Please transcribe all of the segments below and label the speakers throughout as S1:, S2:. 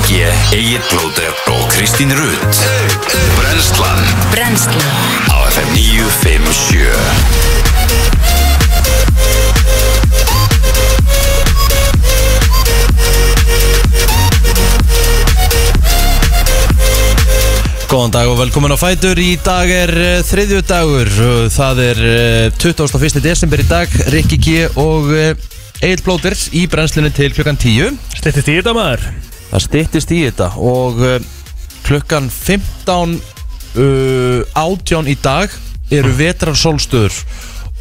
S1: Egil Blóter og Kristín Rutt Brenslan
S2: Brennslan
S1: á FM 957
S3: Góðan dag og velkomin á Fætur. Í dag er uh, þriðju dagur. Uh, Það er uh, 21. desember í dag. Rikki G og Egil Blóters í brennslinu til klukkan 10.
S4: Slittist í þetta maður
S3: Það styttist í þetta og uh, klukkan 15 uh, átján í dag eru vetrar sólstöður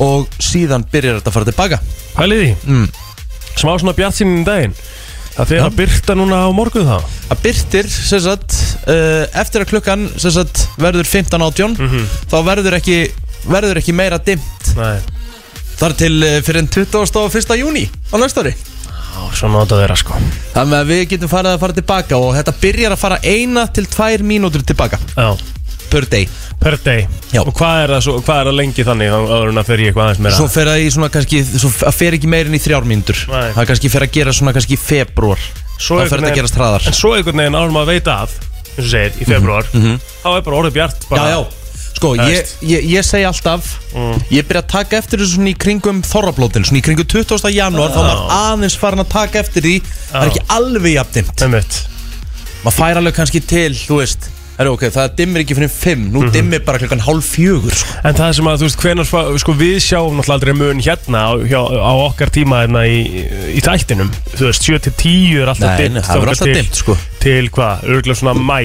S3: og síðan byrjar þetta að fara tilbaka.
S4: Pælið í því
S3: Mm.
S4: Smá svona bjart sín í daginn Það
S3: Já.
S4: fyrir að byrta núna á morgun þá
S3: Það byrtir sem sagt, uh, eftir að klukkan sem sagt, verður 15 átján þá verður ekki, verður ekki meira dimmt
S4: Nei
S3: þar til eh, fyrir en 21. júni á næsta ári
S4: Á, svo nota þeirra sko
S3: Þannig að við getum farið að fara tilbaka og þetta byrjar að fara eina til tvær mínútur tilbaka
S4: Já
S3: per day
S4: Per day
S3: Já.
S4: Og hvað er það, svo, hvað er það lengi þannig þá áður en að fyrir ég eitthvað aðeins meira
S3: Svo fer það í svona kannski, svo það fer ekki meir en í þrjár mínútur
S4: Nei.
S3: Það kannski fer að gera svona kannski í februar
S4: Svo
S3: Það fer þetta að
S4: einhvern veginn-
S3: gerast hraðar Mhm.
S4: En svo einhvern veginn árum að veita af eins og segir, í februar þá er bara orðið bjart
S3: Já,
S4: bara.
S3: já, sko,
S4: Það
S3: ég,
S4: veist. Mm.
S3: ég, ég segi alltaf Ég byrja að taka eftir þessu svona í kringum þorrablótin Svona í kringum 20. janúar Þá er maður aðeins farin að taka eftir því Það er ekki alveg jafnimt
S4: Einmitt.
S3: maður fær alveg kannski til, þú veist Heru, ok, það dimmir ekki fyrir fimm, nú
S4: Mhm.
S3: dimmir bara klokkan hálf fjögur sko.
S4: En það sem að, þú veist, hvenar sko, við sjáum náttúrulega aldrei mun hérna á, hjá, á okkar tíma hérna í, í þættinum Þú veist, 7 til 10 er alltaf dimmt
S3: það verður
S4: þangað
S3: alltaf
S4: til-
S3: dimmt sko.
S4: Til hvað? Örgulega svona mæ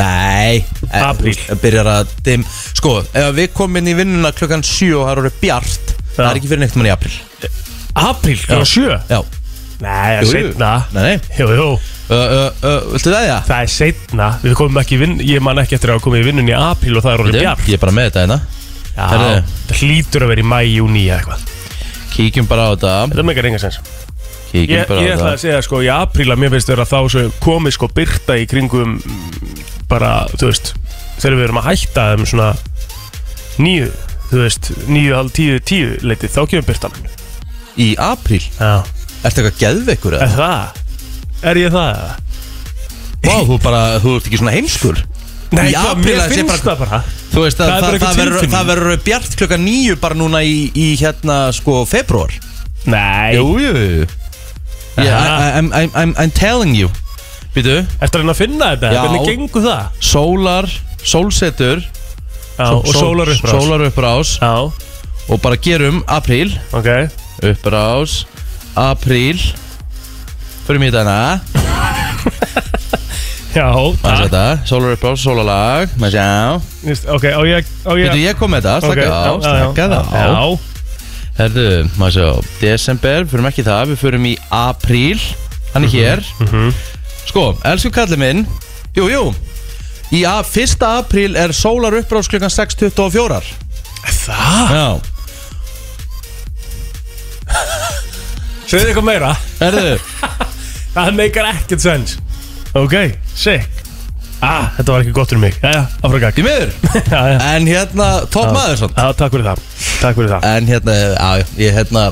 S3: Nei, eh,
S4: Apríl.
S3: þú veist, það byrjar að dimm Sko, ef við komum inn í vinnuna klokkan sjö og það eru bjart Það
S4: Já.
S3: er ekki fyrir neitt mann í april
S4: Apríl, klokkan sjö?
S3: Já,
S4: Nei, það
S3: Jú,
S4: er
S3: jú.
S4: setna
S3: nei, nei
S4: Jú, jú,
S3: Ö, ö, ö, Viltu það já?
S4: það er setna Við komum ekki í vinn, ég man ekki eftir að hafa komið í vinnun í apríl og það er orðið bjart
S3: Ég er bara með þetta hérna
S4: Já,
S3: Herðu.
S4: það hlýtur að vera í mæ, júni eða eitthvað
S3: Kíkjum bara á þetta
S4: Þetta meikar enga sens
S3: Kíkjum
S4: Ég,
S3: bara
S4: ég
S3: á
S4: ætla að
S3: þetta
S4: segja sko í apríl að mér finnst vera þá sem komið sko byrta í kringum mm, bara, þú veist þegar við erum að hætta þeim svona nýju, þú veist nýju, halv, tíu, tíu leiti, þá kemur byrtan
S3: Í april,
S4: Já,
S3: ertu eitthvað geðveikur
S4: er
S3: eða?
S4: það? Er ég það? eða?
S3: Vá, þú bara, þú ert ekki svona heimskur
S4: Nei,
S3: Í
S4: hvað,
S3: apríl
S4: mér
S3: að sé
S4: finnst
S3: bara-
S4: það bara
S3: Þú veist að
S4: Það er
S3: það, það,
S4: bara einhver
S3: verður,
S4: tilfinning.
S3: það verður bjart klukkan nýju bara núna í, í hérna sko februar
S4: Nei,
S3: jú, jú yeah, I, I'm, I'm, I'm, I'm telling you Býtu
S4: eftir að reyna að finna þetta,
S3: Já.
S4: hvernig gengur það?
S3: Sólar, sólsetur
S4: Já, og sólar upp
S3: Sólar upprás
S4: Já,
S3: Og bara gerum apríl
S4: ok
S3: Upprás Apríl Förum í þetta
S4: Já,
S3: hérna
S4: það
S3: ah. Sólar upprás, sólalag Maður sjá
S4: Ok, á ég, á ég
S3: Býtu ég kom með þetta,
S4: Ok,
S3: slaka á,
S4: já, já,
S3: slaka
S4: já.
S3: það á
S4: Já,
S3: Herðu, maður sjá, desember, förum ekki það, við förum í apríl, hann er
S4: Mhm,
S3: hér Sko, elsku kallið minn, jú, jú, í a, 1. apríl er sólar uppráðs klukkan 6.24
S4: það?
S3: Já,
S4: Segðu eitthvað meira
S3: herðu,
S4: Það meikar ekkert sens Ok, sick Ah, þetta var ekki gott fyrir mig Jæja, áfram gag
S3: því miður,
S4: Já, já.
S3: en hérna, topp maður svona
S4: Já, takk fyrir það Takk fyrir það
S3: En hérna, já, já, ég hérna,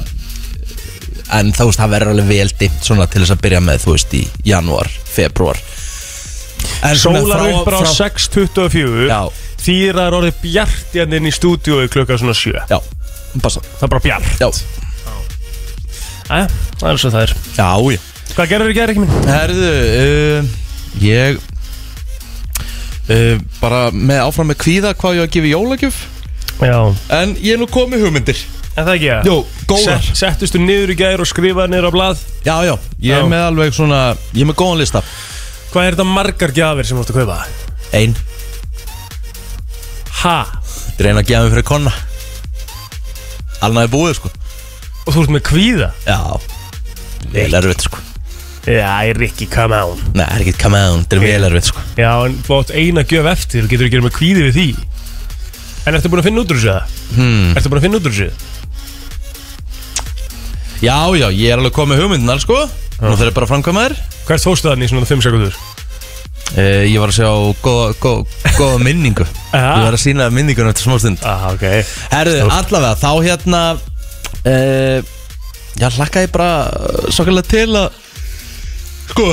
S3: en þá veist, það verður alveg vel dimmt svona til þess að byrja með, þú veist, í janúar, februar En Eh, svona
S4: Sólar
S3: frá-
S4: upp á
S3: frá-
S4: 6.24
S3: Já.
S4: Þýr að það er orðið bjart hérna inn í stúdíói klukka svona 7
S3: Já, passa,
S4: Það er bara bjart
S3: já,
S4: Jæja, það er svo það er
S3: já, já
S4: Hvað gerður þú gerður ekki minn?
S3: Herðu, uh, ég uh, bara með áfram með kvíða hvað ég á að gefa í jólagjöf
S4: Já
S3: En ég er nú komið hugmyndir
S4: En það ekki ég
S3: Jó, góðar.
S4: Settustu niður í gær og skrifaði niður á blað
S3: Já, já, ég er
S4: Já.
S3: með alveg svona, ég er með góðan lista
S4: Hvað er þetta margar gjafir sem þú ert að kaupa?
S3: Ein,
S4: Ha?
S3: þetta er eina að gefa mig fyrir konna Alnaði búið sko
S4: Og þú ert með kvíða?
S3: Já, vel erfitt sko
S4: Já, ég er ekki, come on
S3: Nei, það er ekkert kamað hún, þetta er vel erfitt sko
S4: Já, en þú átt eina gjöf eftir, getur ekki verið með kvíði við því En ertu búin að finna út úr þessu það? Hmm. Ertu búin að finna út úr þessu?
S3: Já, já, ég er alveg komið með hugmyndinar sko Nú þarf ég bara að framkvæma þér
S4: Hvert fórstu þannig í svona 5 sekundur?
S3: uh, Ég var að sjá góða, góða, góða minningu
S4: Aha.
S3: Ég var að sína minningunum eftir smástund
S4: Ah, ok
S3: Herðu,
S4: Stórt.
S3: allavega, þá hérna e, uh, Já, hlakka ég bara uh, Svakalega til að Sko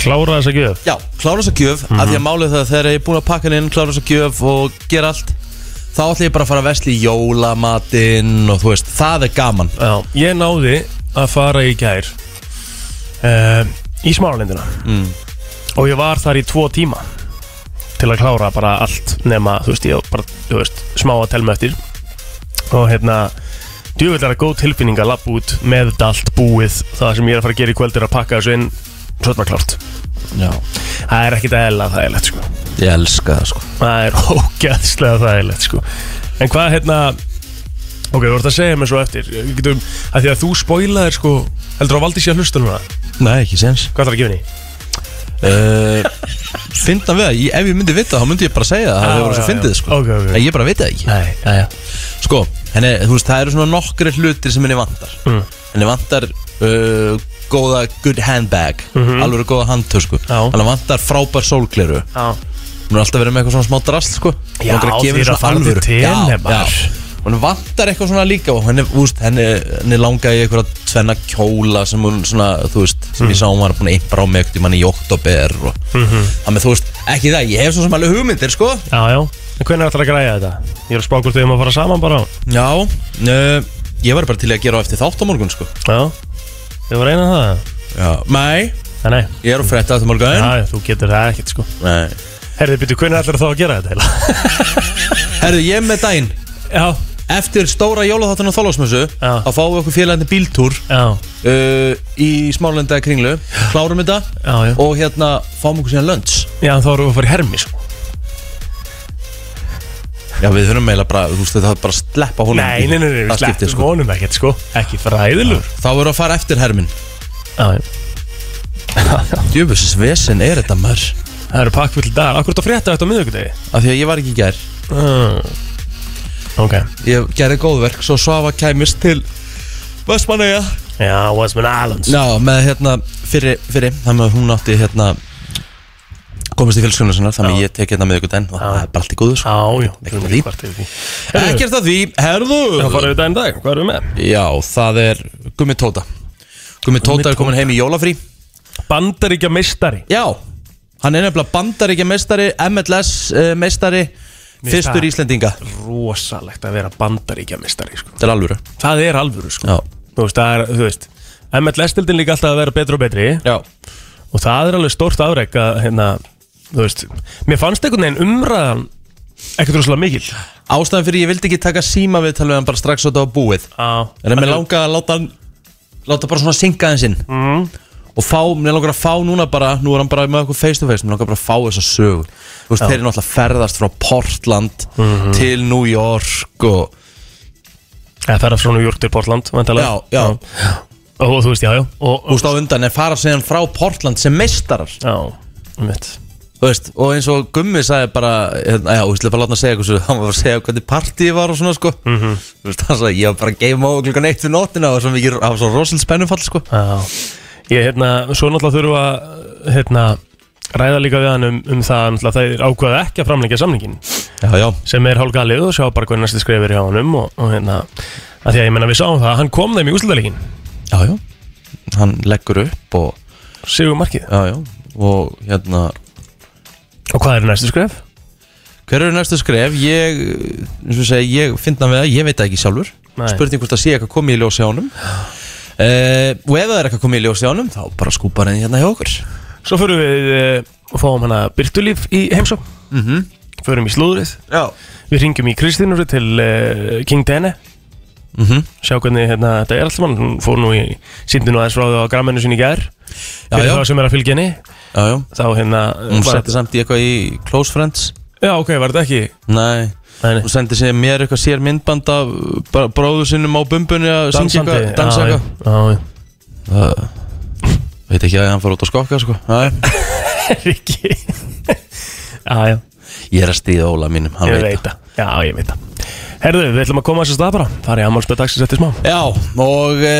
S4: Klára þessa gjöf
S3: Já, klára þess að gjöf af Því að málið það að þegar ég er búin að pakka hann inn Klára þess að gjöf og gera allt Þá ætla ég bara að fara að vesla í jólamatinn Og þú veist, það er gaman
S4: Já, ég náði að fara í gær uh, Í smáralindina
S3: Mm.
S4: Og ég var þar í tvo tíma Til að klára bara allt Nema, þú veist, ég bara, þú veist Smá að telma eftir Og hérna, djúvill er að góð tilfinning að labba út Með þetta allt búið Það sem ég er að fara að gera í kvöld er að pakka þessu inn Svo þetta var klárt
S3: Já,
S4: Það er ekkit eðla þægilegt, sko
S3: ég elska það sko
S4: Það er ógæðslega þægilegt sko En hvað hérna Ok, þú ert að segja mér svo eftir Við getum, að Því að þú spoilaðir sko Heldur á valdi sér að hlusta núna
S3: Nei, ekki séns
S4: Hvað þarf að gefa henni?
S3: uh, Fyndan við það, ég- ef ég myndi vita það Þá myndi ég bara segja það,
S4: Já,
S3: það voru svo
S4: já,
S3: fyndið
S4: já.
S3: sko
S4: Ok, ok.
S3: En ég bara veit það ekki
S4: Nei, já, já
S3: Sko, henni, þú veist, það eru svona nokkri hlutir sem henni vantar
S4: Mm.
S3: Henni vantar uh, góða good handbag mm
S4: Mhm.
S3: Alveg góða handtösku
S4: Já.
S3: Henni vantar frábær sólgleru
S4: Já,
S3: Hún er alltaf verið með eitthvað svona smá drast sko
S4: Já,
S3: Langar gefa
S4: þeir
S3: henni
S4: eru
S3: svona
S4: að fara til
S3: alvöru.
S4: Tenebbar.
S3: Já, já Hún vantar eitthvað svona líka og henni, úst, henni, henni langaði í eitthvað tvenna kjóla sem hún svona, þú veist, sem
S4: Mhm.
S3: ég sá hún var búin að impra á mig ekkert í manni í oktober og þannig, þú veist, ekki það, ég hef svo sem alveg hugmyndir, sko
S4: já En hvernig ætlar að græja þetta? Ég er að spá hvort við um að fara saman bara
S3: Já, uh, ég var bara til í að gera á eftir þátt á morgun, sko
S4: Já Þau var reyna það
S3: Já, nei,
S4: Nei, nei
S3: ég er á frétta þetta morgun
S4: Já, já, þú getur það ekkert sko
S3: Nei.
S4: Herði, byrju, hvernig ætlar þá að gera þetta heila?
S3: Herðu, ég er með daginn
S4: Já,
S3: Eftir stóra jólaþáttan á Þólasmössu
S4: Já.
S3: Þá fáum við okkur félagandi bíltúr
S4: já,
S3: uh, Í smálenda kringlu Klárum þetta
S4: já, já
S3: Og hérna fáum okkur síðan lönns
S4: Já, en þá erum við að fara í hermi sko
S3: Já, við þurfum meila bara, þú veist, það er bara að sleppa honum
S4: Nei, nei, nei, nei, við
S3: Það skiptir,
S4: sleppum
S3: sko
S4: honum ekkert sko Ekki fræðilur
S3: Þá verður að fara eftir hermin
S4: Já, já
S3: Djöfusins vesen er þetta mörg
S4: Það eru pakkfull dagar, akkur þetta frétta þetta á miðvíkudegi
S3: Af því að ég var ekki í gær
S4: mm. Ok
S3: Ég gerði góðverk, svo svafa kæmist til Vestmannaja
S4: Já, Westman Islands
S3: Já, með hérna fyrir, fyrir þannig að hún átti hérna komist í fjölskunum sinna, þannig að ég tek hérna með ykkur den og það er bara allt í góðu sko.
S4: Já, já,
S3: Ekkert
S4: þurfum
S3: að því.
S4: ekki hvart yfir því Herðu,
S3: Ekkert að því,
S4: Þá
S3: herðu
S4: farum við daginn dag, hvað erum við með?
S3: Já, það er Gummi Tóta Gummi Tóta er komin heim í jólafrí
S4: Bandaríkja meistari
S3: Já, hann er nefnilega bandaríkja meistari MLS uh, meistari fyrstur Íslendinga
S4: Rosalegt að vera bandaríkja meistari sko.
S3: Þetta er alvöru
S4: Það er alvöru
S3: Já,
S4: sko Þú veist, það er, þú veist MLS-tildin líka alltaf að vera betri og betri
S3: já,
S4: Og það er alveg stórt afrek að, hérna, þú veist Mér fannst einhvern veginn umræðan ekkert rosalega mikil
S3: ástæðan fyrir ég vildi ekki taka síma við tala við hann bara strax og þetta var búið
S4: Já
S3: En mér langar að láta hann Láta bara svona synga hans inn mm. Og fá, mér langar að fá núna bara Nú er hann bara með okkur face to face Mér langar bara að fá þessa sögu Þú veist, þeir eru náttúrulega ferðast frá Portland Til New York og
S4: Það fer af frá New York til Portland, vantarlega
S3: Já, já.
S4: Og þú veist, já, já Og,
S3: Þú veist á undan En fara síðan frá Portland sem meistarar
S4: Já, umvitt
S3: Þú veist, og eins og Gummi sagði bara hérna, Já, þú veist, ég bara láta hann segja eitthvað svo- Hann var bara að segja hvernig partíi var og svona, sko Þú veist, hann sagði, ég var bara að geima á klukkan eitt við nóttina Og svo mikið, það var svo rosalega spennumfall, sko
S4: Já Ég, hérna, svo náttúrulega þurfum við að hérna, ræða líka við hann um, um það náttúrulega þeir ákvaða ekki að framlengja samningin
S3: Já, já,
S4: sem er hálf galið og sjá bara hvernig næstu skrifir hjá honum og, og hérna, að því að ég menna við sáum það hann kom þeim í úslutalegin,
S3: já, já Hann leggur upp og
S4: sigur markið
S3: Já, já, og hérna
S4: og hvað er næstu skrif?
S3: Hver eru næstu skref? Ég, eins og ég segi, ég finna með það, ég veit það ekki sjálfur
S4: Nei.
S3: Spurning hvort það sé eitthvað komið í ljósi ánum uh, Og ef það er eitthvað komið í ljósi ánum Þá bara skúpar henni hérna hjá okkur
S4: Svo förum við eh, og fáum hana Byrtulíf í heimsó
S3: mm -hmm.
S4: Mhm. förum í slúðrið,
S3: Já
S4: við ringjum í Kristínur til uh, King Dene
S3: mm
S4: sjá hvernig hérna, þetta er alltaf mann hún fór nú í, síndi nú aðeins frá það á gramminu sinni í gær
S3: Já,
S4: fyrir
S3: já.
S4: þá sem er að fylgja henni
S3: Já, já
S4: þá hérna
S3: Hún
S4: bara-
S3: setti samt í eitthvað í Close Friends
S4: Já, ok, var þetta ekki
S3: Nei
S4: Nei,
S3: Hún sendi sér mér eitthvað sér myndband af bara bróður sinnum á bumbunni að syngja eitthvað, dansa eitthvað
S4: Já,
S3: Það Veit ekki að hann fór út að skokka, sko Nei
S4: já Rikki Já, já,
S3: Ég er að stíða Óla mínum, hann
S4: ég
S3: veit það
S4: veit það Já, ég veit það Herðu, við ætlum að koma þess að stað bara Það er ammálspöð dagsins eftir smá
S3: Já, eh, og e,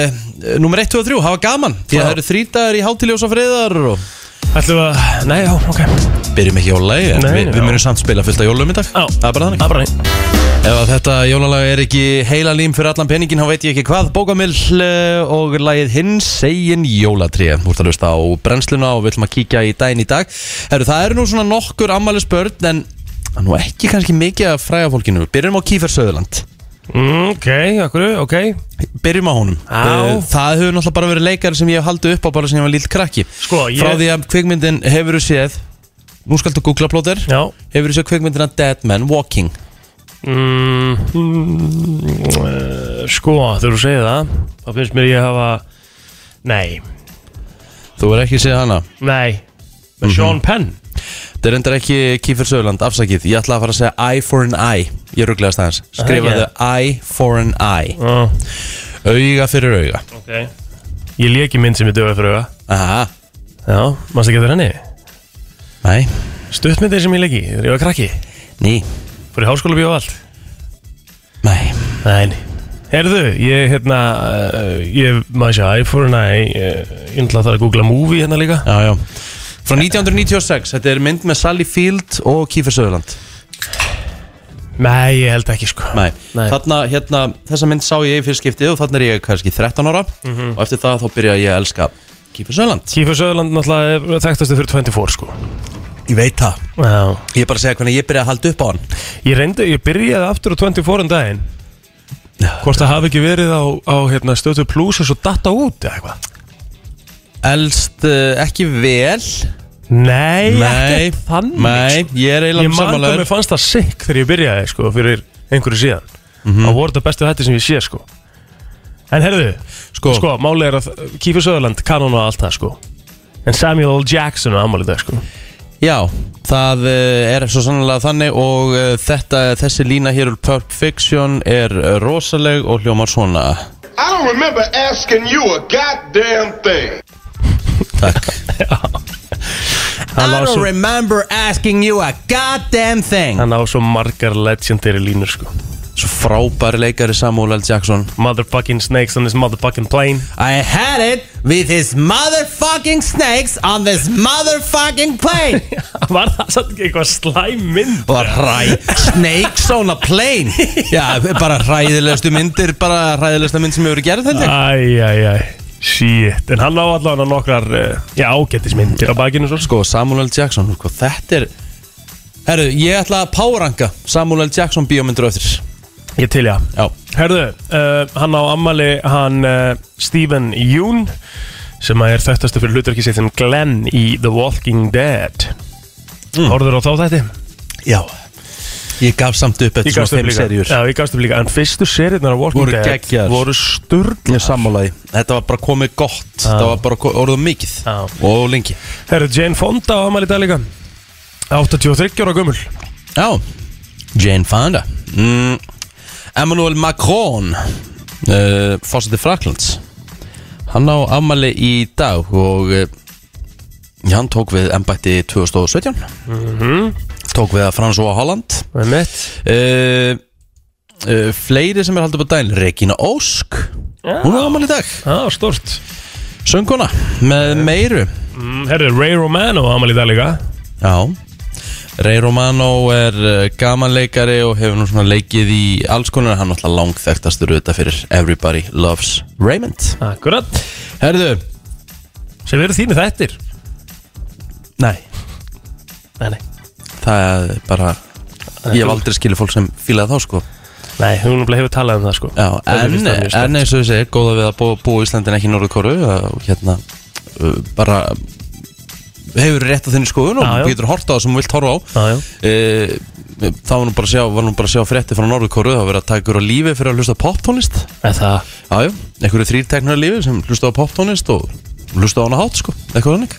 S3: nummer 1, 2 og 3, hafa gaman Því að
S4: Já.
S3: það eru þrítagar í hátiljósa friðar og
S4: Ætlum við að, nei, já, ok Já,
S3: Byrjum ekki jólalagi en
S4: Nei,
S3: við, við
S4: já.
S3: munum samt spila fullt af jólum í dag Það er bara þannig
S4: bara þannig
S3: Ef að þetta jólalag er ekki heila lím fyrir allan peningin þá veit ég ekki hvað Bókamill eh, og lagið hinn segin jólatrí Þú ert að hlusta á brennsluna og við ætlum að kíkja í daginn í dag Heru, Það eru nú svona nokkur ammæli spörn en það er nú ekki kannski mikið að fræga fólkinu Byrjum á Kífer Söðurland
S4: Mm, Ok, okkur, ok
S3: Byrjum á honum
S4: Á.
S3: Eh, Það hefur náttúrulega bara verið leikari sem ég hef haldið upp á bara sem ég var lill krakki
S4: Sko, ég-
S3: Frá því að kvikmyndin hefur þú séð Nú skaltu googla plóter
S4: Já
S3: Hefur þú séð kvikmyndina Dead Man Walking
S4: mm, mm, eh, Sko, þegar þú segir það þá finnst mér ég hafa Nei,
S3: Þú er ekki séð hana
S4: nei Með Sean Penn
S3: Þetta er endur ekki Kífer Söðurland, afsakið Ég ætla að fara að segja eye for an eye Ég rugglega staðans Skrifaðu eye for an eye
S4: Já,
S3: Auga fyrir auga
S4: ok Ég lék í mynd sem ég döði fyrir auga
S3: Aha,
S4: Já, mannstu ekki eftir henni?
S3: nei,
S4: Stuttmyndir sem ég leik í, þegar ég var krakki
S3: ný,
S4: Fór í háskóla bíó og allt
S3: nei
S4: Nei, herðu, ég hérna eh, Ég, maður sé, I for an I eh, Ég ætla að það að googla movie hérna líka
S3: Já, já Frá 1996, þetta er mynd með Sally Field og Kífer Söðurland
S4: Nei, ég held ekki sko
S3: Nei,
S4: Nei.
S3: þarna, hérna, þessa mynd sá ég í fyrst skiptið og þarna er ég kannski 13 ára
S4: Mhm.
S3: og eftir það þá byrja ég að elska Kífer Söðurland
S4: Kífa Söðurland náttúrulega er þekktastu fyrir 24 sko
S3: Ég veit það
S4: Já
S3: Ég er bara að segja hvernig ég byrja að halda upp á hann
S4: Ég reyndi, ég byrjaði aftur á 24 um daginn Hvort það hafi ekki verið á, á hérna, stötu plus og svo datta út eða eitthvað
S3: Elst uh, ekki vel
S4: Nei,
S3: Nei,
S4: ekki þannig
S3: nei, ég er
S4: sko. Ég
S3: eiginlega
S4: man hvað mér
S3: samanlegur
S4: fannst það sikk þegar ég byrjaði sko fyrir einhverju síðan Það voru þetta bestu hætti sem ég sé sko En herðu,
S3: Sko.
S4: sko, sko máli er að Kífa Söðurland kanon og allt það sko En Samuel L. Jackson á ammálið það sko
S3: Já, það eh, er svo sannlega þannig og eh, þetta, þessi lína hér úr Pulp Fiction er eh, rosaleg og hljómar svona
S2: I don't remember asking you a goddamn thing.
S3: Takk
S4: Hann á svo-
S3: remember asking you a goddamn thing
S4: Hann á svo margar legendary línur sko
S3: Svo frábæri leikari Samuel L. Jackson
S4: Motherfucking snakes on this motherfucking plane
S3: I had it with his motherfucking snakes on this motherfucking plane
S4: Var það satt ekki eitthvað slæm mynd?
S3: Bara hræ, snakes on a plane Já, bara hræðilegustu myndir bara hræðilegsta mynd sem hefur verið gerð þetta
S4: Æj, æj, æj Shit, en hann á allavega nokkrar uh, Já, ágættismyndir á bakinu svo sko
S3: sko, Samuel L. Jackson sko, þetta er herru, ég ætla að páranga Samuel L. Jackson bíómyndur á eftir
S4: Ég til já
S3: já,
S4: Herðu, uh, hann á ammali hann uh, Stephen Yoon sem að er þekktastu fyrir hlutverki sitt sem Glenn í The Walking Dead mm. Horður á þá þætti?
S3: já ég gaf samt upp eftir svona fimm serjur
S4: Já, ég gafst upp líka En fyrstu seriðnar á Walking
S3: Voru
S4: Dead
S3: geggjaðar.
S4: voru sturgl
S3: ég sammálaði, þetta var bara komið gott þetta var bara ko- orðið mikið
S4: Já.
S3: og lengi
S4: Herru, Jane Fonda á ammali í dag líka 83 ára gömul
S3: já, Jane Fonda mm. Emmanuel Macron uh, fósiti Fraklands hann á ammali í dag og uh, hann tók við embætti 2017 tók við að François Holland
S4: Það er mitt
S3: uh, uh, Fleiri sem er haldið upp á daginn Regina Ósk Hún er ámæli í dag
S4: Já, stort
S3: Sönguna með meiru
S4: mm, Herru, Ray Romano ámali í dag líka
S3: Já Ray Romano er uh, gamanleikari og hefur nú svona leikið í alls konar hann er alltaf langþægtastur auðvitað fyrir Everybody Loves Raymond
S4: Akkurat
S3: Herðu
S4: Sem eru þínu þættir
S3: Nei
S4: Nei, nei
S3: Það er bara Ég hef aldrei skilið fólk sem fílaði þá sko
S4: Nei, hún náttúrulega hefur talað um það sko
S3: Já,
S4: Það
S3: en,
S4: finnst það mjög sterkt.
S3: en eins og þessi, góða við að búa, búa í Íslandin ekki í Norðurkóru og hérna uh, bara hefur rétt á þinni skoðun
S4: Já, já.
S3: og getur horta á það sem þú vilt horfa á
S4: Já, já.
S3: Eh, þá var nú bara að sjá, var nú bara að sjá frétti frá Norðurkóru, það var verið að taka ykkur á lífi fyrir að hlusta á poptónlist
S4: En það
S3: jájú, einhverju þrýr teknar á lífi sem hlusta á poptónlist og hlusta á hana hátt sko, eitthvað þannig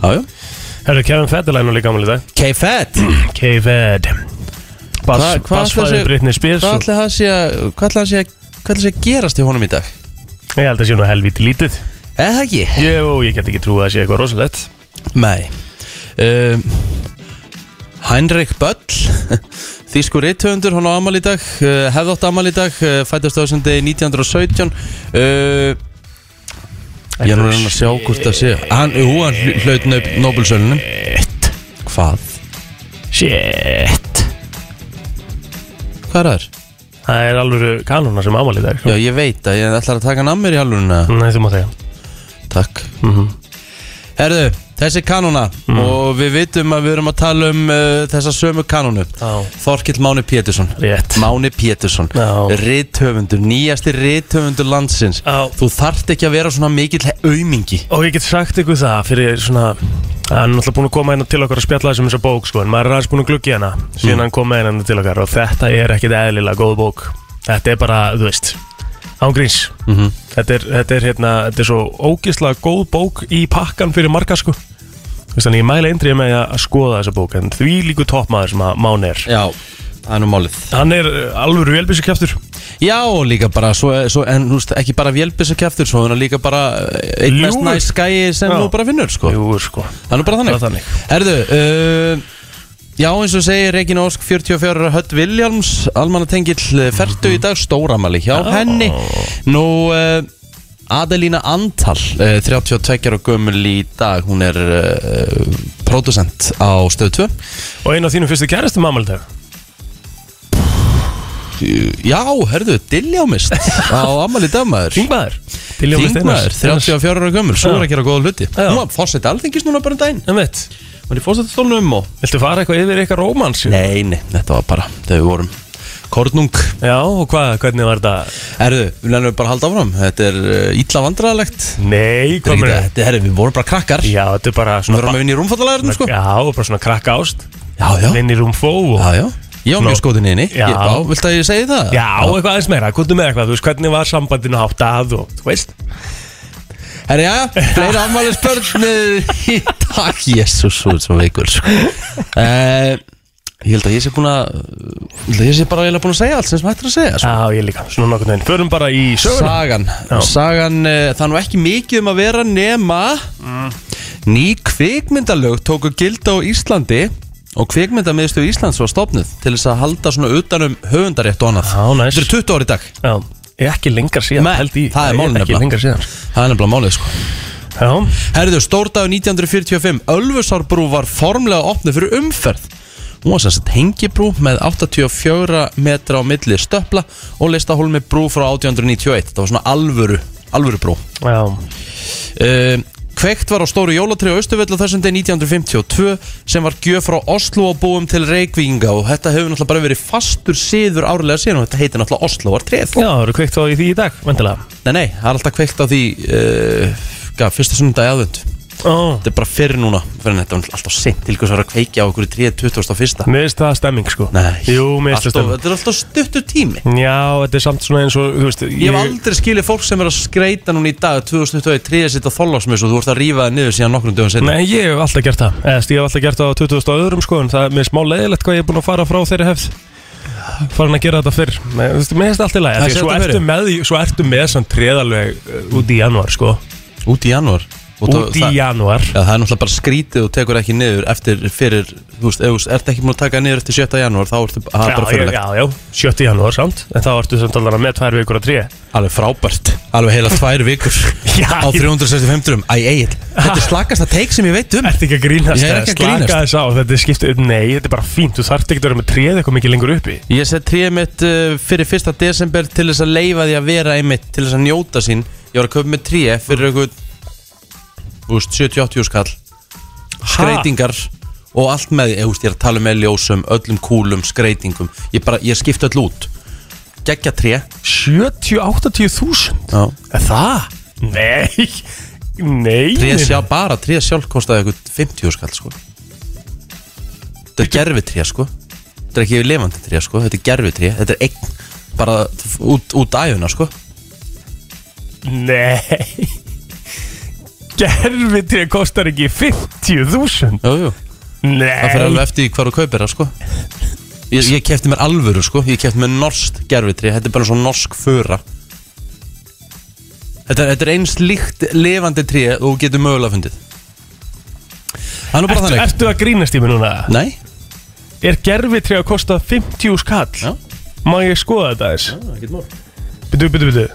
S3: jájú,
S4: Herru, Kevin Federline er líka ámali í dag
S3: K-Fed
S4: K-Fed
S3: Hva- hvað ætli
S4: Bassfæði
S3: þessi-
S4: Britney Spears
S3: hvað
S4: og-
S3: ætla það sé að hvað ætla það sé að hvað ætla það sé að gerast í honum í dag
S4: Ég held að sé nú helviti lítið
S3: eða það ekki
S4: Jú, ég get ekki trúið að sé eitthvað rosalegt
S3: Nei um, Heinrich Böll Þísku rithöfundur, hann á amal í dag uh, eh, hefðátt amal í dag, uh, fættast ásendegi 1917 uh, Eh, Ég er nú að reyna að sjá hvort það sé Hann, jú, hann hl- hlaut nöp- Nóbelsölunum
S4: Shit
S3: Hvað?
S4: Shit
S3: Hvað er það? er?
S4: Það er alveg kanona sem ámali í dag sko.
S3: Já, ég veit að ég ætlar að taka hann að mér í alvöruna
S4: Nei, þú má þegja
S3: Takk
S4: Mhm.
S3: Herðu, þessi kanóna Og við vitum að við erum að tala um uh, Þessa sömu kanónu
S4: Já.
S3: Þorkill Máni Pétursson
S4: Rétt
S3: Máni Pétursson
S4: Já.
S3: Rithöfundur, nýjasti rithöfundur landsins
S4: Já.
S3: Þú þarft ekki að vera svona mikill aumingi
S4: Og ég get sagt ykkur það fyrir svona Hann er náttúrulega búin að koma inn til okkar að spjalla þessum þessa bók sko En maður er aðeins búin að glugga í hana
S3: Mm.
S4: Síðan hann kom með hennan til okkar Og þetta er ekkit eðlilega góð bók Þetta er bara, þú veist Ángríns mm
S3: Mhm.
S4: -hmm. þetta, er, þetta er hérna, þetta er svo ógislega góð bók Í pakkan fyrir marga sko Þú veist, Þannig ég mæla eindrið með að skoða þessa bók En því líku toppmaður sem að Mán er
S3: Já, það er nú málið
S4: Hann er eh, alveg velbísikjaftur
S3: Já, og líka bara, svo, svo, en þú veist, ekki bara vélbissa kjæftur Svo hann er líka bara eh, einn mest
S4: Ljúfur.
S3: næst skæi sem
S4: Já.
S3: þú bara finnur sko.
S4: Jú, sko
S3: Það er nú bara þannig,
S4: Það er þannig.
S3: Herðu, uh, já eins og segir Regina Ósk 44 ára Hött Viljáms Almanatengill ferdu eh, í dag Stóramali hjá henni Nú uh, Adelína Antal uh, 32 ára gömul í dag Hún er uh, pródusent á stöð 2
S4: Og einn af þínum fyrstu kærastum ámæli dag
S3: Já, herðu, Diljámist á Amali Dagmaður
S4: Þingmaður
S3: Þingmaður, 34 ára gömul, svo er að gera góða hluti
S4: Já.
S3: Hún var fórseti alþingis núna bara um daginn
S4: En veit,
S3: Hún er fórseti stólnum og
S4: viltu fara eitthvað yfir eitthvað rómans?
S3: Nei, nei, þetta var bara þegar við vorum Kornung
S4: Já, og hvað, hvernig var þetta?
S3: Erðu, við lennum bara að halda áfram Þetta er uh, illa vandræðalegt
S4: Nei,
S3: Þetta er
S4: hvað
S3: ekki-
S4: með þetta?
S3: Þetta er, herru, við vorum bara krakkar Við
S4: Já, þetta er bara svona
S3: vorum að vinna í rúmfattalæðurnum, sko
S4: Já, bara svona krakka ást
S3: Já, já, já,
S4: Vinn í rúmfó og
S3: já Ég var
S4: Nó.
S3: mjög skótin inni
S4: Já.
S3: Ég- Já, viltu að ég segi það?
S4: Já, eitthvað aðeins meira, komdu með eitthvað, þú veist, hvernig var sambandinu hátt að og, þú veist
S3: Herru, já, já, fleira afmæli spörnir Í dag, jésús, svo svo veikur sko. uh, Ég held að ég sé búin að Ég held að ég sé bara eiginlega búin að segja allt sem sem hættir að segja sko.
S4: Já, ég líka, svona nokkurn veginn, förum bara í söguna
S3: Sagan,
S4: Já.
S3: sagan uh, það er nú ekki mikið um að vera nema Ný kvikmyndalög tóku gilda á Íslandi og kvikmyndamiðstöð Íslands var stopnuð til þess að halda svona utanum höfundarétt og annað
S4: Já, næs.
S3: Þetta er 20 ári í dag
S4: Já, ekki lengar síðan,
S3: Nei,
S4: held í
S3: það er málið
S4: Ekki
S3: nefnilega.
S4: lengar síðan
S3: Það er nefnilega málið sko
S4: Já,
S3: Herðu, stórdagur 1945 Ölfusárbrú var formlega opnið fyrir umferð Hún var sem sagt hengibrú með 84 metra á milli stöpla og listahólmi brú frá 1891 Það var svona alvöru, alvöru brú
S4: já,
S3: Uh, kveikt var á stóru jólatri á Östuvöldu þessum degi 1952 sem var gjöf frá Oslo og búum til Reykvinga og þetta hefur náttúrulega bara verið fastur síður árlega síðan og þetta heitir náttúrulega Osloar 3
S4: já, eru kveikt á í því í dag, vendilega
S3: Nei, nei, það er alltaf kveikt á því uh, gaf, fyrsta sundag aðvönd Þetta
S4: Ó,
S3: er bara fyrir núna, fyrir en þetta var alltaf sent til hvers að vera að kveikja á okkur í 3.21.
S4: Mér finnst það stemming sko
S3: Nei,
S4: Jú, mér finnst
S3: alltaf,
S4: það stemming
S3: þetta er alltaf stuttur tími
S4: Já, þetta er samt svona eins og, þú veist
S3: Ég hef aldrei skilið fólk sem er að skreita núna í dag 2023 sitt að þóllásmis og þú ert að rífa það niður síðan nokkrum dögum sinni
S4: Nei, ég hef alltaf gert það Eðast, Ég hef alltaf gert það á 20. öðrum sko En það er mér smá leiðilegt hvað ég er búin að fara frá þeirri hefð Farin að gera þetta fyrr Nei, þú veist, Mér finnst það
S3: Það
S4: alltaf læg
S3: sé
S4: Svo
S3: þetta
S4: ertu
S3: fyrir.
S4: með, því- svo ertu með sann treðalveg uh, út í janúar sko
S3: Út í janúar Og það-
S4: Út í
S3: það-
S4: janúar
S3: Já, það er náttúrulega bara skrítið og tekur ekki niður eftir fyrir, þú veist, ef þú ert ekki múin að taka niður eftir 7. janúar, þá ertu það er bara
S4: Já, ég-
S3: fyrirlegt.
S4: já, já, 7. janúar samt En þá ertu samt alveg með tvær vikur að tríja
S3: Alveg frábært, alveg heila tvær vikur
S4: Já,
S3: á
S4: ég-
S3: 365 drum. Æ, Egil, þetta er slakast að teik sem ég veit um.
S4: Ertu ekki að grínast?
S3: Ég er ekki að grínast.
S4: Slaka þess á, þetta er skipt Nei, þetta er bara fínt Þú þarft ekki að vera með tréð eitthvað mikið lengur uppi
S3: Ég set tríð mitt uh, fyrir 1. desember til þess að leifa því að vera einmitt, til þess að njóta sín. Ég var að köpa með tríð fyrir einhvern, þú veist, 70-80 skall, skreitingar og allt með því, Ég, þú veist, ég er að tala með ljósum, öllum kúlum, skreitingum. Ég bara, ég skipta öll út. Gekkja tríð.
S4: 70-80.000
S3: Já.
S4: Er það? Nei Nei
S3: Tréð sjálf, bara tréð sjálf kostaði eitthvað 50 skall sko Þetta er gerfi tréð sko Þetta er ekki levandi tréð sko, þetta er gerfi tréð Þetta er eign, bara út, út æfuna sko
S4: Nei Gerfitré kostar ekki 50.000
S3: Jú, jú, það fyrir
S4: Nei
S3: alveg eftir í hvar þú kaupir það sko Ég, ég kefti mér alvöru sko, ég kefti mér norskt gerfi tréð Þetta er bara svo norsk föra Þetta er, þetta er eins líkt levandi tréð og þú getur mögulega fundið Það er nú bara
S4: Ertu,
S3: þannig
S4: ertu að grínast í mig núna?
S3: Nei,
S4: Er gerfitré að kosta 50 skall?
S3: Já.
S4: Má ég skoða þetta aðeins?
S3: það getur mörg
S4: Byttu, byttu, byttu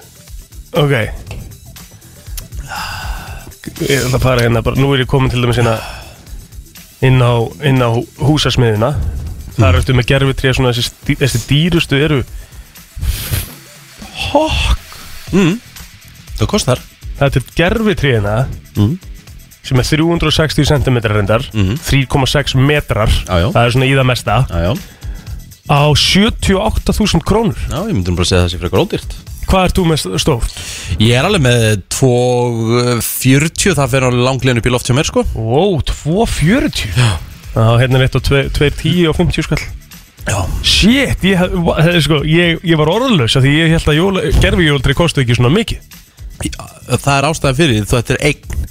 S4: Ok ég ætla að fara hérna bara, nú er ég komin til dæmis hérna inn á, inn á húsasmiðina þar ertu með gerfitri svona þessi, stí- þessi dýrustu eru hokk
S3: Það kostar
S4: þetta er gerfitriðina
S3: Mm.
S4: sem er 360 cm reyndar 3,6 metrar
S3: Já, já.
S4: það er svona í það mesta
S3: Já, já,
S4: á 78.000 krónur
S3: já, ég myndi nú bara að segja það sé frekar ódýrt
S4: hvað ert þú með stóft?
S3: Ég er alveg með 2.40 Það fer á langleginu bíl oft hjá mér sko
S4: Ó, 2.40 Já hérna er eitt og 2.10 og 50 skall
S3: Já
S4: Shit, ég, hef- va- eh, sko, ég, ég var orðlaus af Því ég held að jóla, gerfijóltri kostu ekki svona mikið
S3: Það er ástæðan fyrir því, þú þetta er eign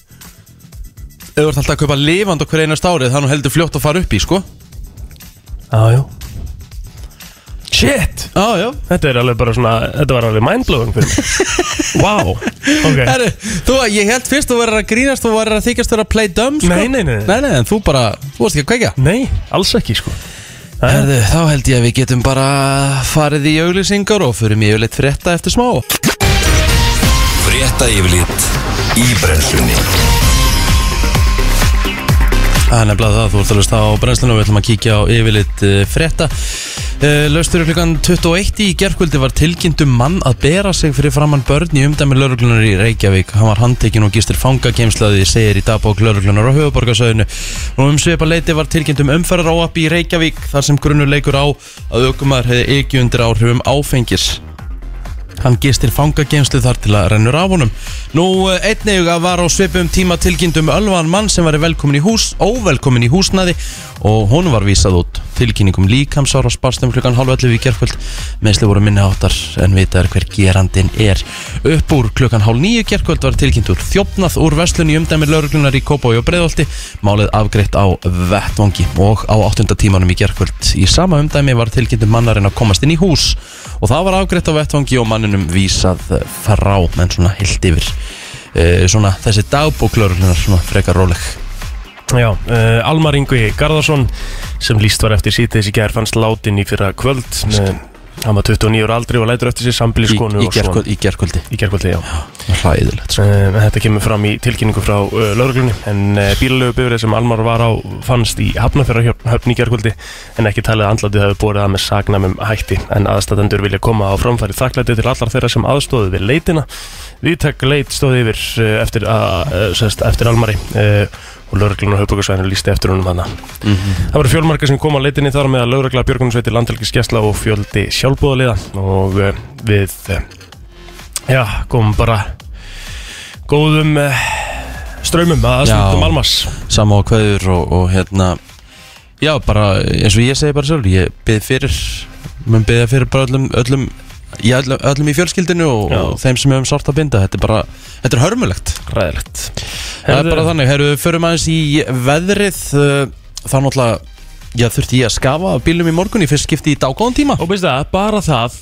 S3: Ef þú ert alltaf að kaupa lifand okkur einast árið Það er nú heldur fljótt að fara upp í sko
S4: Já, já Shit,
S3: Já, já
S4: þetta er alveg bara svona Þetta var alveg mindblowing fyrir mig Wow, ok
S3: Herru, þú, ég held fyrst þú verður að grínast Þú verður að þykjast vera að play dumb sko
S4: Nei, nei, nei.
S3: Nei, nei, en þú bara, þú varst ekki að kveikja
S4: Nei, alls ekki sko
S3: Herðu, þá held ég að við getum bara farið í auglýsingar og fyrir mjög leitt frétta eftir smá
S1: Frétta yfirlit í brennslunni
S3: Það er nefnilega það, þú ert að hlusta á brennslunum og við ætlum að kíkja á yfirleitt frétta uh, Laustur klukkan 21 í gerkvöldi var tilkynntum mann að bera sig fyrir framann börn í umdæmi lauruglunar í Reykjavík Hann var handtekinn og gistir fangakemslaði, segir í dagbók lauruglunar á höfuborgarsöðinu og um svipa leiti var tilkynntum umferðar í Reykjavík þar sem grunur leikur á að aukumar hefði ekki undir áhrifum áfengis Hann gistir fangageimslu þar til að rennur af honum. Nú, eh, einnig var á svipum tíma tilkynntum ölvan mann sem var velkomin í hús, óvelkomin í húsnaði og honum var vísað út. Tilkynningum líkamsára sparst um klukkan halv 11 í gerkvöld. Meðsli voru minni áttar en vitað er hver gerandin er. Upp úr klukkan hálf 9 gerkvöld var tilkynnt úr þjófnað úr verslun í umdæmi lauruglunar í Kópói og Breiðolti. Málið afgreitt á vettvangi og á 8. tímanum í gerkvöld. Í sama umdæmi var tilkynntum mannarinn að komast inn í hús og það var afgreitt á vettvangi og manninum vísað frá, menn svona heilt yfir e, svona þessi dagbóklaurlunar svona frekar róleg
S4: Já, uh, Almar Ingvi Garðarsson sem líst var eftir sítið þessi gær fannst látin í fyrra kvöld með, hann var 29 ára aldri og lætur eftir sér
S3: í,
S4: sambiliskonu
S3: í, gerkvöld, í gerkvöldi,
S4: í gerkvöldi, já
S3: hræðilegt sko.
S4: Eh, Þetta kemur fram í tilkynningu frá uh, lauruglunni en uh, bílalögu bifrið sem Almar var á fannst í hafnafjörðahöfn í gerkvöldi en ekki talið að andlatið hafi borið að með sagnamum hætti en aðstæðendur vilja koma á framfæri þakklæti til allar þeirra sem aðstóðu við leitina Viðtak leit stóði yfir uh, eftir, að, uh, sest, eftir Almari uh, og lauruglun og höfbökkarsvæðinu lísti eftir honum hana Það voru fjölmarka sem kom á leitinni þar með að laurugla björgunsveiti landhelgiskesla og fjöldi sjálfbúðaliða og uh, við uh, já, komum bara góðum uh, strömmum að aðstundum
S3: Já.
S4: Almas
S3: sama á kveður og, og hérna já bara eins og ég segi bara sjálf ég byrð fyrir, mun byrða fyrir bara öllum, öllum í öllum, öllum í fjölskyldinu og,
S4: Já.
S3: og þeim sem hefum sárt að binda þetta er bara, þetta er hörmulegt
S4: Ræðilegt
S3: Það er bara þannig, herru, við förum aðeins í veðrið uh, Þá náttúrulega, já, þurfti ég að skafa af bílum í morgun Ég fyrst skipti í dágóðan tíma
S4: Og veist það, bara það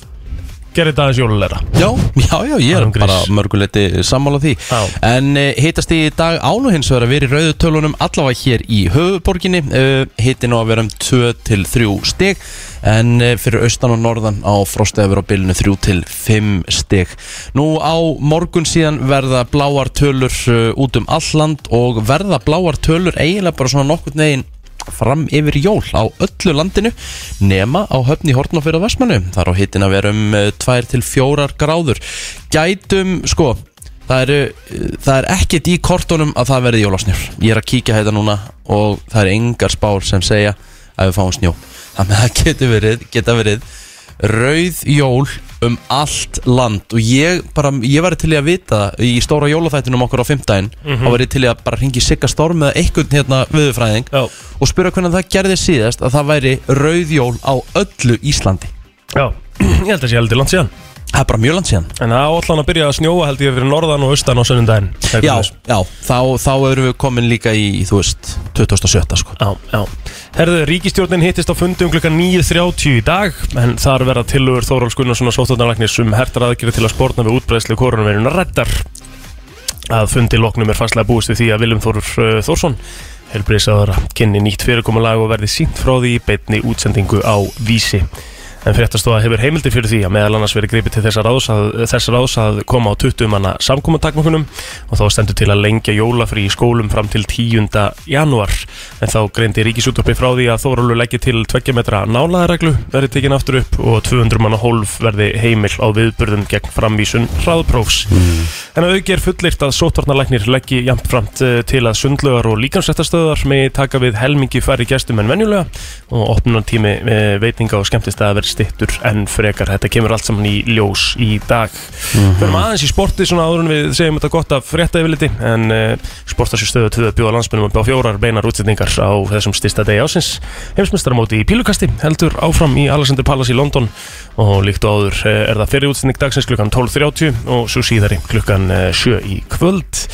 S4: gerir þetta aðeins jólulegra
S3: Já, já, já, ég er
S4: Án gríns.
S3: bara mörguleiti sammála því
S4: um Já.
S3: En uh, hitast í dag ánu hins vegar að vera í rauðu tölunum allavega hér í höfuborginni uh, Hiti nú að vera um 2 til 3 stig En uh, fyrir austan og norðan á frostið að vera á bylunu 3 til 5 stig Nú á morgun síðan verða bláar tölur uh, út um alland Og verða bláar tölur eiginlega bara svona nokkurn veginn fram yfir jól á öllu landinu nema á höfni Hortnafjörða Vestmannu þar á hittin að vera um 2-4 gráður gætum sko það, eru, það er ekkert í kortunum að það verði jólásnjör ég er að kíkja þetta núna og það er engar spár sem segja að við fáum snjó þannig að það getur verið, geta verið rauð jól um allt land og ég bara, ég væri til í að vita það í stóra jólaþættinum okkar á fimmtæðin þá væri ég til í að bara ringi Sigga Storm eða einhvern hérna viðurfræðing
S4: Já,
S3: og spura hvernig það gerði síðast að það væri rauðjól á öllu Íslandi
S4: já, ég held að sé heldur langt síðan
S3: Það er bara mjög land síðan
S4: En það áallan að byrja að snjóa held ég fyrir norðan og austan á sunnundaginn
S3: Já, já, þá, þá erum við komin líka í, þú veist, 2007 sko
S4: Já, já. Herðu, ríkistjórnin hittist á fundum klukkan 9.30 í dag en þar verða tilögur Þóróls Gunnarsson og sóttvarnarlæknis um hertar aðgerði til að spórna við útbreðslu koronaveirunar reddar. Að fundi loknum er fastlega búist við því að Viljum Þór uh, Þórsson helbriðsaðara kynni nýtt fyrirkomulag og verði sínt frá því í beinni útsendingu á Vísi. En fréttastofa hefur heimildi fyrir því að meðal annars verið gripið til þess ráðs að, þess ráðs að koma á 20 manna samkomatakmökunum og þá stendur til að lengja jólafrí í skólum fram til 10. janúar. En þá greindi Ríkisútorpi frá því að Þórólu leggja til 2 metra nálaðareglu verði tekin aftur upp og 200 manna hólf verði heimil á viðburðum gegn framvísun hraðprófs. En að auki er fullirt að sótvarnalæknir leggi jafnframt eh, til að sundlögar og líkansrættastöðar megi taka við helmingi færri gestum en venjulega og opnunartími eh, veitinga og skemmtistæða verði stittur en frekar. Þetta kemur allt saman í ljós í dag. Mm Verðum aðeins í sporti svona áður en við segjum þetta gott af frétta yfirliti en uh, sportasjóðstöðu tvöða bjóða landsmennum að bá fjórar beinar útsetningar á þessum styrsta degi ásins. Heimsmestaramóti í pílukasti heldur áfram í Alexander Palace í London og líkt og áður eh, er það fyrir útsetning dagsins klukkan 12.30 og svo síðari klukkan eh, 7 í kvöld.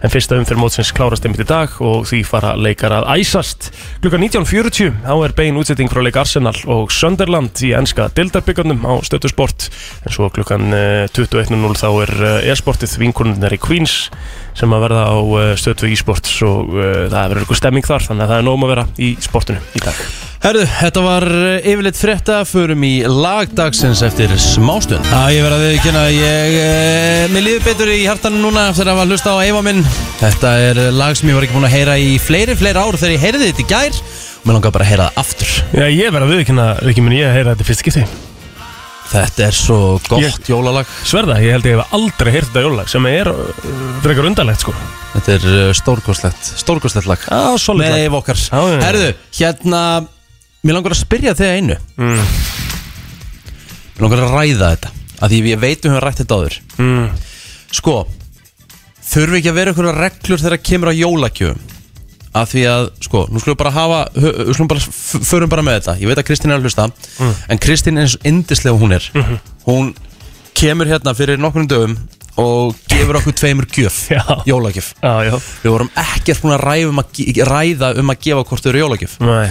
S4: En fyrsta umfyrir mótsins klárast einmitt í dag og því fara leikar að æsast. Klukkan 19.40 þá er bein útsetting frá leik Arsenal og Sunderland í enska dildarbyggjarnum á stöttusport. En svo klukkan eh, 21.00 þá er eh, e-sportið vinkonunnar í Queens sem að verða á eh, stöttu e-sports og eh, það verður eitthvað stemming þar þannig að það er nóg um að vera í sportinu í dag.
S3: Herðu, þetta var eh, yfirleitt frétta Förum í lagdagsins eftir smástund Já, ég verða að viðkynna Ég, eh, mér líður betur í hjartanu núna Eftir að hafa hlusta á Eva minn Þetta er eh, lag sem ég var ekki búin að heyra í fleiri, fleiri ár Þegar ég heyrði þetta í gær Og mér langar bara að heyra það aftur
S4: Já, ég verða viðkynna, ekki minn ég að heyra þetta fyrst skipti.
S3: Þetta er svo gott
S4: Ég-
S3: jólalag
S4: Sverða, ég held ég hef aldrei heyrt þetta jólag sem er uh, frekar undarlegt sko.
S3: Þetta er eh, stórkostlegt, stórkostlegt lag
S4: Já, solid
S3: Með
S4: lag.
S3: Eva okkar
S4: Já, já, já.
S3: Herðu, hérna Mér langar að spyrja þig að einu mm. Mér langar að ræða þetta Af því ég veit um hún rætt þetta áður
S4: Mm.
S3: Sko Þurfi ekki að vera einhverja reglur þegar kemur á jólakjöfum Af því að, sko, nú skulum við bara hafa hö- Við skulum bara, f- förum bara með þetta Ég veit að Kristín er að hlusta
S4: Mm.
S3: En Kristín er eins og indislega hún er
S4: Mhm.
S3: Hún kemur hérna fyrir nokkrum dögum Og gefur okkur tveimur gjöf
S4: Já.
S3: Jólagjöf
S4: Já, já.
S3: Við vorum ekkert búin að ræða um að, ge- ræða um að gefa hvort þau eru jólagjöf
S4: Nei.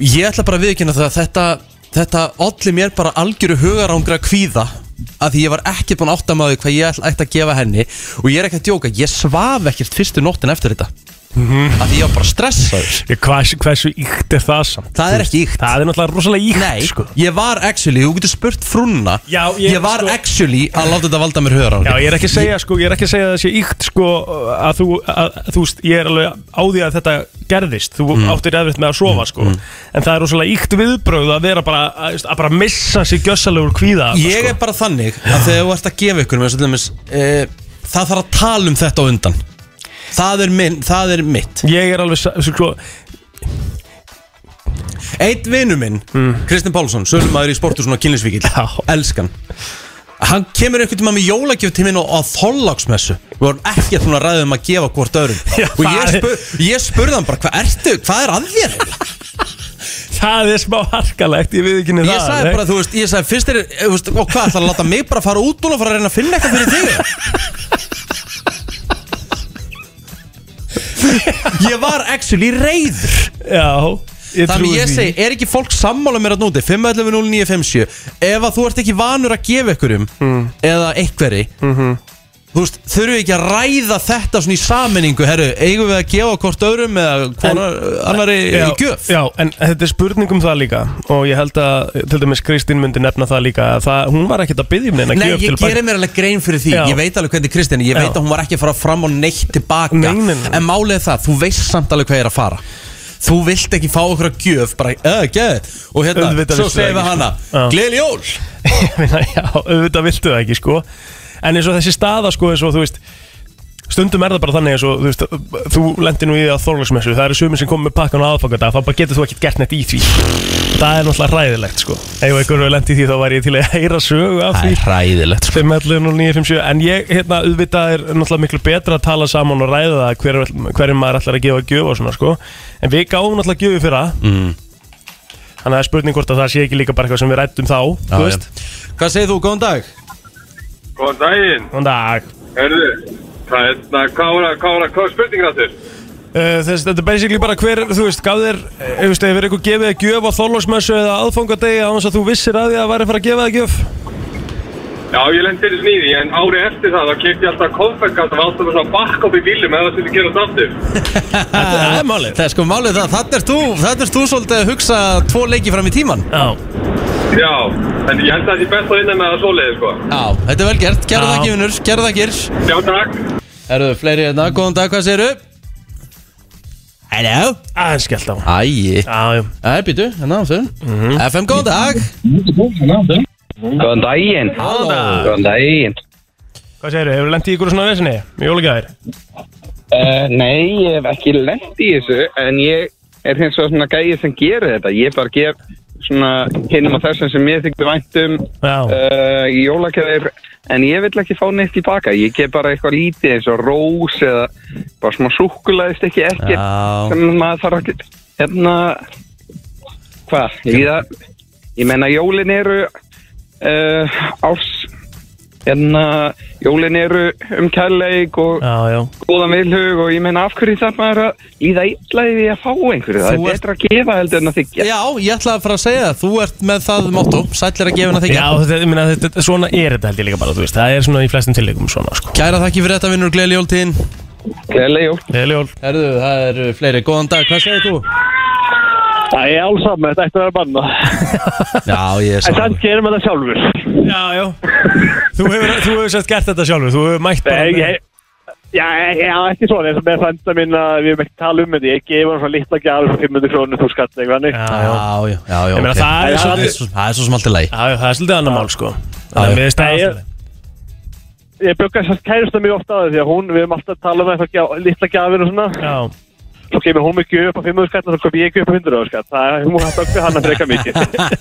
S3: Ég ætla bara að viðkynna það að þetta Þetta olli mér bara algjöru hugarángra kvíða að því ég var ekki búin að átta með því hvað ég ætla- ætti að gefa henni og ég er ekki að djóka, ég svaf ekkert fyrstu nóttin eftir þetta
S4: Mhm.
S3: að því ég var bara stressaður
S4: Ég, Hvers, hversu íkt er það samt?
S3: Það er ekki íkt.
S4: Það er náttúrulega rosalega íkt
S3: Nei,
S4: sko.
S3: ég var actually, þú getur spurt frúnna
S4: Já, ég-
S3: var
S4: sko-
S3: actually að láta þetta valda mér
S4: Já,
S3: hugarángra
S4: ég er ekki að segja, sko, ég er ekki að segja að það sé íkt, sko, að þú, að, að, þú veist, ég er alveg á því að þetta gerðist, þú
S3: Mm.
S4: áttir eðvitt með að sofa, sko, en það er rosalega íkt viðbröð að vera bara, að, veist, að bara missa sér gjössalegur kvíða, sko.
S3: Ég er bara þannig að þegar þú ert að gefa ykkur með svolítið e, það þarf að tala um þetta á undan Það er, minn, það er mitt
S4: sko. Ég er alveg, sa- sko,
S3: Eitt vinnu minn, Kristinn Pálsson Sölumæður í sportusun og kynlisvíkil
S4: Mm. Já.
S3: Elskan Hann kemur einhvern tíma með jólagjöf til minn og að þollagsmessu Við vorum ekkert núna að ræða um að gefa hvort öðrum
S4: Já,
S3: Og ég,
S4: það er-
S3: spur, ég spurði hann bara, hvað ertu, hvað er að þér?
S4: það er smá harkalegt, ég við ekki niður
S3: Ég sagði bara, þú veist, ég sagði fyrst er, eh, þú veist, og hvað, ætlar að láta mig bara fara út núna og fara að reyna að finna eitthvað fyrir þig? ég var actually reyður
S4: já, ég
S3: Þannig
S4: trúi
S3: ég
S4: því.
S3: segi, er ekki fólk sammála mér að núti 511-0957 Ef að þú ert ekki vanur að gefa ykkurum
S4: Mm.
S3: Eða einhverri
S4: Mhm.
S3: Þú veist, þurfum við ekki að ræða þetta svona í sammenningu Herru, eigum við að gefa hvort öðrum Eða hvort annari
S4: já,
S3: gjöf
S4: Já, en þetta er spurning um það líka og ég held að, til dæmis Kristín myndi nefna það líka að það, hún var ekkert að byggja um neina
S3: Nei,
S4: gjöf
S3: ég
S4: til
S3: gerir mér alveg grein fyrir því
S4: Já.
S3: Ég veit alveg hvernig Kristján, ég veit
S4: Já.
S3: að hún var ekki að fara fram og neitt tilbaka
S4: Nei, nei, nei.
S3: En málið er það, þú veist samt alveg hvað ég er að fara Þú vilt ekki fá okkur að gjöf Bara, eða, geð Og hérna,
S4: Auðvitað
S3: svo
S4: veistu það
S3: segir við
S4: ekki,
S3: hana
S4: sko. Já.
S3: Gleil jól
S4: Ég meina, já, auðvitað viltu það ekki, sko En eins og þessi staða, sko, eins og þú veist Stundum er það bara þannig eins og þú veist Þú lendir nú í því að þorlagsmessu Það eru sumir sem komið með pakkan á aðfangadag Það bara getur þú ekkert gert neitt í því Það er náttúrulega ræðilegt, sko Ef einhver hefur lent í því þá væri ég til að heyra sögu
S3: Það
S4: af því
S3: er hræðilegt, sko
S4: 5.11.09.57 En ég, hérna, auðvitað er náttúrulega miklu betra að tala saman og ræða það hver, hverjum maður ætlar að gefa gjöf og svona, sko En við gáum náttúrulega gjöfu fyrra mm. Þannig að það er spurning hvort að það sé ekki líka bara eitthvað sem við rættum þá, þú
S3: Já,
S4: veist
S3: já. Hvað segir þú, góðan dag?
S5: Góðan daginn,
S4: Góðan dag
S5: herðu, það er svona, hvað var að, hvað var að, hvað var spurningin að þér?
S4: Uh, þess, þetta er basically bara hver, þú veist, gaf þér eh, Þú veist, hefur eitthvað gefið að gjöf á þorlósmessu eða aðfangadegi án þess að þú vissir að því að væri að fara að gefa það gjöf
S5: Já, ég lendir í snýði, en árið eftir það, þá kefti ég alltaf konfettkatt og alltaf svona bakk upp í bílum eða það sem þið gerast aftur.
S4: Þetta er málið
S3: Það er sko málið það, þannig er þú, þannig er þú svolítið að hugsa tvo leiki fram í tíman
S4: Já
S5: Já, en ég held að það sé best að vinna með það svoleiði, sko.
S3: Já, þetta er vel gert, gerða
S4: Já.
S3: það ekki vinnur, gerða það gerð
S5: Já, takk.
S3: Erðu fleiri hérna, góðan dag, hvað segirðu? Hello
S4: Aðeins skellt á
S3: Æi,
S4: Já, já
S3: það er býtu, hérna á þau FM, góðan dag
S6: Góðan daginn
S3: Góðan dag
S6: Góðan daginn
S4: Hvað segirðu, hefur lendið ykkur svona vesinni? Jólagjafir
S6: uh, Nei, ég hef ekki lengt í þessu En ég er hins vegar svona gæið sem gerir þetta Ég bara ger svona hinum á þessum sem ég þykir vænt um
S4: Já,
S6: uh, í jólagjafir En ég vill ekki fá neitt tilbaka Ég gef bara eitthvað lítið eins og rós Eða bara smá súkulaðist ekki ekki
S3: Já.
S6: Sem maður þarf ekki Hérna Hvað? Ég, ég, ég meina jólin eru uh, Árs Hérna Jólin eru um kærleik og
S4: já, já
S6: góðan vilhug og ég meina af hverju þarf maður að líða illa yfir því að fá einhverju það
S3: Þú
S6: er
S3: ert-
S6: betra að gefa heldur en að þykja
S3: Já, ég ætlaði að fara að segja það, þú ert með það motto Sætlir að gefa hennar
S4: Já,
S3: þykja
S4: þetta, ég meina, þetta, svona er þetta held ég líka bara, þú veist Það er svona í flestum tillegum svona, sko
S3: Kæra þakki fyrir þetta vinnur, gleyli jóltíðin
S6: Gleðileg jól.
S4: Gleðileg jól
S3: Erðu, það eru fleiri, góðan dag, hvað segir þú?
S7: Það er alls saman, þetta ætti að vera banna.
S3: Já, ég er
S7: En þannig
S3: saman
S7: gerum við það sjálfur.
S4: Já, já Þú hefur, þú hefur sett gert þetta sjálfur, þú hefur mætt bara
S7: Nei,
S4: með-
S7: ég, já, já, ekki svona, eins og með frænda mín að við erum ekki að tala um þetta. Ég gef hann svona litla gjafur fyrir 500 krónur, þú skatt eitthvað hannig.
S4: Já, já
S3: Já, já, já, já,
S4: Ég meina,
S3: ok.
S4: það er
S3: Já,
S4: svolítið-
S3: svo- það er svo sem allt í lagi
S4: Já, já, það er svolítið annar mál, sko
S3: já.
S4: Þannig við
S7: Nei, ég-
S4: staðast
S7: Ég bjöggar sérst kærasta mjög ofta á því að hún, við erum alltaf að tala um eitthvað gjá- litla gjafur og svona.
S4: Já,
S7: Svo kemur hún með gjöf upp á 500 skatt og svo kom ég gjöf upp á 100 skatt. Það er, hún hætti okkur hann að freka mikið.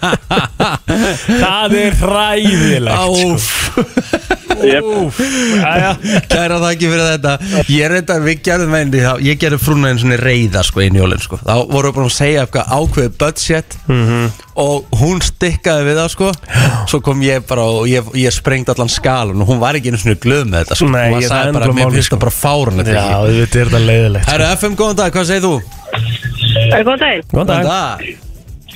S4: það er hræðilegt, sko
S3: Áf,
S7: Jep.
S4: Jæja.
S3: kæra þakki fyrir þetta Ég er þetta, við gerðum einni þá- Ég gerði frúna einn svona reyða sko inn í jólinn sko Þá vorum við búin að segja eitthvað ákveðið budget
S4: Mhm.
S3: Og hún stikkaði við það sko Svo kom ég bara og ég, ég sprengdi allan skalun Og hún var ekki einu svona glöð með þetta sko
S4: Nei,
S3: Hún
S4: ég- það
S3: sagði
S4: er
S3: bara,
S4: ennþá
S3: mér
S4: málið,
S3: finnst
S4: sko.
S3: það bara fárunlegt
S4: Já, þetta er þetta leiðilegt
S3: Herra FM, góðan dag, hvað segir þú?
S8: Það er góðan daginn.
S4: Góðan dag
S3: dag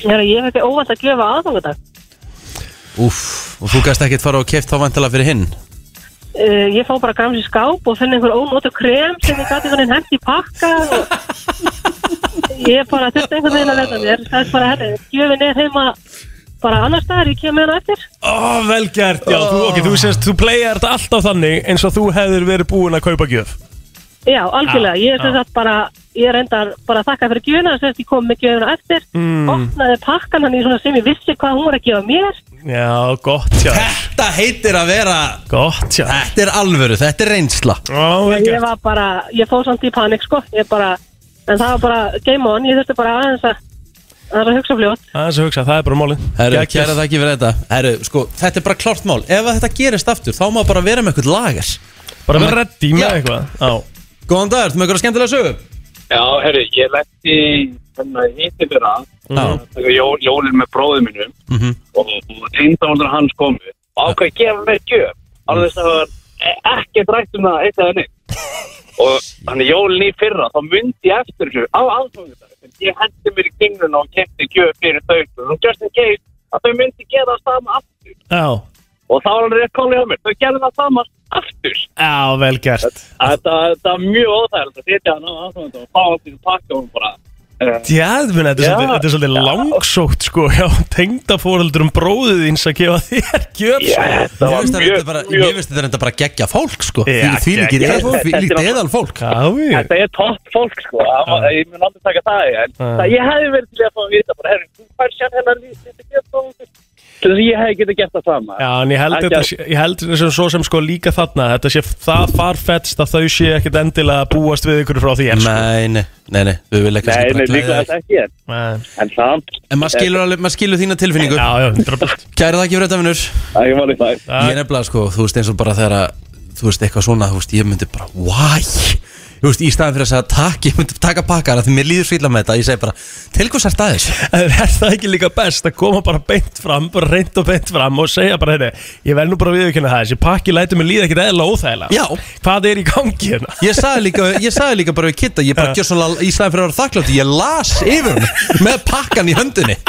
S8: Herra, ég fekk óvænt að gefa aðfangadag.
S3: Úff, og þú gæst ekkert fara og keft þá vantilega fyrir hinn
S8: Uh, ég fá bara grams í skáp og finn einhver ónótu krem sem ég gæti einhvern veginn hengt í pakka og ég bara þurfti einhvern veginn að verða mér. Það er bara, herra, gjöfin er heima bara annar staðar, ég kem með hana eftir.
S4: Ó, vel gert, já, þú, ok, þú sést, þú playar þetta alltaf þannig eins og þú hefðir verið búin að kaupa gjöf
S8: Já, algjörlega. Ég er sem sagt bara, ég reyndar bara að þakka fyrir gjöfina, sem sagt ég kom með gjöfina eftir, mm. opnaði pakkan hann í svona sem ég vissi hvað hún var að gefa mér.
S4: Já, gott hjá, þér,
S3: Þetta heitir að vera
S4: gott hjá þér.
S3: Þetta er alvöru, þetta er reynsla
S4: Ó, vel
S8: Ég
S4: gert
S8: var bara, ég fóð samt í panik, sko. Ég bara, en það var bara game on, ég þurfti bara aðeins að, aðeins að hugsa fljótt.
S4: Aðeins að hugsa, það er bara málið
S3: Herru,
S4: Geggjað.
S3: kæra þakki fyrir þetta Herru, sko, þetta er bara klart mál Ef að þetta gerist aftur, þá má bara vera með eitthvað lagar
S4: Bara með reddi
S3: Já.
S4: með eitthvað Já,
S3: Góðan dag, ertu með eitthvað skemmtilega sögu?
S9: Já, herri, ég lendi hérna hitti fyrra
S3: Já
S9: þegar jól, jólinn með bróðum mínum
S3: Mhm.
S9: og, og tengdavaldar hans komu og ákveð að gefa mér gjöf alveg þess að það var e- ekkert rætt um það eitt eða neitt og þannig jólinn í fyrra þá myndi ég eftir þessu á aðfangudag sem ég hendi mér í kyngluna og kemti gjöf fyrir þau og just in case að þau myndi gera það sama aftur
S4: já,
S9: og það var alveg rétt kálið á mér þau gerði það sama aftur
S4: já, vel gert
S9: Þetta, þetta var mjög óþægilegt að sitja hann á aðfangudag og fá allt í þessu pakka og hún bara
S4: Djæðminn, þetta er
S9: Já,
S4: svolítið, þetta er svolítið langsótt sko Já, tengda fóreldurum bróðið þíns að gefa þér gjöf sko.
S9: Þetta
S3: Ég
S9: var
S3: veist að
S9: mjög,
S3: þetta bara, ég
S9: mjög,
S3: veist að þetta bara geggja fólk, sko Því
S4: Já,
S3: því líkir
S4: geggjað.
S3: eðal- því líkt eðal fólk
S4: Já, já
S9: þetta er topp fólk sko, Það var- ég mun aldrei taka það í, en
S4: Já.
S9: það ég hefði verið til að fá að vita bara, herru, þú fær sér hennar lýst, þetta getur það út, til þess að ég hefði getið gert það sama.
S4: Já, en ég held
S9: Ekki
S4: þetta,
S9: að-
S4: sé- ég held þetta sem svo sem sko líka þarna Þetta sé það farfetst að þau sé ekkit endilega að búast við ykkur frá því sko.
S3: Nei, nei, nei, nei, við vilja
S9: Nei,
S3: kannski
S9: nei,
S3: bara
S9: líklega
S3: glæða
S9: þetta ekki, en,
S4: Nei.
S9: en samt,
S3: En maður skilur, alveg, maður skilur þína tilfinningu
S4: Já, já, 100%
S3: Kæra þakki fyrir þetta, vinnur
S9: það er málið það.
S3: Ég nefnilega sko, þú veist eins og bara þegar að þú veist eitthvað svona, þú veist, ég myndi bara why? Þú veist, í staðin fyrir að segja takk ég myndi taka pakkar að því mér líður svila með þetta ég segi bara, til hvers er staðis?
S4: En er það ekki líka best að koma bara beint fram bara reynd og beint fram og segja bara hérna ég verð nú bara viðurkenna það, þessi pakki lætur mig líða ekkit eðla óþægilega
S3: Já.
S4: Hvað er í gangi hérna?
S3: Ég sagði líka, ég sagði líka bara við kitta, ég bara gjör svona í staðin fyrir að vera þakklátt, ég las yfir hún með pakkan í höndinni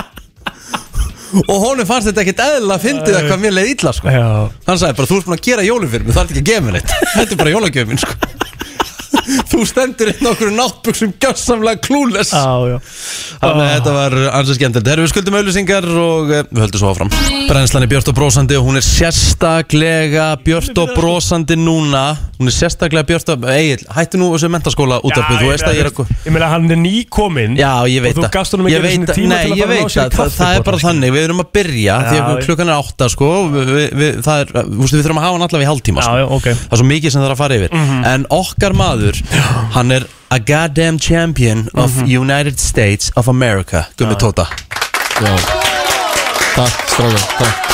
S3: og honum fannst þetta ekkit eðla að fyndið að hvað mér leið illa sko
S4: Já
S3: hann sagði bara, þú ert búin að gera jólum fyrir mig, þú ert ekki að gefa mér neitt þetta er bara jólagjöfum minn sko Þú stendur inn okkur náttbuksum gjössamlega klúles
S4: Á, já
S3: Þannig
S4: Ah.
S3: að þetta var ansið skemmtilegt Herru, við skuldum auðlýsingar og eh, við höldum svo áfram Brennslan er björt og brósandi og hún er sérstaklega björt og brósandi núna Hún er sérstaklega björt og... Egil, hættu nú þessu mentaskóla útvarpið, þú veist að ég er að...
S4: Ég meina, hann er nýkominn
S3: Já, ég veit
S4: Og þú
S3: það.
S4: gafst honum ekki
S3: Ég
S4: einu
S3: veit
S4: sinni
S3: það-
S4: tíma
S3: Nei,
S4: til að
S3: ég
S4: fara að
S3: veit
S4: ná sér
S3: það, það,
S4: kaffi
S3: það er
S4: bara,
S3: bara
S4: sko.
S3: þannig, við erum að byrja Því
S4: Já,
S3: að
S4: já.
S3: klukkan er átta, sko við, við, það er, ústu, Við þurfum að hafa hann allavega í hálftíma sko.
S4: Já, já, ok.
S3: Það er svo mikið sem það er að fara yfir En okkar maður, hann er a goddamn champion of United States of America Gummi Tóta
S9: Já Takk, strákar, takk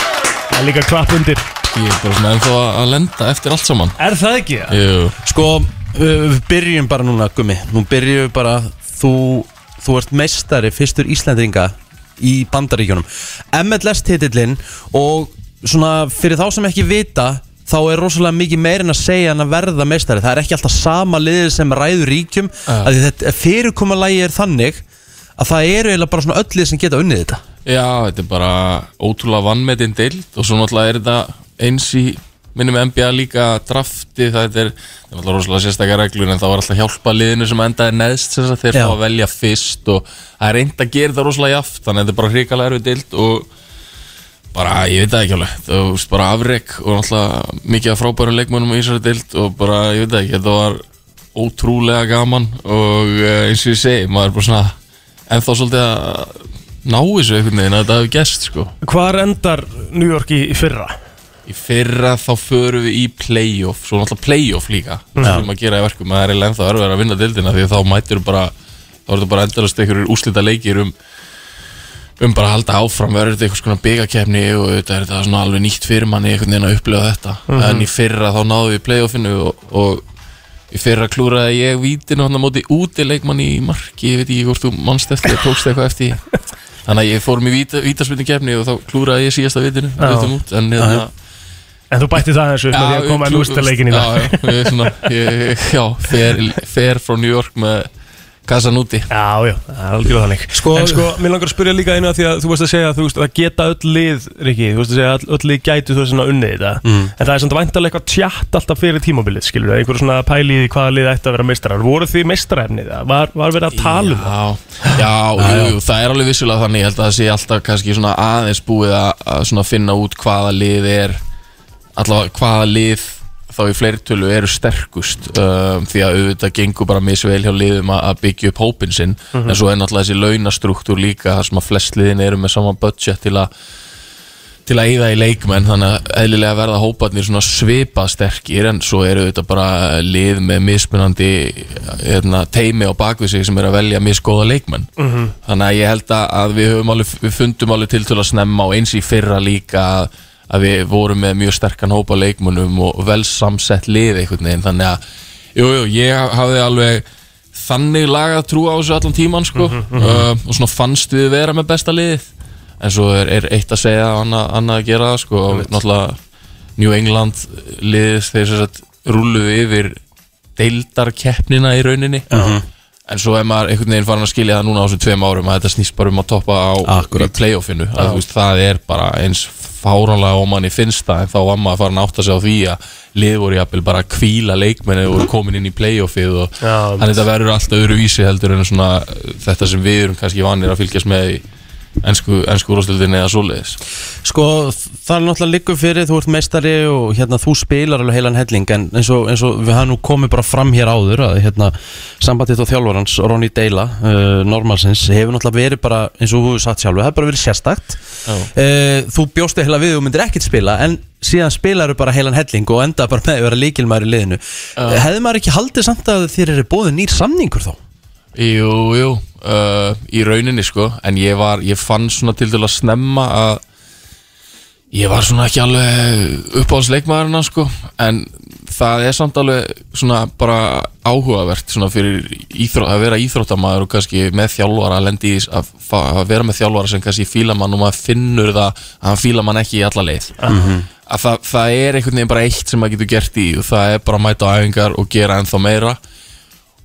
S4: Það er líka klapp undir
S9: Ég er bara svona ennþá að lenda eftir allt saman
S4: Er það ekki? Já,
S9: Jú,
S3: Sko, uh, við byrjum bara núna, Gummi Nú byrjum við bara Þú, þú ert meistari fyrstur Íslandringa í bandaríkjunum MLS titillinn og svona fyrir þá sem ekki vita þá er rosalega mikið meir en að segja en að verða meistari, það er ekki alltaf sama liðið sem ræður ríkjum
S9: Já.
S3: uh. þetta fyrirkomulagi er þannig að það eru eiginlega bara svona öll lið sem geta unnið þetta
S9: já, þetta er bara ótrúlega vannmetinn deild og svo náttúrulega er þetta eins í minnum NBA líka drafti það þetta er, þetta er náttúrulega rosalega sérstakar reglur en það var alltaf hjálpa liðinu sem endaði neðst sem sagt, þeir
S3: Já.
S9: fá að velja fyrst og það er reynd að gera það rosalega jaft þannig að þetta er bara hrikalega erfið deild og bara, ég veit það ekki alveg þú veist, bara afrek og náttúrulega mikið af frábærum leikmönnum í Ísrael deild og bara, ég veit það ekki, þetta var ótrúlega gaman og eh, eins og ég segi, maður er bara svona ennþá svolítið að ná þessu einhvern veginn að þetta hefur gerst sko
S4: Hvar endar New York í í fyrra?
S9: í fyrra þá förum við í playoff svo náttúrulega playoff líka sem að gera í verkum að það er eiginlega ennþá erfið að vinna dildina því að þá mætir bara þá er þetta bara endalast einhverjur úslita leikir um um bara að halda áfram verður þetta einhvers konar byggakefni og þetta er þetta svona alveg nýtt fyrir manni einhvern veginn að upplifa þetta
S4: Mhm.
S9: en í fyrra þá náðum við í playoffinu og, og í fyrra klúraði ég vítinu hann á móti úti leikmanni í marki ég veit ekki hvort þú manst eftir ég tókst eitthvað eftir því. þannig að ég fórum í víta, vítaspilningkefni og þá klúraði ég síðasta vitinu
S4: Já.
S9: út, en, hérna,
S4: En þú bætti það þessu upp með því að koma að nústa leikin í
S9: já,
S4: dag
S9: já, ég, er svona, ég, já fer, fer frá New York með kassan úti
S4: Já, já, það er algjörlega þannig
S3: Sko-
S4: En sko, mér langar að spyrja líka einu að því að þú veist að segja að þú veist að geta öll lið, Riki Þú veist að segja að öll lið gætu þú veist að unnið þetta
S9: Mm.
S4: En það er samt væntalega eitthvað tjatt alltaf fyrir tímabilið, skilur við Einhver svona pæli í því hvaða lið ætti að vera meistarar Voru þið meistarefnið það? Var, var verið að tala um það?
S9: Já, já, jú, jú, það er alveg vissulega þannig Ég held að það sé alltaf kannski svona aðeins búið að, að svona finna út hvaða lið er allavega hvaða lið þá í fleirtölu eru sterkust um, því að auðvitað gengur bara misvel hjá liðum að, að byggja upp hópin sinn en svo er náttúrulega þessi launastruktúr líka þar sem að flest liðin eru með sama budget til að til að eyða í leikmenn þannig að eðlilega verða hóparnir svona svipa sterkir en svo eru þetta bara lið með mismunandi hérna, teimi á bakvið sig sem eru að velja misgóða leikmenn -hmm. þannig að ég held að, að við, höfum alveg, við fundum alveg til til að snemma og eins í fyrra líka að, að við vorum með mjög sterkan hópa leikmennum og vel samsett lið einhvern veginn þannig að jú, jú, ég hafði alveg þannig lagað trú á þessu allan tíman sko. uh, og svona fannst við vera með besta liðið en svo er, er eitt að segja og annað, annað að gera sko, og náttúrulega New England liðist þeir sem sagt rúluðu yfir deildarkeppnina í rauninni en svo er maður einhvern veginn farin að skilja það núna á þessum tveim árum að þetta snýst bara um að toppa á
S3: Akkúrat.
S9: í playoffinu að, þú veist, það er bara eins fáránlega og manni finnst það en þá var maður farin að átta sig á því að lið voru jafnvel bara að kvíla leikmenni og voru komin inn í playoffið og
S4: Já,
S9: þannig þetta verður alltaf öðruvísi heldur en svona uh, þetta sem við erum kannski vanir að fylgjast með í ennsku, ennsku úrvarsdeildinni eða svoleiðis
S3: Sko, það er náttúrulega liggur fyrir, þú ert meistari og hérna þú spilar alveg heilan helling en eins og, eins og við hafum nú komið bara fram hér áður að hérna sambandið og þjálfarans Ronny Deila, uh, normansins, hefur náttúrulega verið bara, eins og þú hefur sagt sjálfur, það hefur bara verið sérstakt uh, Þú bjóst heila við og myndir ekkert spila en síðan spilaru bara heilan helling og enda bara með að vera líkilmaður í liðinu Hefði maður ekki haldið samt að þér eru bóðið nýr samningur þá?
S9: Jú, jú, uh, í rauninni sko en ég var, ég fann svona til til að snemma að ég var svona ekki alveg uppáhaldsleikmaðurinn hans, sko en það er samt alveg svona bara áhugavert svona fyrir íþrótt, að vera íþróttamaður og kannski með þjálfara að lendi í að, fá- að vera með þjálfara sem kannski fíla mann og maður finnur það að hann fíla mann ekki í alla leið að það, það er einhvern veginn bara eitt sem maður getur gert í og það er bara að mæta á æfingar og gera ennþá meira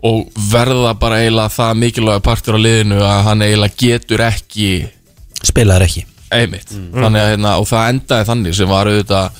S9: og verða bara eiginlega það mikilvæga partur á liðinu að hann eiginlega getur ekki
S3: Spilaður ekki
S9: einmitt þannig að hérna, og það endaði þannig sem var auðvitað,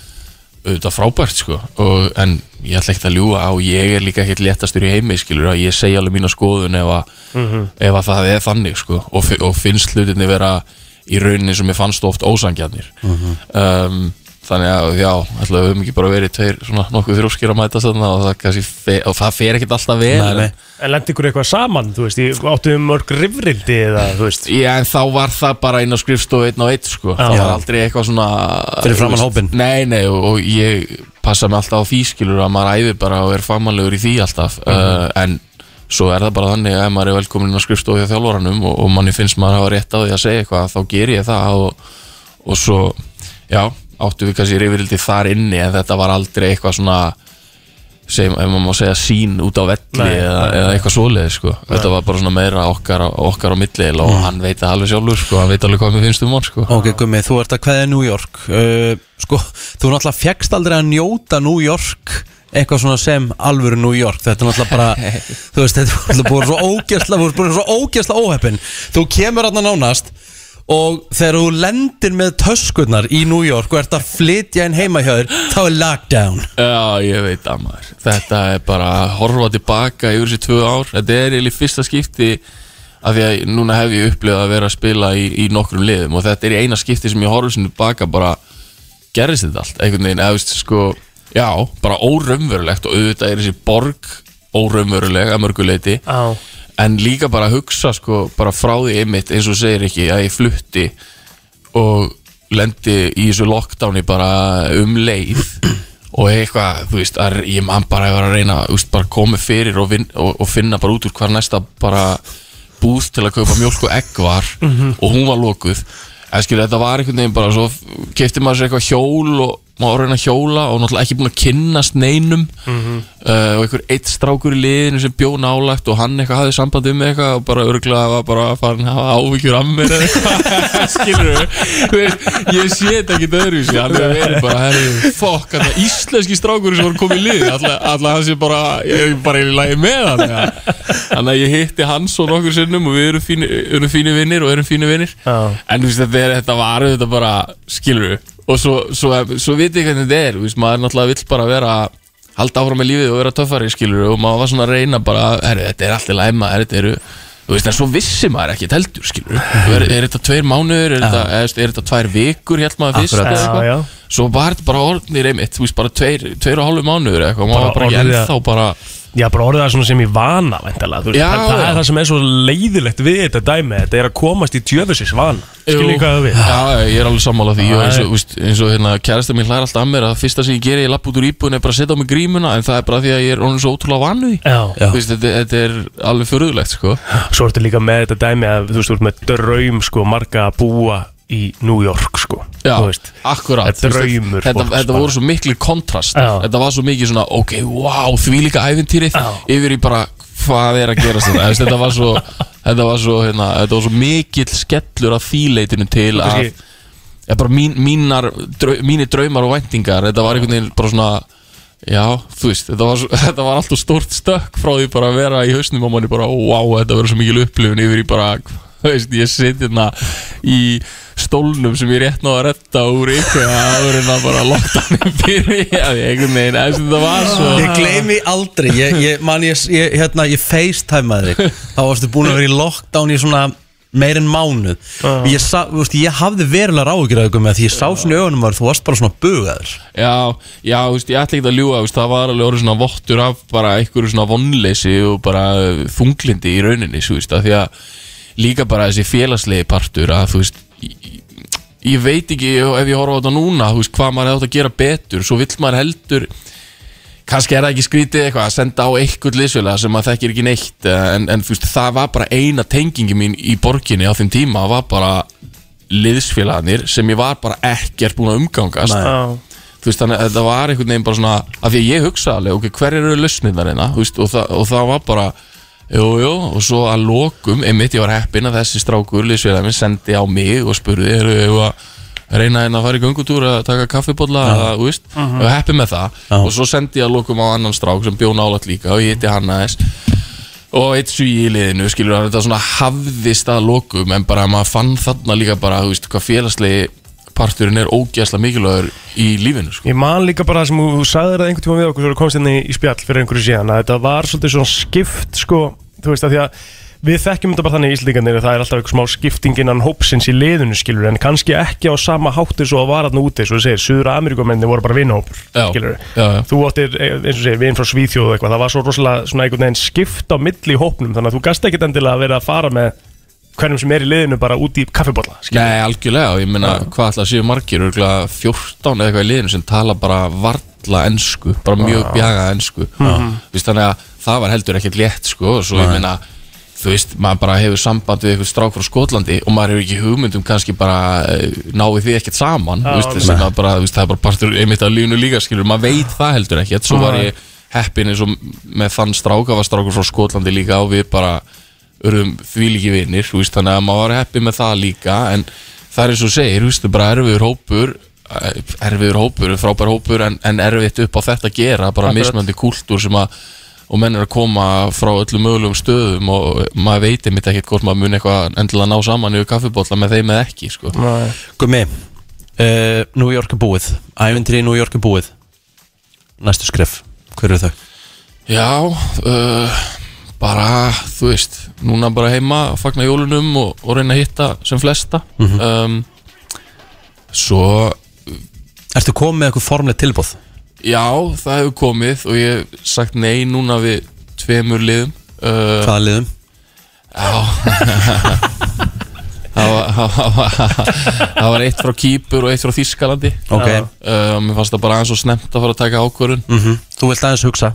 S9: auðvitað frábært sko og, en
S10: ég ætla ekkert að ljúga á ég er líka ekkert léttastur í heimi skilur að ég segja alveg mína skoðun ef að,
S4: Mhm.
S10: ef að það er þannig sko og, fi- og finnst hlutinni vera í rauninni sem ég fannst oft ósangjarnir
S11: Mhm.
S10: um, þannig að já, ætla að við höfum ekki bara verið tveir svona nokkuð þrjóskir að mæta þarna og það, kannski fe, og það fer ekkert alltaf vel
S4: Nei, nei. En lendi ykkur eitthvað saman, þú veist, ég áttu um mörg rifrildi eða, þú veist
S10: Já, en þá var það bara inn á skrifstofu einn á einn, sko Það
S4: Já.
S10: var aldrei eitthvað svona
S4: Fyrir framan
S10: þú veist, Nei, nei, og, og ég passa mig alltaf á því skilur að maður æði bara og er famanlegur í því alltaf
S4: Mhm.
S10: uh, En svo er það bara þannig að ef maður er velkomin inn á skrifstofu hjá þjálfaranum og, og manni finnst maður hafa rétt á því að segja eitthvað þá ger ég það og, og svo, já, áttu við kannski rifrildi þar inni en þetta var aldrei eitthvað svona sem, ef maður má segja sín út á velli
S4: Nei,
S10: eða,
S4: nei,
S10: eða
S4: nei.
S10: eitthvað svoleiði sko. þetta var bara svona meira okkar, okkar á milli eiginlega, og
S3: Mm.
S10: hann veit það alveg sjálfur sko. hann veit alveg hvað mér finnst um hann sko.
S3: Ok, Gummi, þú ert að kveðja New York uh, Sko, þú náttúrulega fjekkst aldrei að njóta New York eitthvað svona sem alvöru New York þetta er náttúrulega bara, þú veist, þetta er náttúrulega búin svo ógæsla, þú ert búin svo ógæsla óheppin þú kemur hann nánast og þegar þú lendir með töskurnar í New York og ert að flytja inn heima hjá þér, þá er lockdown
S10: Já, ég veit að maður Þetta er bara að horfa tilbaka yfir þessi tvö ár Þetta er eiginlega í fyrsta skipti af því að núna hef ég upplifað að vera að spila í, í nokkrum liðum og þetta er í eina skipti sem ég horfa sinni tilbaka bara gerðist þetta allt einhvern veginn, eða veist sko já, bara óraumverulegt og auðvitað er þessi borg óraumveruleg að mörguleiti
S4: Já.
S10: en líka bara að hugsa sko bara frá því einmitt eins og þú segir ekki að ég flutti og lendi í þessu lockdowni bara um leið og eitthvað, þú veist, að ég man bara að vera að reyna, þú veist, bara komið fyrir og, vin, og, og finna bara út úr hvar næsta bara búð til að kaupa mjólk og egg var
S4: Mhm.
S10: og hún var lokuð en skilur, þetta var einhvern veginn bara svo kefti maður sér eitthvað hjól og maður var að reyna að hjóla og náttúrulega ekki búin að kynnast neinum
S4: Mhm.
S10: uh, og einhver eitt strákur í liðinu sem bjó nálagt og hann eitthvað hafði samband um eitthvað og bara örglega var bara að fara að hafa ávíkjur af mér eða eitthvað skilur við ég sé þetta ekki öðru sér hann hefur verið bara herri, fokk hann íslenski strákur sem var komið í lið alltaf hann sé bara ég er bara í lagi með hann ja. þannig að ég hitti hann svo nokkur sinnum og við erum fíni, erum fíni vinnir og erum fíni vinnir
S4: Já.
S10: en þú veist þetta, er, þetta var þetta bara skilur við og svo, svo, svo veit ég hvernig þetta er þú veist, maður náttúrulega vill bara vera halda áfram með lífið og vera töffari skilur og maður var svona að reyna bara herri, þetta er alltaf læma, þetta eru þú veist, en svo vissi maður ekki heldur skilur er, er þetta tveir mánuður, er, þetta- eða, þú veist, er þetta tvær vikur held maður fyrst
S4: Akkurat.
S10: eða eitthvað?
S4: Já, já.
S10: svo var þetta bara orðnir einmitt, þú veist, bara tveir, tveir og hálfu mánuður eitthvað, maður
S4: Bara
S10: var bara ekki
S4: orðið að-
S10: ennþá bara
S4: Já, bara orðið það svona sem ég vana, væntalega, þú veist
S10: Já,
S4: það, það
S10: já.
S4: er það sem er svo leiðilegt við þetta dæmi Þetta er að komast í djöfusins vana Skiljið hvað það við
S10: Já, já, ég er alveg sammála því og eins
S4: Æ.
S10: og, víst, eins og hérna, kærasta mín hlæðir alltaf að mér að það fyrsta sem ég geri, ég lapp út úr íbúinu er bara að setja á mig grímuna en það er bara því að ég er orðin svo ótrúlega vanu því
S4: Já. Já.
S10: Þú veist, þetta, þetta er alveg förðulegt sko
S4: Svo ertu líka með þetta dæmi að þú veist, þú ert með draum sko, marga að búa í New York sko
S10: Já,
S4: Þú veist,
S10: akkurat
S4: þetta er draumur
S10: Þetta,
S4: fólks
S10: þetta
S4: bara.
S10: voru svo miklu kontrast
S4: Já.
S10: Þetta var svo mikið svona, ok, wow, því líka æfintýrið Yfir í bara, hvað er að gerast þetta Þú veist, Þetta var svo, þetta var svo, hérna, þetta var svo mikill skellur af þýleitinu til að
S4: Kannski-
S10: ja, bara mín, mínar, drau, mínir draumar og væntingar Þetta var einhvern veginn bara svona Já, þú veist, þetta var, svo- þetta var alltaf stórt stökk frá því bara að vera í hausnum og manni bara, wow, þetta verður svo mikil upplifun yfir í bara, þú veist, ég sit hérna í stólnum sem ég rétt náða að retta úr ykkur áður en að bara lockdownin fyrir að ég einhvern veginn, eða sem þetta var svo
S3: Ég gleymi aldrei, ég, ég, man, ég, ég, hérna, ég facetimaði þig Þá varstu búin að vera í lockdown í svona meir en mánuð ég, sa, þú veist, ég hafði verulega ráðugjur að ykkur með því ég sá svona í augunum að þú varst bara svona bugaður
S10: Já, já, þú veist, ég ætla ekki að ljúga, þú veist, það var alveg orðið svona vottur af bara einhverju svona vonleysi og bara uh, þunglindi í rauninni, þú veist, af því að líka bara þessi félagslegi partur að, þú veist, ég, ég veit ekki ef ég horfa á þetta núna, þú veist, hvað maður hefði átt að gera betur, svo vill maður heldur, kannski er það ekki skrítið eitthvað að senda á einhvern liðsfélag sem maður þekkir ekki neitt, eh, en, en þú veist, það var bara eina tengingi mín í borginni á þeim tíma, var bara liðsfélagarnir sem ég var bara ekkert búin að umgangast
S4: Nei.
S10: þú veist þannig að þetta var einhvern veginn bara svona af því að ég hugsa alveg, ok, hver eru lausnirnar hérna, þú veist, og, það, og það var bara jú, jú, og svo að lokum einmitt ég var heppinn að þessi strákur liðsfélagi minn sendi á mig og spurði eru þau að reyna hérna að fara í göngutúr að taka kaffibólla,
S3: Já.
S10: ja. þú veist
S3: Mhm.
S10: og heppinn með það, og svo sendi ég að lokum á annan strák sem bjó nálat líka og ég hitti hann aðeins og eitt sugi í liðinu, skilur hann þetta svona hafðist að lokum en bara maður fann þarna líka bara, þú veist, hvað félagslegi parturinn er ógeðslega mikilvægur í lífinu sko.
S4: Ég man líka bara það sem þú sagðir það einhvern tíma við okkur þegar þú komst inn í, í spjall fyrir einhverju síðan að þetta var svolítið svona skipt sko, þú veist að því að við þekkjum þetta bara þannig í Íslingarnir að það er alltaf einhver smá skipting innan hópsins í liðinu skilur en kannski ekki á sama háttu svo að var hann úti svo þú segir, Suður Ameríkumenni voru bara vinahópur
S10: Já,
S4: skilur
S10: já, já.
S4: þú áttir, eh, eins og segir, vin frá Svíþjóð og eitthvað, það var svo rosalega svona einhvern veginn skipt á milli í hópnum þannig að þú gast ekkit endilega að vera að fara með hverjum sem er í liðinu bara út í kaffibólla
S10: Nei, algjörlega, og ég meina hvað ætla að séu margir, örgulega 14 eða eitthvað í liðinu sem tala bara varla ensku, bara mjög
S4: Já.
S10: bjaga ensku
S4: Mhm.
S10: Þú veist, þannig að það var heldur ekkert létt sko, og svo ég
S4: Nei.
S10: meina þú veist, maður bara hefur samband við eitthvað strák frá Skotlandi og maður hefur ekki hugmyndum kannski bara eh, náið því ekkert saman
S4: Já,
S10: þú veist,
S4: nei.
S10: sem að bara, þú veist, það er bara partur einmitt af lífinu líka, skilur, maður veit það heldur ekkert svo var ég heppin eins og með þann stráka var strákur frá Skotlandi líka og við bara urðum því líki vinir þú veist, þannig að maður var heppin með það líka en það er eins og þú segir, þú veist, það er bara erfiður hópur eh, erfiður hópur, frábær hópur en, en erfitt upp á þetta að gera bara
S4: Akkurat.
S10: mismöndi kúltúr sem að og menn er að koma frá öllum mögulegum stöðum og maður veit einmitt ekkert hvort maður mun eitthvað endilega ná saman yfir kaffibólla með þeim eða ekki sko.
S3: Gumi, uh, New York er búið Ævindri í New York er búið Næstu skref, hver eru þau?
S10: Já, uh, bara, þú veist, núna bara heima að fagna jólunum og, og reyna að hitta sem flesta um,
S3: Mhm.
S10: Svo
S3: Ertu komið með eitthvað formlegt tilbúð?
S10: Já, það hefur komið og ég hef sagt nei núna við tveimur liðum uh,
S3: Hvaða liðum?
S10: Já Það var- það var- það var eitt frá Kýpur og eitt frá Þískalandi
S3: Ok.
S10: uh, Mér fannst það bara aðeins og snemt að fara að taka ákvörun
S3: Mhm. Þú vilt aðeins hugsa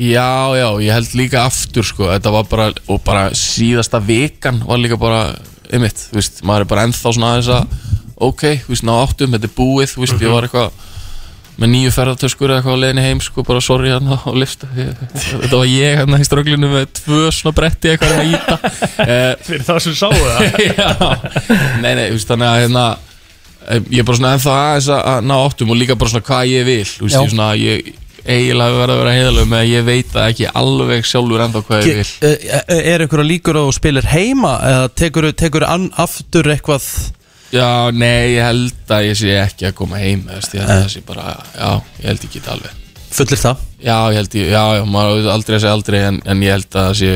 S10: Já, já, ég held líka aftur sko, þetta var bara, og bara síðasta vikan var líka bara, einmitt, þú veist, maður er bara ennþá svona aðeins að, ok, þú veist, ná áttum, þetta er búið, þú veist, ég var eitthvað með nýju ferðartöskur eða eitthvað á leiðinni heim, sko, bara sorry hérna á lifta, ég- þetta var ég hérna í ströglinu með tvö svona bretti eitthvað hérna að íta. Eh,
S4: fyrir það sem sáu það
S10: nei, nei, þú veist, þannig að hérna eh, ég er bara svona ennþá aðeins að- að ná áttum og líka bara svona hvað ég vil þú veist,
S3: Já.
S10: ég svona, ég eiginlega verða að vera heiðalög með að ég veit það ekki alveg sjálfur ennþá hvað ég
S3: Ge-
S10: vil
S3: eh, eh, Er einhverja líkur á að þú spilir heima eða tekur, tekur an, aftur eitthvað
S10: Já, nei, ég held að ég sé ekki að koma heim, þú veist, ég held að það sé bara já, ég held ekki þetta alveg
S3: fullir það?
S10: Já, ég held ég, já, já, maður auðvitað aldrei að segja aldrei en, en ég held að það sé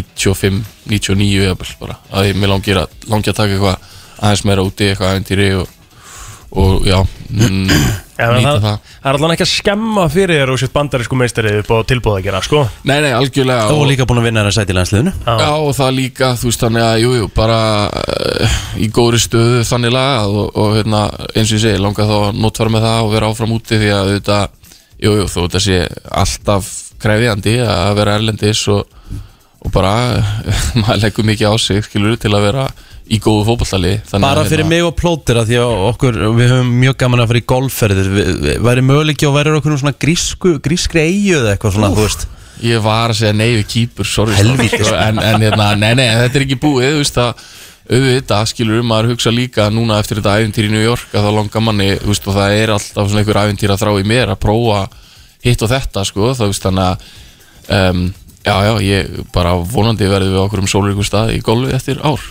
S10: 95, 99 jafnvel bara, að ég mér langi að, langi að taka eitthvað aðeins meira úti, eitthvað aðeintýri og, og já, mm,
S4: Já, en
S10: nýta
S4: það,
S10: það
S4: það er allan ekki að skemma fyrir þér og sétt bandarísku meistari upp á tilbúð að gera, sko
S10: Nei, nei, algjörlega
S3: Og líka búin að vinna þér að sæti í landsliðinu
S10: Já, og það líka, þú veist, þannig að, jú, jú, bara uh, í góðri stöðu þannig lagað og, og hérna, eins og ég segi, langa þá að notfara með það og vera áfram úti því að þetta, jú, jú, þú þetta sé alltaf krefjandi að vera erlendis og, og bara, maður leggur mikið á sig, skilur, til að vera í góðu fótballtali
S3: Bara fyrir
S10: hérna,
S3: mig og plótir að því að okkur, við höfum mjög gaman að fara í golfferðir Við- við- Væri möguleiki og væri okkur um svona grísku, grískri eigu eða eitthvað svona, þú veist
S10: Ég var að segja nei við kýpur, sorry
S3: Helvíti,
S10: strákar,
S3: sko.
S10: en, en hérna, nei, nei, þetta er ekki búið Þú veist að auðvitað skilur maður hugsa líka núna eftir þetta æfintýr í New York að það langar manni, þú veist, og það er alltaf svona einhver æfintýr að þrá í mér að prófa hitt og þetta, sko, þá veist þannig að um, já, já, ég bara vonandi verði við okkur um sólur stað í golfi eftir ár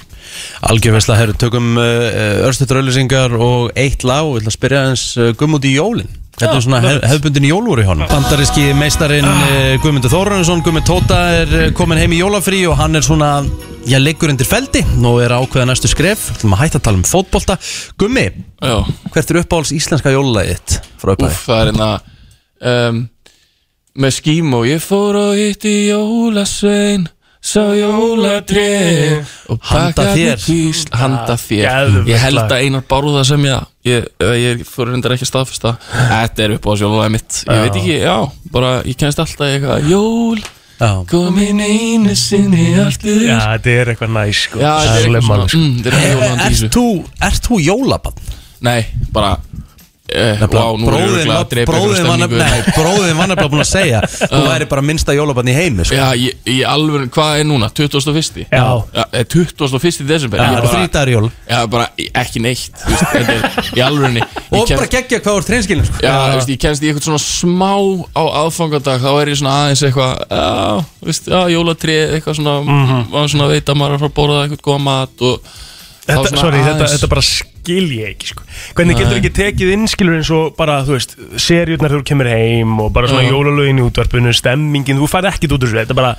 S3: Algjörfisla, herru, tökum uh, örstutur auðlýsingar og eitt lag og við ætlum að spyrja hans uh, Guðmund í jólin Hvernig er svona hef, hefbundin jól voru í honum? Bandaríski meistarinn uh, Guðmundur Þórunnsson, Guðmund Tóta er uh, komin heim í jólafrí og hann er svona, já, liggur undir feldi og er að ákveða næstu skref, ætlum að hætta að tala um fótbolta Gummi,
S10: Já.
S3: hvert er uppáhalds íslenska jólalæðið frá uppæði?
S10: Úff, það er hérna um, Með skím og ég fór og hitti jólasvein Sá jólatré Og
S3: Handa
S10: pakkarnir
S3: þér.
S10: kýsl Handa þér
S4: geðveikt
S10: Ég held
S4: lag.
S10: að einar bárða sem ég Ég, eða ég fór reyndar ekki að staðfesta Þetta er upp á sjólaðið mitt Ég
S4: Já.
S10: veit ekki, já, bara ég kennst alltaf í eitthvað Jól,
S3: Já.
S10: komin einu sinni alltaf
S4: Já, þetta er eitthvað næs, sko
S10: Mm. Já, þetta er eitthvað
S4: Slemman,
S10: svona,
S4: sko.
S10: mm, þetta er eitthvað jólandi í
S3: Eh,
S10: þessu
S3: Ert þú, ert þú jólabann?
S10: Nei, bara Uh, wow, nú er
S3: bróðin
S10: örugglega að drepa einhverja
S3: var
S10: stemningu. Nei,
S3: nefnilega búin að segja Þú væri bara minnsta jólabann í heimi sko.
S10: Já, ég, ég alveg, hvað er núna? 21.
S4: Já.
S10: eh, 21. desember
S3: Það
S10: Ég
S3: eru
S10: bara-
S3: þrítar jól
S10: Já, bara ekki neitt þú veist, þetta er- Í alveg
S3: Og bara geggja hvað úr treinskilin sko.
S10: Já, þú veist, ég kennst í eitthvað svona smá á aðfangadag þá er ég svona aðeins eitthvað já, þú veist, já, jólatrið, eitthvað svona maður svona veit að maður er að fara að borða eitthvað góða mat og þá
S4: Þetta,
S10: svona
S4: sorry, þetta,
S10: aðeins-
S4: þetta bara sk- skil ég ekki sko. Hvernig getur
S11: Nei.
S4: ekki tekið inn skilur eins og bara, þú veist, seriurnar þegar þú kemur heim og bara svona
S10: Já.
S4: jólalögin í útvarpinu, stemmingin, þú færð ekkert út úr þessu, þetta er bara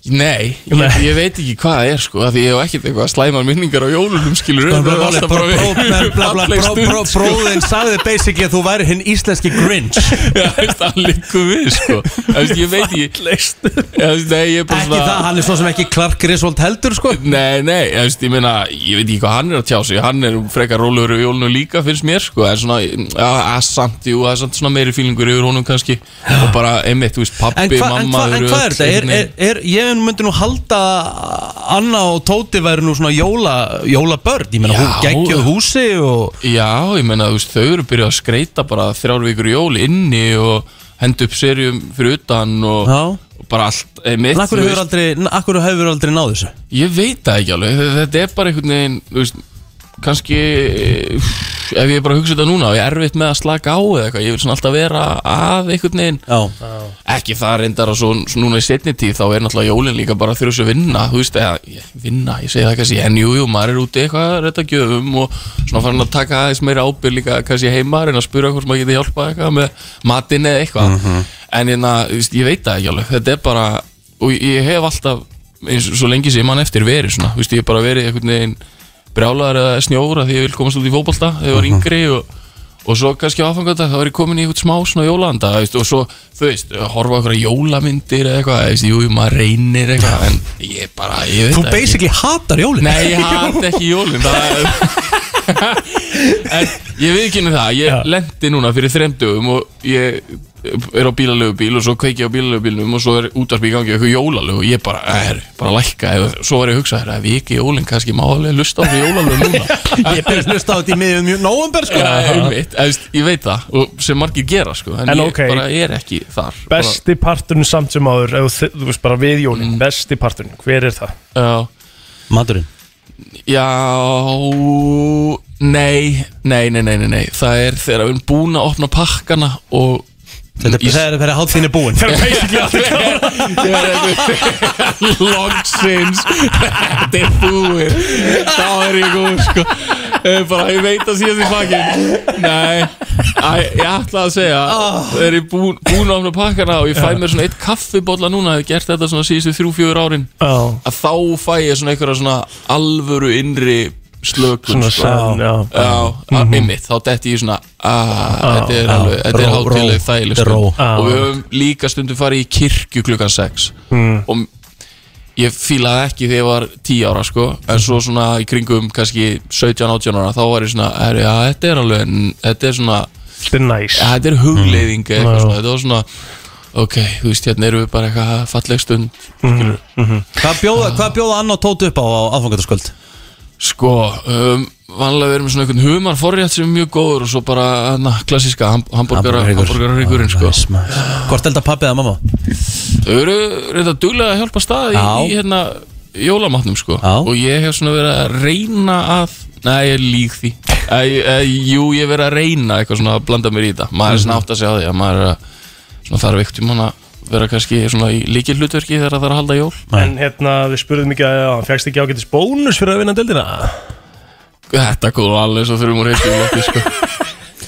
S10: Nei, ég, ég veit ekki hvað það er sko af Því ég hef ekkert eitthvað slæmar minningar á jólunum skilur
S11: Bara-
S3: Sko,
S11: bara- bara- bara- bara- bara- bara- bara- bara- bróðin
S10: sagði basically að þú væri hinn íslenski Grinch Já, veist, hann liggur við sko Þú veist, Ég veit ekki Já, þú veist, Nei, ég er bara
S11: Ekki það, hann er svo sem ekki Clark Griswold heldur sko
S10: Nei, nei, ég veist, ég meina, ég veit ekki hvað hann er að tjá sig Hann er frekar rólegur yfir jólunum líka, finnst mér, sko En svona, já, að samt, jú, að samt svona meiri fílingur yfir honum kannski Og bara, einmitt, þú veist,
S11: En,
S10: pappi,
S11: hva, en, hva,
S10: mamma
S11: en
S10: þau eru
S11: hvað er
S10: öll
S11: þetta? Er,
S10: einhvern
S11: er, er, ég myndi nú halda Anna og Tóti væri nú svona jóla, jólabörn Ég meina, hún geggjöð hús
S10: húsi og... Já, ég meina, þú veist, þau eru byrjuð að skreita bara þrjár vikur í jól inni og henda upp serjum fyrir utan og, og bara allt eh, mitt,
S11: En akkur
S10: þú
S11: hefur
S10: veist.
S11: aldrei, akkur hefur aldrei náð þessu
S10: Ég veit það ekki alveg, þe- þetta er bara einhvern veginn, þú veist, kannski eh, ef ég bara hugsa þetta núna og ég er erfitt með að slaka á eða eitthvað, ég vil svona alltaf vera að einhvern veginn
S11: Já.
S10: Ekki það reyndar að svo, svo núna í setni tíð þá er náttúrulega jólin líka bara þurfa svo vinna, þú veist, eða ég- vinna, ég segi það kannski, en jú, jú, maður er úti eitthvað að redda gjöfum og svona farin að taka aðeins meira ábyrg líka kannski heima, reyna að spura hvort maður geti hjálpað eitthvað með matinn eða eitthvað, en hérna, þú veist, ég veit það ekki alveg, þetta er bara, og ég hef alltaf, eins og svo lengi sem ég mann eftir verið svona, þú veist, ég hef bara verið einhvern veginn brjálaðar eða snjóra því ég vil komast út í fótbolta þegar ég var yngri og og svo kannski áfangandag þá er ég komin í eitthvað smá svona jólanda veist, og svo, þú veist, horfa okkur að jólamyndir eða eitthvað, veist, jú, jú, maður reynir eitthvað, en ég bara, ég veit
S11: Þú
S10: það ekki.
S11: basically hatar jólin
S10: Nei, ég hata ekki jólin það er en ég veit ekki það, ég lendi núna fyrir þremdugum og ég er á bílalögubíl og svo kveiki ég á bílalögubílnum og svo er útarpi í gangi eitthvað jólalög og ég bara, er, bara lækka og svo var ég að hugsa, er, ef ég ekki jólin kannski má alveg lusta á því jólalög núna
S11: Ég byrði að hlusta á þetta í miðjum november sko
S10: Já, einmitt, þú veist, ég veit það og sem margir gera sko, en,
S4: En
S10: ég
S4: ókei.
S10: bara er ekki þar
S4: besti parturinn samt sem áður, ef þú- þú veist bara við
S10: Mm.
S4: jólin, besti parturinn, hver er það?
S10: bara,
S11: Maturinn
S10: já, já nei, nei, nei, nei, nei, nei það er þegar við erum búin að opna pakkana og
S11: Þetta er- það er þegar hátíðin er búin
S10: Þegar basically allt Logsins Þetta er búið Þá er ég góð sko Eh, bara ég veit að síðast í pakkin nei, Æ, ég ætla að segja það er ég búin, búin að opna pakkana og ég fæ mér svona eitt kaffibólla núna hef gert þetta svona síðustu þrjú, fjögur árin
S4: Já.
S10: að þá fæ ég svona einhverja svona alvöru innri slökun sko.
S4: Svona sound, já.
S10: já,
S4: Mhm. Ah,
S10: einmitt, þá detti ég svona að þetta er
S4: já.
S10: alveg, þetta er
S4: Ró, ró,
S10: hátileg þægileg
S4: þetta er
S10: stund.
S4: ró. Ah. Já.
S10: og við höfum líka stundum farið í kirkju klukkan 6
S4: Mm.
S10: og ég fílaði ekki þegar ég var 10 ára sko, en svo svona í kringum kannski 17-18 ára þá var ég svona, er, ja, þetta er alveg þetta er svona
S4: Þetta er næs
S10: Þetta er hugleiðing eða
S4: Hmm. Já.
S10: eitthvað svona, þetta var svona ok, þú veist, hérna erum við bara eitthvað falleg stund mm -hmm.
S11: Hvað bjóða, hvað bjóða Anna og Tóti upp á á aðfangatarskvöld?
S10: Sko, um, vanlega við erum með svona einhvern humar forrétt sem er mjög góður og svo bara na, klassíska ham hamburgara hamburgararryggurinn sko.
S11: Hvort elda pappi eða mamma?
S10: Þau eru reynda duglega að hjálpa stað í,
S11: Já.
S10: í hérna jólamatnum sko
S11: Já.
S10: og ég hef svona verið að reyna að Nei, ég lík því Æ, æ, Jú, ég hef verið að reyna eitthvað svona að blanda mér í þetta Maður
S11: Mhm.
S10: er svona átt að segja á því að maður er að svona þarf ekkert um hann að vera kannski svona í líkilhlutverki þegar það er að halda jól
S4: En hérna, við spurðum ekki að hann fegst ekki ágætis bónus fyrir að vinna deildina
S10: Þetta kom alveg svo þurfum úr heitum lótti sko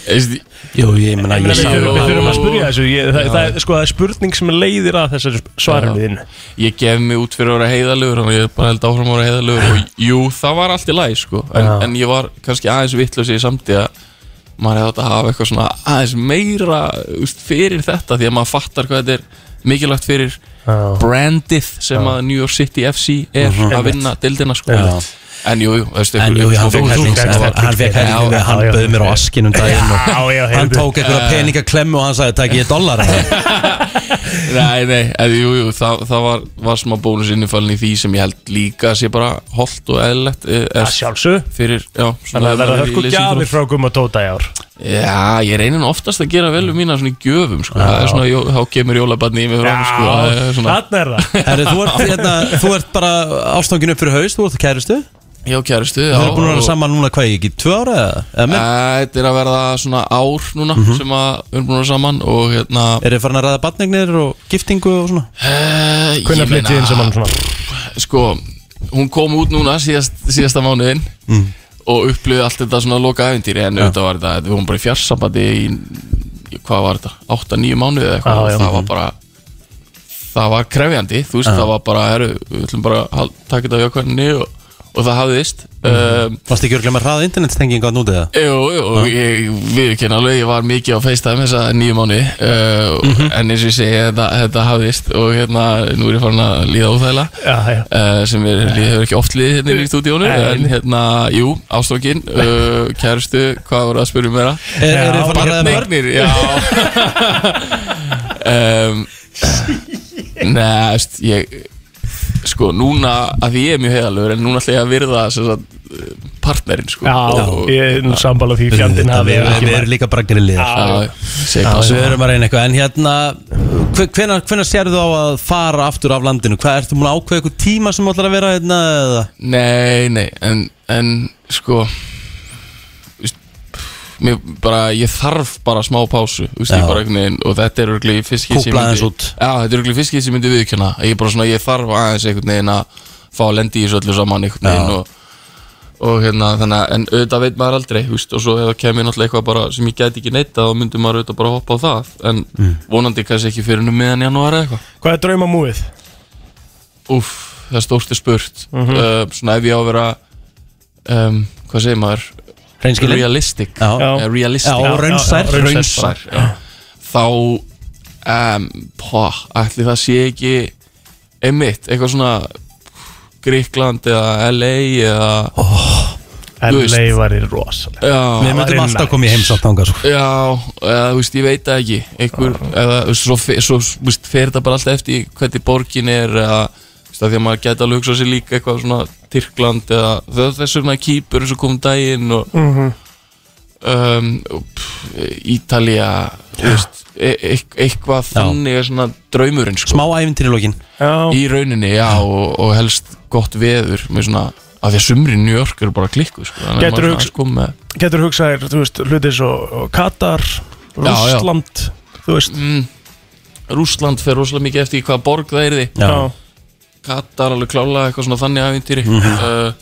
S10: Eist,
S11: Jú, ég meina
S4: Ég meina, Við við þurfum að spyrja þessu ég, það, það, er- sko, það er spurning sem leiðir að þessari svarinu þín
S10: Ég gef mig út fyrir að vera heiðalegur Þannig að ég bara held áfram að vera heiðalegur Og jú, það var allt í lagi sko En,
S4: Já.
S10: en ég var kannski aðeins vittlösi í samtíð að Maður hefði átt að hafa eitthvað svona aðeins meira úst, Fyrir þetta Því að maður fattar hvað þetta er mikilvægt fyrir Brandið sem
S11: Já.
S10: að New York City FC er
S11: Mhm.
S10: Að vinna dildina sko
S11: Já.
S10: En jú, jú, veistu
S11: En jú, hann fekk helling Hann fekk helling Hann bauð mér á askinum daginn og Hann tók
S3: Eh.
S11: einhverja peningaklemmu og hann sagði Takk ég dollara
S10: Nei, nei, eða, jú, jú, það, það var, var smá bónusinnifalin í því sem ég held líka að sé bara holdt og eðlilegt eh, Það
S4: sjálfsög
S10: Fyrir, já
S4: Þannig að það verða hörku gjafir frá Gumma Tóta í ár
S10: Já, ég reynir nú oftast að gera vel um mína svona í gjöfum, sko Það er svona, jó, þá kemur jólabarni í mig fram, sko það er svona,
S4: Þannig er það
S11: Herri, þú, ert, hérna, þú ert bara ástangin upp fyrir haust Þú ert kæristu
S10: Já, kæristu
S11: Þú
S10: já,
S11: ert búin að vera
S10: og-
S11: saman núna hvað ég ekki Tvö ára eða? eða
S3: Eh.
S11: meira?
S10: Æ, Þetta er að verða svona ár núna
S11: Mhm.
S10: sem að við erum búin að vera saman og hérna
S11: Er þið farin að ræða batningnir og giftingu og svona?
S10: Eh,
S11: Hvenær flytjið
S10: ég meina-
S11: inn saman svona?
S4: Mm.
S10: Sko, hún kom út núna síðast, síðasta mánuðin og upplifið allt þetta svona loka ævindýri en auðvitað var þetta, við vorum bara í fjarsambandi í, í- hvað var þetta, 8-9 mánuði eða eitthvað,
S4: Já, já.
S10: það var bara það var krefjandi, þú veist,
S4: Já.
S10: það var bara herru, við ætlum bara að hal- taka þetta við okkarni og, og það hafðist
S4: Mm.
S10: um,
S3: Varst ekki örglega með hraða internetstengingu að nútið það?
S10: Jú, jú, og ég viðurkenna alveg, ég var mikið á FaceTime þessa nýju mánu uh,
S4: Mhm.
S10: en eins og ég segi, þetta, þetta hafðist og hérna, nú er ég farin að líða óþægilega
S4: Já, já.
S10: uh, sem er, líð, hefur ekki oft liðið hérna í stúdíónu
S4: Nei.
S10: en hérna, jú, ástokkin uh, kærustu, hvað voru að spyrja um meira?
S3: Er- eru þið farin að ræða um börn?
S10: barnir? Já um, Nei, veist, ég sko, núna, að því ég er mjög heiðalögur en núna ætla ég að virða sem sagt, partnerinn, sko
S4: Já,
S10: Og-
S4: ég er sambal á því fjandinn hafi
S3: Við við erum líka bara grillir
S4: Já,
S10: já.
S3: Við erum að reyna eitthvað En hérna, hvenar, hvenar sérðu á að fara aftur af landinu? Hvað, ertu múin að ákveða eitthvað tíma sem þú ætlar að vera hérna? eða?
S10: Nei, nei, en, en sko veist, mér bara, ég þarf bara smá pásu, þú veist, ég
S3: Já.
S10: bara einhvern veginn og þetta er örgli fiskið sem ég
S3: Kúpla
S10: myndi-
S3: aðeins út.
S10: Já, þetta er örgli fiskið sem ég myndi viðkjöna ég bara svona, ég þarf aðeins einhvern veginn að fá að lendi í þessu öllu saman einhvern veginn og, og hérna, þannig að en auðvitað veit maður aldrei, þú veist, og svo ef það kemur náttúrulega eitthvað bara sem ég gæti ekki neitt þá myndi maður auðvitað bara hoppa á það en
S3: Mm.
S10: vonandi kannski ekki fyrir nú miðan janúar eða eitthvað
S4: Hvað er draumamúið?
S10: Úf, það er stórt er spurt
S4: Mhm.
S10: uh, Svona ef ég á að vera um, Hvað segir maður?
S3: Hreinskilinn?
S10: Realistic
S3: Já.
S10: Eh, Realistic
S3: Já, og raunsær.
S10: Raunsær, já. Þá um, Pá, ætli það sé ekki Einmitt, eitthvað svona Gríkland eða LA eða oh,
S4: LA var í rosalega
S3: Við myndum alltaf koma í heimsátt ánga sko.
S10: Já, eða, þú veist, ég veit það ekki einhver, eða, þú veist, svo, fe- svo þú veist, fer þetta bara alltaf eftir hvernig borgin er eða, þú veist, að því að maður geta alveg hugsað sér líka eitthvað svona Tyrkland eða þau- þess vegna kýpur eins og kom um daginn og
S4: Mhm.
S10: um, og, pff, Ítalía þú veist, e e eitthvað þannig er svona draumurinn sko.
S3: Smá æfintir í lokin
S10: í rauninni, já, og, og helst gott veður með svona, að því að sumri í New York eru bara klikku, sko, þannig að maður
S4: Getur þú
S10: svona aðeins kom með
S4: Getur hugsað þér, þú veist, hluti svo Katar,
S10: já.
S4: Rússland Þú veist
S10: mm, Rússland fer rosalega mikið eftir í hvaða borg það er því
S4: Já.
S10: Katar alveg klála eitthvað svona þannig aðvintýri
S4: Mhm.
S10: uh,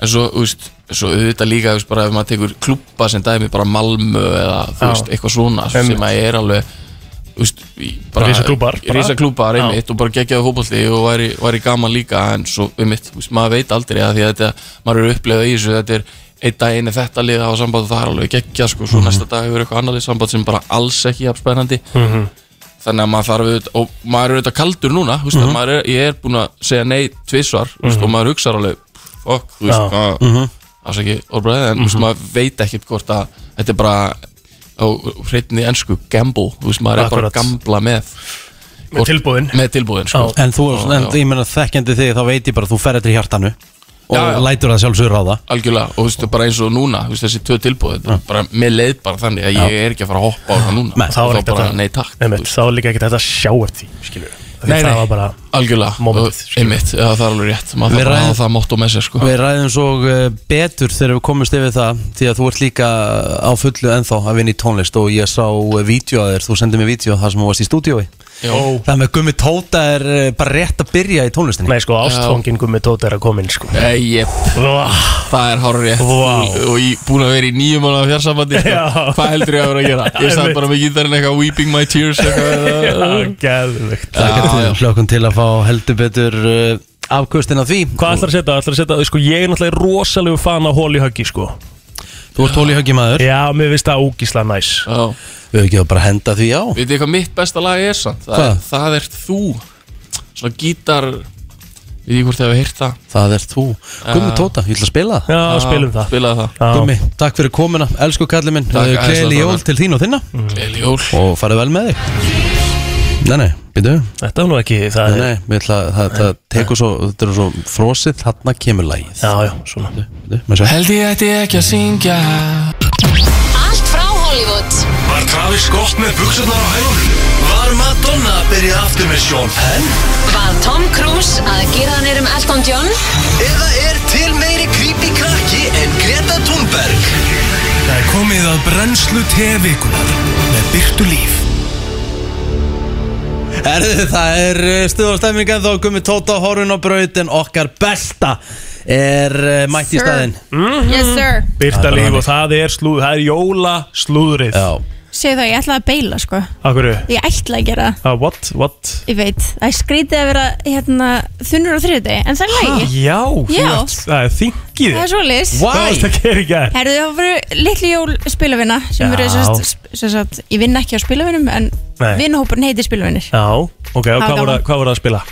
S10: en svo, þú veist svo auðvitað líka, þú veist, bara ef maður tekur klúpa sem dæmi bara Malmö eða þú
S4: Já.
S10: veist, eitthvað svona sem að er alveg þú veist, í-
S4: Risaklúbbar bara.
S10: risa klúpar
S4: Já.
S10: einmitt og bara geggjaði fótbolti og væri, væri gaman líka en svo einmitt, þú veist, maður veit aldrei að því að þetta, maður eru upplegað í þessu þetta er einn daginn er þetta lið á samband og það er alveg geggjað sko, svo næsta dag hefur eitthvað annað lið samband sem bara alls ekki jafn spennandi
S4: Mhm.
S10: þannig að maður þarf auðvitað og maður er auðvitað kaldur núna, þú veist, mm
S4: Mhm.
S10: maður er, ég er búin að segja nei tvissvar mm
S4: Mhm.
S10: og maður hugsar alveg fokk, þú veist,
S4: Já.
S10: hvað
S4: Mhm.
S10: afsaki orðbræðið, en mm -hmm.
S4: Mhm.
S10: maður veit ekkert hvort að þetta er bara á hreitni ennsku gamble, þú veist, maður er bara
S3: Akkurat.
S10: að gambla með
S4: Með tilboðin
S10: með tilbúðin, sko
S3: En þú,
S10: Já,
S3: en,
S10: já.
S3: ég meina þekkjandi þig þá veit ég bara að þú fer eftir hjartanu Og
S10: Já, já.
S3: lætur það sjálfsögur á það
S10: Algjörlega, og þú veist, bara eins og núna þú veist, þessi tvö tilbúð, þetta er bara, mér leið bara þannig að ég er ekki að fara að hoppa á það núna
S4: Þá
S10: Og
S4: var
S10: þá
S4: ekkert
S10: bara,
S4: að-
S10: nei takk
S4: Einmitt, Þá var líka ekkert hægt að sjá eftir því, skilur við
S10: Nei,
S4: Það
S10: nei.
S4: var bara
S10: Algjörlega,
S4: momentið,
S10: og- einmitt, ja, það er alveg rétt maður
S3: Við
S10: þarf bara að
S3: ræðum-
S10: hafa það mótt og með sér, sko
S3: Við ræðum svo eh, betur þegar við komumst yfir það því að þú ert líka á fullu ennþá að vinna í tónlist og ég sá eh, vídeo að þér, þú sendið mér vídeo þar sem þú varst í stúdiói
S10: Já.
S3: Það með Gummi Tóta er eh, bara rétt að byrja í tónlistinni
S4: Nei sko, ástfangin gummi tóta er að koma inn sko
S10: Nei, jep, það er hár rétt
S4: Vá.
S10: og ég búin að vera í nýjum mánuða fjarsambandi sko.
S4: Já.
S10: hvað heldur ég að vera að gera? Ég satt bara með gítarinn eitthvað Weeping my tears eitthvað
S4: Gæðvikt
S3: Hlökkum til að fá heldur betur uh, afkvöstin af því
S4: Hvað ætlar að setja? Ætlar að setja, sko, ég er náttúrulega rosalegu fan af hóli höggi, sko
S3: Þú ert hólihöggi maður
S4: Já, mér finnst það ógísla næs
S10: Já
S3: Við hefum ekki að bara henda því á
S10: Veit þið hvað mitt besta lag er samt? Það,
S3: Hvað?
S10: er, það er þú Svona gítar Við því hvort þið hefur heyrt það
S3: Það er þú Gummi Tóta, ég ætla að spila það
S10: Já, spilum það. spilaðu það. Já.
S3: Gummi, takk fyrir komuna, elsku kallið minn
S10: Takk, æðislega,
S3: Kleili
S10: strákar.
S3: jól til þín og þinna
S11: Mm.
S10: Gleðileg jól
S3: Og farið vel með þig Nei, nei, býtu
S4: Þetta var nú ekki það
S3: Nei, nei, við ætla að það, það tekur svo Þetta er svo frosið, þarna kemur lægið
S4: Já, já, svona
S10: Held ég ætti ekki að syngja
S12: Allt frá Hollywood
S1: Var Travis gott með buksunar á hælunum? Var Madonna að byrja aftur með Sean Penn?
S12: Var Tom Cruise að gera hann erum Elton John?
S1: Eða er til meiri creepy krakki en Greta Thunberg? Það er komið að brennslu tevikunar með byrtu líf
S11: Herðu, það er eh, stuð og stemming en þá gummi Tóta horfun á braut en okkar besta er eh, mætt í
S12: Sir.
S11: staðinn
S3: Mm.
S12: Yes sir
S4: Byrta líf og það er slúð, það er jóla slúðrið
S11: Já
S12: Segðu það, ég ætlaði að beila sko
S4: Akkur
S12: Ég ætlaði að gera það
S4: uh, What, what
S12: Ég veit, það er skrítið að vera hérna, þunnur á þriðdegi, en það er lægi
S4: Já, þú
S12: Já.
S4: ert- það er þingið
S12: Það er svoleiðis. Why?
S4: Hvað varst að gera í gær?
S12: Herðu, það voru litlu jól spilavinna sem
S4: Já.
S12: eru, sem sagt, sem sagt, ég vinn ekki á spilavinnum en
S4: Nei.
S12: vinnhópurinn heitir spilavinnir
S4: Já, ok, og
S12: Það var
S4: hvað voru
S12: gaman.
S4: það- hvað voru það að spila?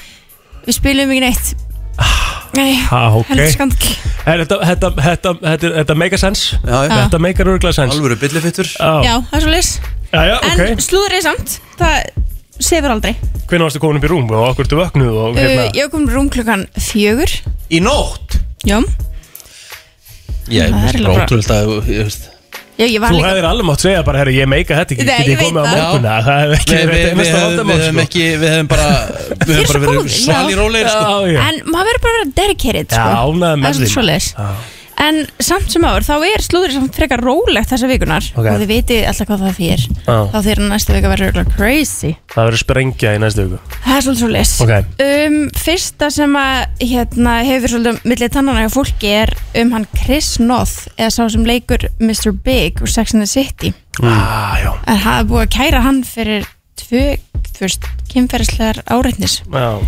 S12: Við spilum ekki neitt
S8: Ah.
S12: Nei,
S4: Ha, ok
S12: heldur skandl
S4: Er þetta, þetta, þetta, þetta, þetta make a sense? Já,
S12: já.
S4: Þetta make a rugla sense
S11: Alvöru byllifittur
S12: Já,
S4: Já,
S12: það er svoleiðis.
S4: já, já
S12: En
S4: ok
S12: slúður er samt, það sefur aldrei
S4: Hvernig varstu komin upp í rúm og okkur ertu vöknuð og
S12: uh,
S4: hérna
S12: Ég kom rúm klukkan fjögur
S11: Í nótt?
S12: Já,
S11: Ég
S12: Það er
S11: finnst
S12: eiginlega
S11: bara
S12: bara-
S11: ótrúld að þú veist
S12: já ég var
S4: Þú
S12: líka
S4: hefðir alveg mátt segja bara, herri, ég meika þetta ekki,
S12: Nei,
S4: get
S12: ég
S4: ég
S12: veit
S4: komið á
S12: það.
S4: morgunna Það hefði ekki
S11: Nei,
S4: verið
S11: við-
S4: þetta mesta
S11: við-
S4: vandamál
S11: við hefum
S4: sko.
S11: ekki, við hefum bara Við
S12: Ég er
S11: hefum
S12: svo
S11: bara
S12: góð
S11: verið svalir rólegir sko
S4: Já, já.
S12: En maður verður bara að vera dedicated sko.
S4: Já, ánægður með
S12: Það er svolítið
S4: þig.
S12: svoleiðis. En samt sem áður, þá er slúður samt frekar rólegt þessa vikunar
S4: Ok.
S12: og þið vitið alltaf hvað það fyrir
S4: Já.
S12: þá þeir næsta vika verður örugglega crazy
S4: Það verður sprengja í næstu viku
S12: Það er svolítið svolítið
S4: Ok.
S12: um, Fyrsta sem að hérna, hefur svolítið millir tannana hjá fólki er um hann Chris Noth eða sá sem leikur Mr. Big úr Sex and the City
S4: Ah, já
S12: að hafa búið að kæra hann fyrir tvö, þú veist, kynferðislegar áreitnis
S4: Já.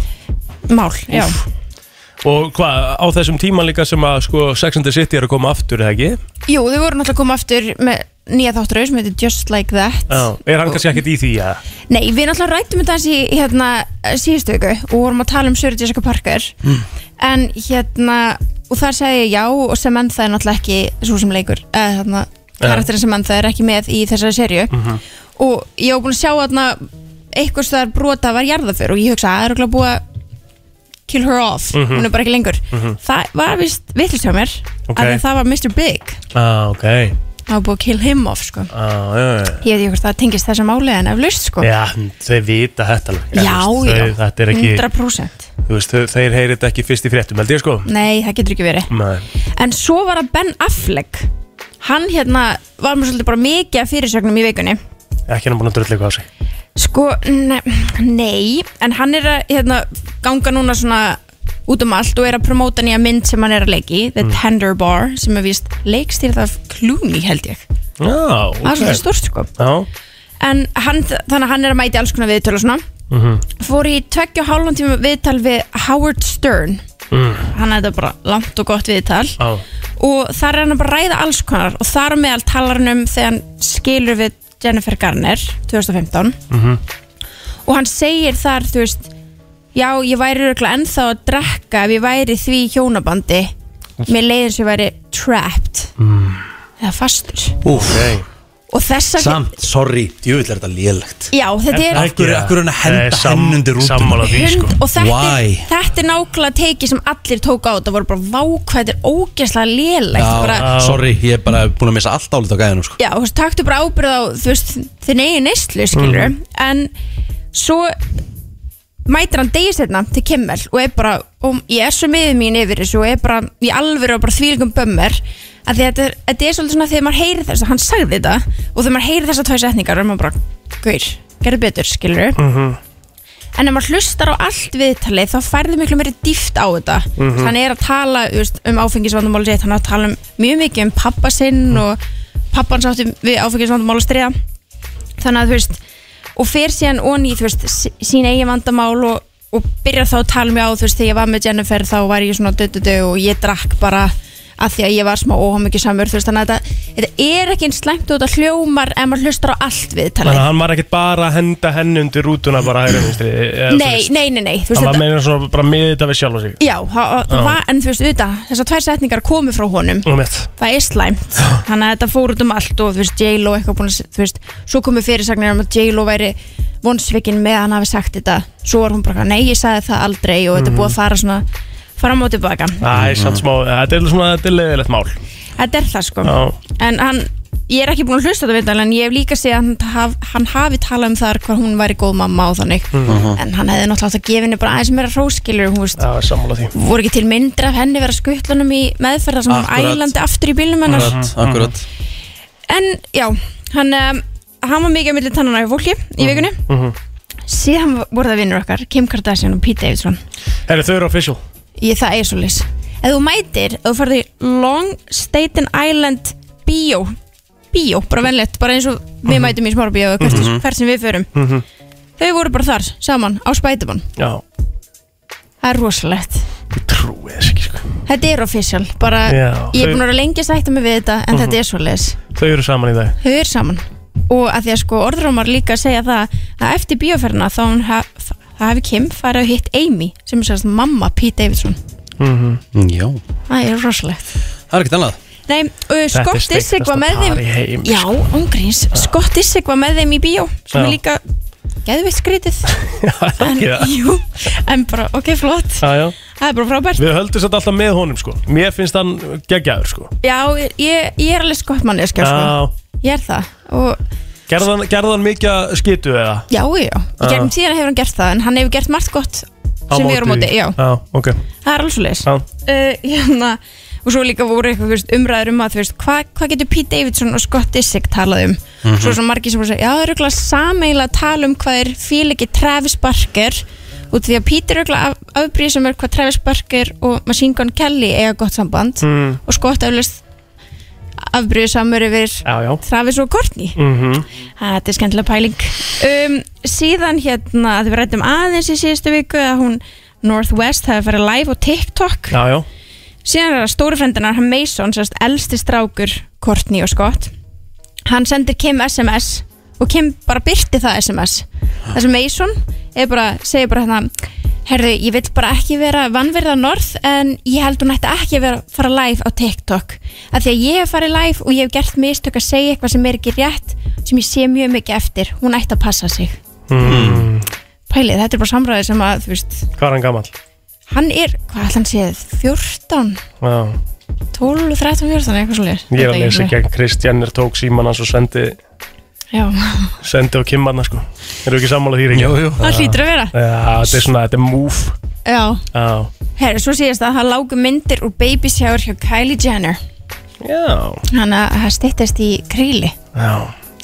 S12: Mál, já
S4: Og hvað, á þessum tíma líka sem að sko, Sex and the City er að koma aftur, eða ekki?
S12: Jú, þau voru náttúrulega að koma aftur með nýja þátturau sem heitir Just Like That
S4: Já, er hann kannski ekkert í því, eða?
S12: Nei, við náttúrulega rættum þetta aðeins í hérna, síðustu viku og vorum að tala um Sjöri Jessica Parker
S4: Mm.
S12: en hérna, og þar segi ég já og Samantha er náttúrulega ekki svo sem leikur eða hérna,
S8: Ja.
S12: karakterinn Samantha er ekki með í þessari serju og ég var búin að sjá hérna eitthvað stöðar brota var jarðaför og ég hugsa að það er örugglega búið að kill her off,
S4: Mhm.
S12: hún er bara ekki lengur
S4: Mhm.
S12: það var vist vittlust hjá mér
S4: Ok.
S12: af því að það var Mr. Big
S4: Ah, ok
S12: það var búið að kill him off sko.
S4: ah, já, já, já.
S12: ég veit ekki hvort það tengist þessu máli en eflaust sko
S4: Já, þau vita þetta alveg
S12: Já,
S4: Eða, þú veist,
S12: já,
S4: þau, Þetta er ekki,
S12: 100%
S4: þú veist, þau, þeir heyri þetta ekki fyrst í fréttum, held ég sko
S12: Nei, það getur ekki verið
S4: Nei.
S12: En svo var það Ben Affleck Hann hérna var mér svolítið bara mikið af fyrirsögnum í vikunni
S4: Ekki hann búin að drölla eitthvað á sig
S12: Sko, ne nei En hann er að hérna, ganga núna svona út um allt og er að promóta nýja mynd sem hann er að leiki The
S4: Mm.
S12: Tender Bar sem er víst leikstýrð af Clooney held ég
S4: Já, ok
S12: Það er svolítið stórt sko
S4: Já
S12: En hann, þannig að hann er að mæti alls konar viðtöl og svona
S4: mm
S12: Fór í tveggja og hálfum tíma viðtal við Howard Stern Hann er þetta bara langt og gott viðtal
S4: Já
S12: og þar er hann að bara ræða alls konar og þar á meðal talar hann um þegar hann skilur við Jennifer Garner 2015
S8: Mhm.
S12: og hann segir þar, þú veist já, ég væri röglega ennþá að drekka ef ég væri því í hjónabandi mér leiðin sem ég væri trapped
S11: Mm.
S12: eða fastur
S11: Úf
S12: og þess að
S11: Samt, sorry, djúvill er þetta lélegt
S12: já, þetta er
S11: Af hverju- af hverju er hann að
S4: Eh,
S11: henda henn undir út Sammála
S4: sko.
S12: Hund, og þetta er,
S11: Why?
S12: þetta er nákvæmlega teiki sem allir tók á þetta voru bara vákvæðir ógeðslega lélegt bara,
S11: Já, sorry, ég er bara búin að missa allt álið á gæðinu sko
S12: já, þú veist, taktu bara ábyrð á þú veist, þinn eigin neyslu, skilur
S11: Mhm.
S12: en svo mætir hann degi setna til Kimmel og er bara, og ég er svo miður mín yfir þessu og er bara, ég alveg er bara þvílingum bömmur að því að þetta, er- þetta er svolítið svona þegar maður heyrir þess að hann sagði þetta og þegar maður heyrir þess að tvæ setningar er maður bara, gaur, gerðu betur, skilur
S4: Mhm.
S12: en ef maður hlustar á allt viðtalið þá færðu miklu meiri dýft á þetta mm
S8: Mhm.
S12: hann er að tala þú veist, um áfengisvandumál sitt, hann er að tala um, mjög mikið um pappa sinn og pappan sátti við áfengisvandumál að stríða þannig að þú veist og fer síðan onni í þú veist sí- sín eigin vandamál og, og byrjar þá að tala mjög á þú veist þegar ég var með Jennifer þá var ég svona dödudu og ég drakk bara að því að ég var smá óhammingi samur þú veist þannig að þetta, þetta er ekki eins slæmt og þetta hljómar ef maður hlustar á allt viðtalið
S4: Þannig að hann var ekkert bara að henda henn undir rútuna bara hægri minnstri
S12: Nei, nei, nei, nei, þú veist
S4: Hann var
S12: þetta-
S4: meina svona bara miðið þetta við sjálf og sig
S12: Já, það það
S4: Já.
S12: var, en þú veist, auðvitað, þessar tvær setningar komu frá honum
S4: Og mitt
S12: Það er slæmt, þannig að þetta fór út um allt og þú veist, J-Lo eitthvað búin að, se- þú veist, svo komu fyrirsagnir um að J-Lo væri vonsvikin með að hann hafi sagt þetta Svo var hún bara, nei, ég sagði það aldrei og þetta er búið að fara svona, fara á móti baka
S4: Mm. Æ, samt smá, þetta er svona, þetta er leiðilegt mál
S12: Þetta er það, sko
S4: Já
S12: En hann, ég er ekki búin að hlusta á þetta viðtal en ég hef líka séð að hann, haf, hann hafi talað um þar hvað hún væri góð mamma og þannig
S4: Mhm.
S12: En hann hefði náttúrulega átt að gefa henni bara aðeins meira róskilur, hún veist
S4: Já, sammála því
S12: voru ekki til myndir af henni vera skuttlunum í meðferða sem hún
S11: Akkurat.
S12: ælandi aftur í bílnum hennar
S11: Akkurat,
S4: Mhm.
S11: akkurat
S4: Mhm.
S12: en já, hann, um, hann var mikið að milli tannana í fólki í vikunni síðan voru það vinnur okkar Kim Kardashian og Pete Davidson
S4: Herri, þau eru official
S12: ég það er svo leys ef þú mætir, ef þú farði Long Staten Island bíó bíó, bara venlegt, bara eins og
S3: Mhm.
S12: við mætum í smára bíó, hvert,
S4: Mhm.
S12: hvert sem við förum
S4: Mhm.
S12: þau voru bara þar, saman, á spætumann
S4: Já,
S12: það er rosalegt
S4: trúið þess ekki sko
S12: þetta er official, bara
S4: Já,
S12: ég er
S4: þau-
S12: búin að vera lengi að sætta mig við þetta en
S4: Mhm.
S12: þetta er svo leys
S4: Þau eru saman í dag
S12: þau eru saman og að því að sko orðrómar líka segja það að eftir bíóferðina þá hún haf, það hafi Kim farið að hitt Amy sem er sérst mamma Pete Davidson
S4: Mhm.
S3: Já
S12: það er rosalegt
S3: Það er ekkert annað
S12: Nei, uh,
S3: Þetta er
S12: Scott Disick
S3: steiktasta
S12: var með
S3: par í heimi,
S12: þeim Já, ongríns, Scott Disick var með þeim í bíó sem
S4: sko. Já.
S12: er líka geðvitt skrítið
S4: en,
S12: Jú, en bara, ok, flott
S4: Já, já
S12: Það er bara frábært
S4: Við höldum þetta alltaf með honum sko Mér finnst hann geggjaður sko
S12: Já, ég, ég er alveg Scott manni, sko Ég er það og,
S4: Gerðan, gerðan mikið að skitu eða
S12: Já, já, í
S4: Já.
S12: gegnum tíðan hefur hann gert það en hann hefur gert margt gott
S4: Á
S12: sem við erum á móti,
S4: því?
S12: já
S4: Já, ok
S12: Það er alveg svo leis
S4: Já.
S12: hérna, Og svo líka voru eitthvað þú veist, umræður um að þú veist, hvað hva getur Pete Davidson og Scott Disick talað um
S13: Mhm.
S12: Svo sem margir sem voru að segja Já, það er auðvitað sameila að tala um hvað er fíl ekki Travis Barker Út af því að Pete er auðvitað af, afbrýð sem er hvað Travis Barker og Machine Gun Kelly eiga gott samband
S4: Mm.
S12: Og Scott eflust afbrýð samur yfir
S4: Já, já
S12: Travis og Courtney
S4: Mhm.
S12: Ha, Þetta er skemmtilega pæling um, Síðan hérna að við rættum aðeins í síðustu viku að hún Northwest hafi farið live á TikTok
S4: Já, já
S12: Síðan er það stóri frendinar hann Mason, sérst elsti strákur Courtney og Scott Hann sendir Kim SMS og Kim bara byrti það SMS Það sem Mason er bara, segir bara hérna Herðu, ég vil bara ekki vera vannverða norð en ég held hún ætti ekki að vera fara live á TikTok af því að ég hef farið live og ég hef gert mistök að segja eitthvað sem er ekki rétt sem ég sé mjög mikið eftir, hún ætti að passa sig
S4: mm.
S12: Pælið, þetta er bara samræði sem að, þú veist,
S4: Hvað er hann gamall?
S12: hann er, hvað ætla hann séð, 14,
S4: Já
S12: 12, 13, 14, eitthvað svo
S4: Ég er að lesa gegn Kristjannir tók síman hans og sendi
S12: Já,
S4: Sendi á kimmanna sko Eru ekki sammála því reyngi?
S3: Jú, jú
S12: Það hlýtur að vera.
S4: Já, þetta er svona, þetta er move
S12: já,
S4: Já,
S12: herru, svo síðast að það lágu myndir úr baby shower hjá Kylie Jenner
S4: já,
S12: Þannig að það styttist í kríli,
S4: já.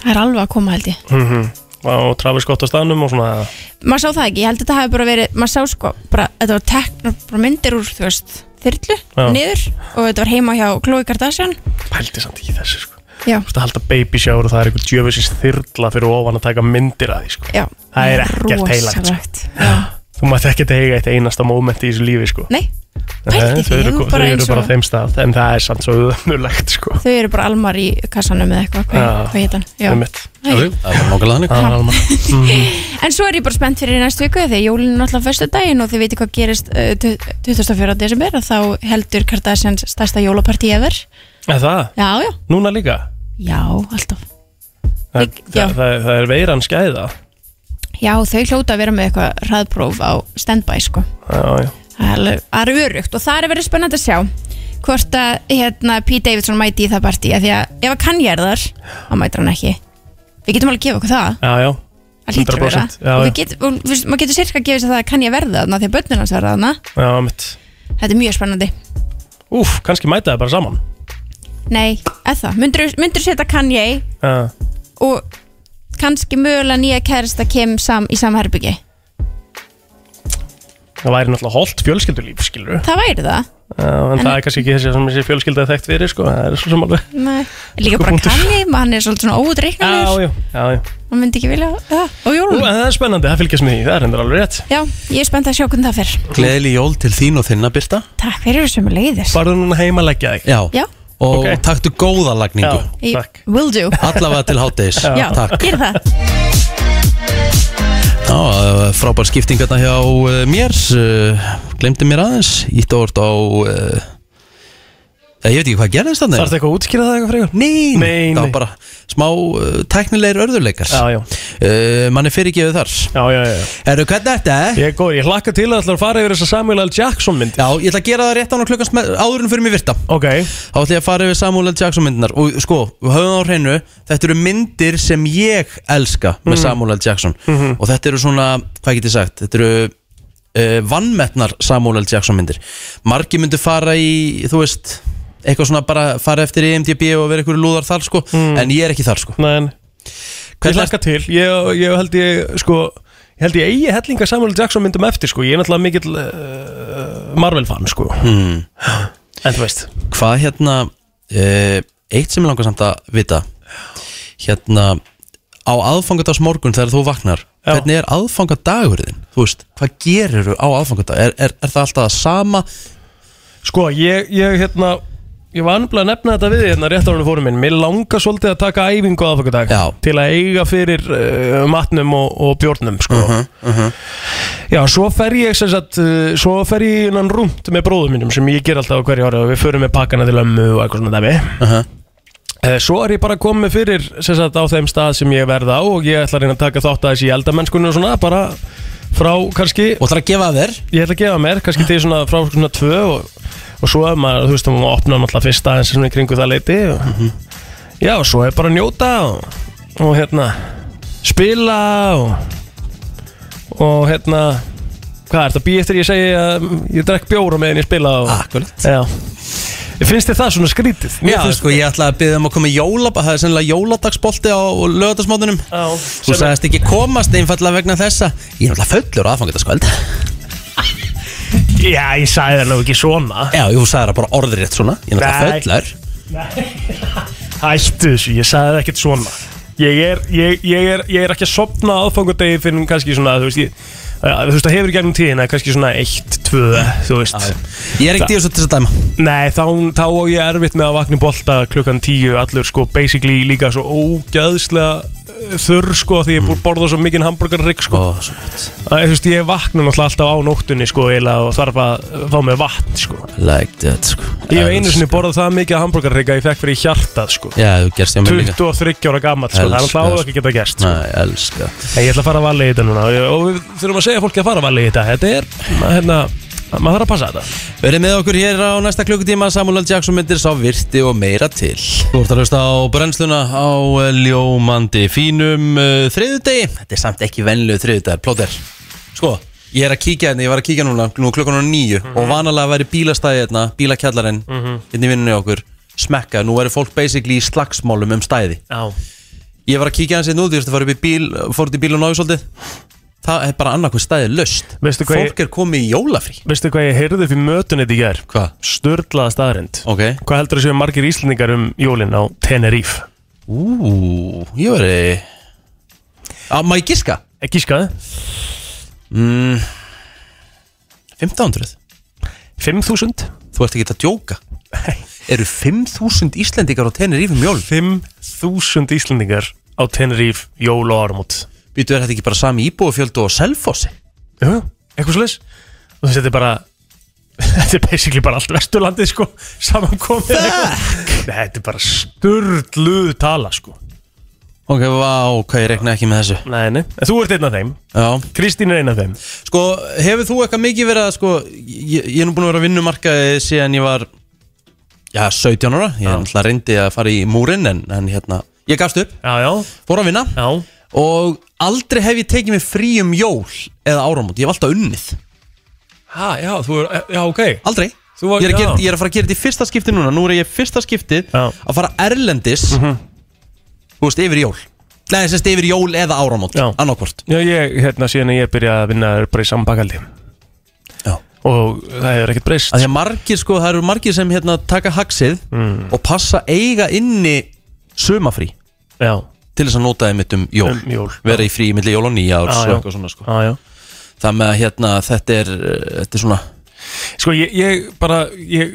S12: það er alveg að koma held ég
S4: Mm Og Travis Scott á staðnum og svona
S12: maður sá það ekki, ég held að þetta hafi bara verið maður sá sko, bara, þetta var teknar bara myndir úr, þú veist, þyrlu
S4: Já.
S12: niður og þetta var heima hjá Khloe Kardashian
S4: Pældi samt ekki í þessu sko
S12: já,
S4: Þú veist að halda baby shower og það er einhver djöfisins þyrla fyrir ofan að taka myndir að því sko.
S12: já
S4: Það er ekkert heilagt sko.
S12: rosalegt. Já.
S4: Þú mátt ekkert eiga eitt einasta moment í þessu lífi sko.
S12: Nei,
S4: Nei,
S12: pældi
S4: Þau
S12: því,
S4: eru,
S12: þú
S4: þau
S12: bara
S4: eru
S12: eins og-
S4: bara á þeim stað En það er samt svo ömulegt sko.
S12: þau eru bara almar í kassanum eða eitthvað, hvað,
S4: Já.
S12: hvað heit hann já.
S4: Einmitt.
S12: Æ.
S3: Það er nákvæmlega þannig
S4: Það er alveg
S12: en svo er ég bara spennt fyrir næstu viku þegar jólinn er náttúrulega fyrstu daginn og þið veitir hvað gerist uh, 24. desember að þá heldur Kardashians stærsta jólapartí ever
S4: Er það?
S12: já, já,
S4: Núna líka?
S12: já, alltaf
S4: Það, það, það, það er veiran skæða
S12: já, þau hljóta að vera með eitthvað hraðpróf á standby sko
S4: Já, já
S12: Það er alveg- það er örugt og það er verið spennandi að sjá hvort að hérna, Pete Davidson mæti í það partí af því að ef að kann ég er þar þá mætir hann ekki við getum alveg að gefa okkur það
S4: Já, já
S12: það hlýtur að vera
S4: 100%, já,
S12: og
S4: já.
S12: við getum, og, við, maður getur sirka að gefa sér það að kann ég verða þarna því að börnun hans verða þarna
S4: Já, mitt
S12: þetta er mjög spennandi
S4: Úf, kannski mæta það bara saman
S12: nei, eða það, myndur, myndur setja kann ég
S4: Já,
S12: og kannski mögulega nýja kærasta kem sam, í sama herbyggi
S4: Það væri náttúrulega holt fjölskyldulíf, skilur
S12: það væri það
S4: En það er kannski ekki þessi sem þessi fjölskylda er þekkt fyrir sko. Það er svo sem alveg Sko,
S12: nei. líka bara kann ég, hann er svolítið svona
S4: Já,
S12: óutreiknanur
S4: já, já, já.
S12: hann myndi ekki vilja það á
S4: Ú,
S12: jólum
S4: en það er spennandi, það fylgjast með því, það er hendur alveg rétt
S12: Já, ég er spennt að sjá hvernig það fer
S3: Gleðli jól til þín og þinna, Birta
S12: Takk fyrir sem leiðis
S4: Farðu núna heima að leggja þig
S3: Já
S12: Já.
S3: Og taktu góða lagningu
S12: Ég- Will do
S3: Allavega til háttegis
S12: Já,
S3: Takk
S12: gera það
S3: Já, eh, frábær skipting hérna hjá uh, mér uh, Glemdi mér aðeins Ítt orð á uh, Ég veit ekki hvað gerðist þannig
S4: Þarftu eitthvað að útskýra það eitthvað frekar?
S3: Nei,
S4: Nei,
S3: það var
S4: nei.
S3: bara smá uh, teknilegir örðurleikar
S4: Já, já
S3: uh, Mann er fyrirgefið þar
S4: Já, já, já
S3: Erðu hvernig þetta?
S4: Ég er góð, ég hlakka til að ætla að fara yfir þessa Samuel L. Jackson mynd
S3: Já, ég ætla að gera það rétt án og klukkast með, áður en fyrir mig virta
S4: Ok
S3: Þá ætla ég að fara yfir Samuel L. Jackson myndinar Og sko, við höfum það á hreinu Þetta eru myndir sem ég elska með
S4: Mhm.
S3: Samuel L. Jackson Og þetta eru svona, hvað get ég sagt Þetta eru uh, vannmettnar Samuel L. Jackson myndir Margi myndir fara í, þú veist Eitthvað svona bara fara eftir E í IMDb og vera einhverju lúðar þar
S4: Mhm.
S3: sko En ég er ekki þar sko
S4: Nei, Ég hlakka til, ég, ég held ég, sko Ég held ég eigi hellinga Samuel L. Jackson myndum eftir sko Ég er náttúrulega mikill uh, Marvel fan sko
S3: hmm.
S4: En þú veist
S3: Hvað hérna eh, Eitt sem ég langar samt að vita Hérna Á aðfangadags morgun þegar þú vaknar Hvernig er aðfangadagurðin? Þú veist, hvað gerir þú á aðfangadag? Er, er, er það alltaf það sama?
S4: Sko, ég, ég hérna Ég var annafnilega að nefna þetta við þig hérna rétt á hann fórum minn Mér langar svolítið að taka æfingu á aðfangadag Til að eiga fyrir uh, matnum og, og bjórnum sko Já, svo fer ég sem sagt uh, Svo fer ég innan rúmt með bróðum mínum Sem ég ger alltaf á hverju ára og Við förum með pakkana til ömmu og eitthvað svona dæmi Eh, Svo er ég bara komið fyrir sem sagt, á þeim stað sem ég verð á og ég ætla að reyna að taka þátt að þessi eldamennskunni og svona bara frá kannski
S3: Og ætla að gefa þér?
S4: Ég ætla að gefa mér, kannski til svona frá svona tvö og, og svo er maður, þú veist, maður opna náttúrulega fyrst aðeins svona í kringu það leiti og, Já, og svo er bara að njóta og, og hérna spila og og hérna hvað er þetta, býð eftir ég segi að ég drekk bjóra meðan ég spila og
S3: Akkurat
S4: Já Finnst þið það svona skrítið?
S3: Já, sko, ég ætla að byrja um að koma í jólab Það er sennilega jóladagsbolti á lögadagsmótunum Þú
S4: sem-
S3: sagðist ekki komast einfallega vegna þessa Ég er náttúrulega fullur á aðfangadagskvöld
S4: Já, ég sagði það nú ekki svona
S3: Já, þú sagði það bara orðrétt svona Ég er náttúrulega
S4: Nei.
S3: fullur
S4: Hættu þessu, ég sagði það ekkert svona Ég er, ég, ég er, ég er ekki að sopna aðfangardegi fyrir en kannski svona þú veist, ég, að, þú veist það hefur í gegnum tíðina kannski svona 1, 2, þú veist
S3: Ég er ekkert í þessu til þess að dæma
S4: Nei, þá, þá á ég erfitt með að vakna í bolta klukkan 10 allur sko basically líka svo ógæðslega eh, þurr sko því ég er búið að borða svo mikinn hamburgarrygg sko
S3: Ó, svo
S4: Æ, þú veist, ég vakna náttúrulega alltaf á nóttunni sko eiginlega og þarf að fá mér vatn sko
S3: Like that, sko
S4: Ég hef einu sinni borðað það mikið hamburgarrygg að ég fekk fyrir hjartað sko
S3: Já, þú gerst ég mér líka
S4: 23 ára gammal sko, það er
S3: Elska,
S4: alltaf
S3: sko.
S4: áður ekki að geta gæst sko.
S3: Nei, elska
S4: En Ég ætla að fara að valið í þetta núna og ég- og við þurfum að segja fólki að fara að valið í þetta Þetta er, ma- hérna, maður þarf að passa þetta
S3: Verið með okkur hér á næsta klukkutíma Samuel L. Jackson myndir sá virti og meira til Þú ert að hlusta á brennsluna á eh, ljómandi fínum uh, þriðudegi Þetta er samt ekki venlu þriðudegar, plóter Sko, ég er að kíkja hérna, ég var að kíkja núna nú klukkan á nýju og vanalega væri bílastæði hérna, bílakjallarinn
S4: Mhm.
S3: hérna í vinnunni okur, smekka, nú eru fólk basically í slagsmálum um stæði
S4: Já.
S3: Ég var að kíkja hans hérna út, ég veist að fara upp í bíl fór út í bíl og náðu svolítið Það er bara annarkvæð stæði löst
S4: Veistu hvað ég-
S3: Fólk er komið í jólafrí
S4: Veistu hvað ég heyrði fyrir mötunni þetta í gær?
S3: Hvað?
S4: Sturlaða staðrind
S3: okay.
S4: Hvað heldur þú séu margir íslendingar um jólin á Tenerife?
S3: Ú, ég veri Á, má ég giska?
S4: Ekki skaði
S3: mm, 1500
S4: 5000
S3: Þú ert ekki að djóka Eru 5000 Íslendingar á Tenerife um jól?
S4: 5000 Íslendingar á Tenerife jól og áramót
S3: Býtu, er þetta ekki bara sami íbúafjöldu og selfossi?
S4: Jú, eitthvað slis Og þessi þetta er bara Þetta er basically bara allt vesturlandið sko Samankomið Fuck Nei, þetta er bara sturluð tala sko
S3: Ok, vá, ok, ég rekna ekki með þessu
S4: Nei, nei, en þú ert einn af þeim
S3: Já
S4: Kristín er einn af þeim
S3: Sko, hefur þú eitthvað mikið verið að sko Ég, ég er nú búin að vera að vinnumarkaði síðan ég var Já, 17 ára Ég
S4: Já.
S3: náttúrulega reyndi að fara í múrin en, en hérna, ég gafst upp
S4: Já, já
S3: Fór að vinna
S4: Já
S3: Og aldrei hef ég tekið mig frí um jól Eða áramót, ég hef alltaf unnið
S4: Ha, já, þú er, eh, já, ok
S3: Aldrei
S4: var-
S3: ég, er að gera,
S4: já.
S3: ég er að fara að gera þetta í fyrsta skipti núna Nú er ég í fyrsta skipti að fara erlendis
S4: Mhm.
S3: Þú veist, yfir jól Nei, sérst yfir jól eða áramót
S4: Já.
S3: Annarkvort
S4: Já, ég, hérna, síðan ég byrja að vinna er bara í sambakhaldi Já Og það hefur ekkert breyst
S3: Af Því að margir, sko, það eru margir sem hérna taka haxið
S4: Mm.
S3: Og passa eiga inni sumafrí
S4: Já
S3: Til þess að nota þeim mitt um jól,
S4: Um jól,
S3: Vera í frí milli jól og nýja og
S4: Já,
S3: svo
S4: já.
S3: eitthvað svona sko.
S4: Já, já
S3: Það með að hérna, þetta er, eh, þetta er svona
S4: Sko ég, ég bara, ég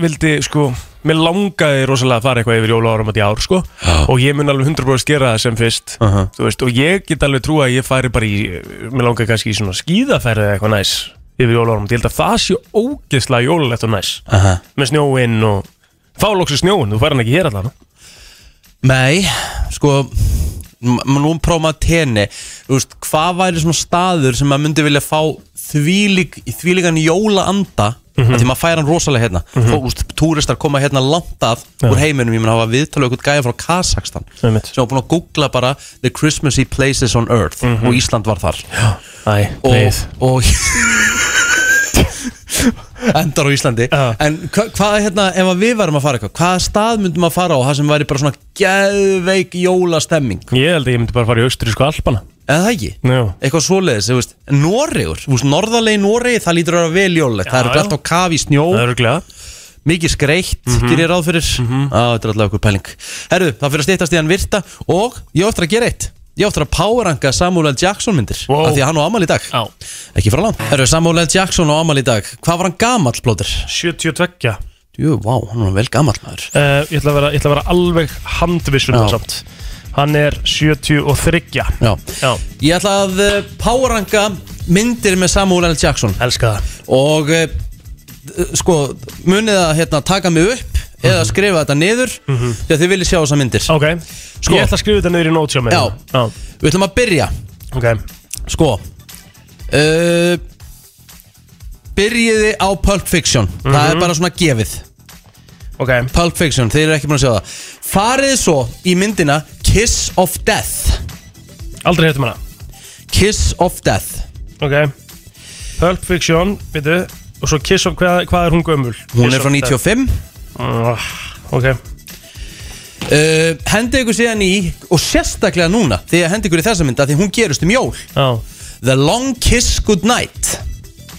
S4: vildi sko, mér langaði rosalega að fara eitthvað yfir jóla áramönd í ár sko og ég mun alveg 100% gera það sem fyrst þú veist, og ég get alveg trúa að ég færi bara í, mér langaði kannski í svona skíðaferði eða eitthvað næs yfir jóla áramönd, ég held að það sé ógeðslega jólalegt og næs
S3: Aha.
S4: með snjóinn og fá loksu snjóinn, þú fær hann ekki hér allan
S3: Nei, sko m- Nú prófum að tenni Þú veist, hvað væri svona staður sem maður myndi vilja fá þvílík, þvílíkan jólaanda mm
S4: Mhm.
S3: Því maður fær hann rosalega hérna mm
S4: Mhm.
S3: -hmm. Úst, túristar koma hérna langt að
S4: Já.
S3: úr heiminum, ég mun hafa viðtalið eitthvað gæja frá Kazakstan
S4: Einmitt.
S3: sem var búin að googla bara The Christmassy Places on Earth
S4: Mhm.
S3: og Ísland var þar Já,
S4: æ,
S3: og,
S4: please.
S3: og endar á Íslandi en hva, hvað hérna, ef að við varum að fara eitthvað hvaða stað myndum að fara á það sem væri bara svona geðveik jólastemming
S4: Ég held að ég myndi bara fara í austrísku alpana
S3: eða það ekki
S4: Já.
S3: eitthvað svoleiðis, þú veist, Noregur þú veist, norðalegi Noregi, það lítur að vera vel jólulegt það
S4: Já,
S3: eru glatt á kafi í snjó það
S4: eru glatt
S3: mikið skreitt, mm
S4: Mhm.
S3: -hmm. gerir ráð fyrir mm þetta er alltaf okkur pæling herru, það fyrir að stýttast í hann virta og ég á eftir að gera eitt ég á eftir að poweranga Samuel L. Jackson myndir wow. af því að hann á amal í dag
S4: Já.
S3: ekki frá langt herru, Samuel L. Jackson á amal í dag hvað var hann gamall, blóður?
S4: 72
S3: jú, vá, hann var vel gamall maður
S4: Uh, ég, ætla að vera, ég ætla að vera alveg handvissum
S3: Já.
S4: það samt Hann er 73
S3: Já.
S4: Já.
S3: Ég ætla að uh, poweranga myndir með Samuel L. Jackson
S4: Elska það
S3: Og uh, d- sko, munið að hérna, taka mig upp Eða skrifa þetta niður mm -hmm. Þegar þið viljið sjá þessa myndir
S4: Ok,
S3: sko,
S4: Ég ætla að skrifa þetta niður í nótsjá með
S3: Já.
S4: Já.
S3: Við ætlum að byrja
S4: Ok
S3: Sko uh, Byrjiði á Pulp Fiction Það er bara svona gefið
S4: okay.
S3: Pulp Fiction, þeir eru ekki búin að sjá það Farið svo í myndina Kiss of Death
S4: Aldrei hefðum hana
S3: Kiss of Death
S4: Ok Pulp Fiction, veitu Og svo Kiss of, hvað, hvað er hún gömul?
S3: Hún
S4: Kiss
S3: er
S4: of
S3: frá
S4: Death.
S3: 95
S4: Ah, Ok
S3: uh, Hendi ykkur síðan í Og sérstaklega núna Því að hendi ykkur í þessa mynda Því hún gerust um jól
S4: Já.
S3: The Long Kiss Goodnight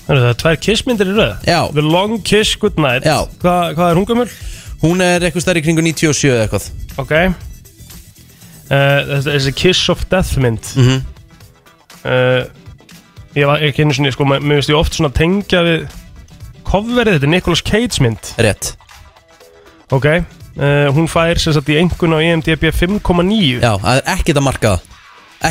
S4: Heyrðu, Það er tvær kissmyndir í röð
S3: Já.
S4: The Long Kiss Goodnight
S3: Já.
S4: Hva, Hvað er hún gömul?
S3: Hún er eitthvað stærri kringu 97 eða eitthvað
S4: Ok uh, Þessi þessi Kiss of Death mynd
S3: Mhm.
S4: uh, Ég var ekki einu sinni sko, Mér mér finnst ég oft svona tengja við Coverið þetta, er Nicolas Cage mynd
S3: Rétt
S4: Ok uh, Hún fær sem sagt í engun á IMDb 5,9
S3: Já, það er ekkert að marka það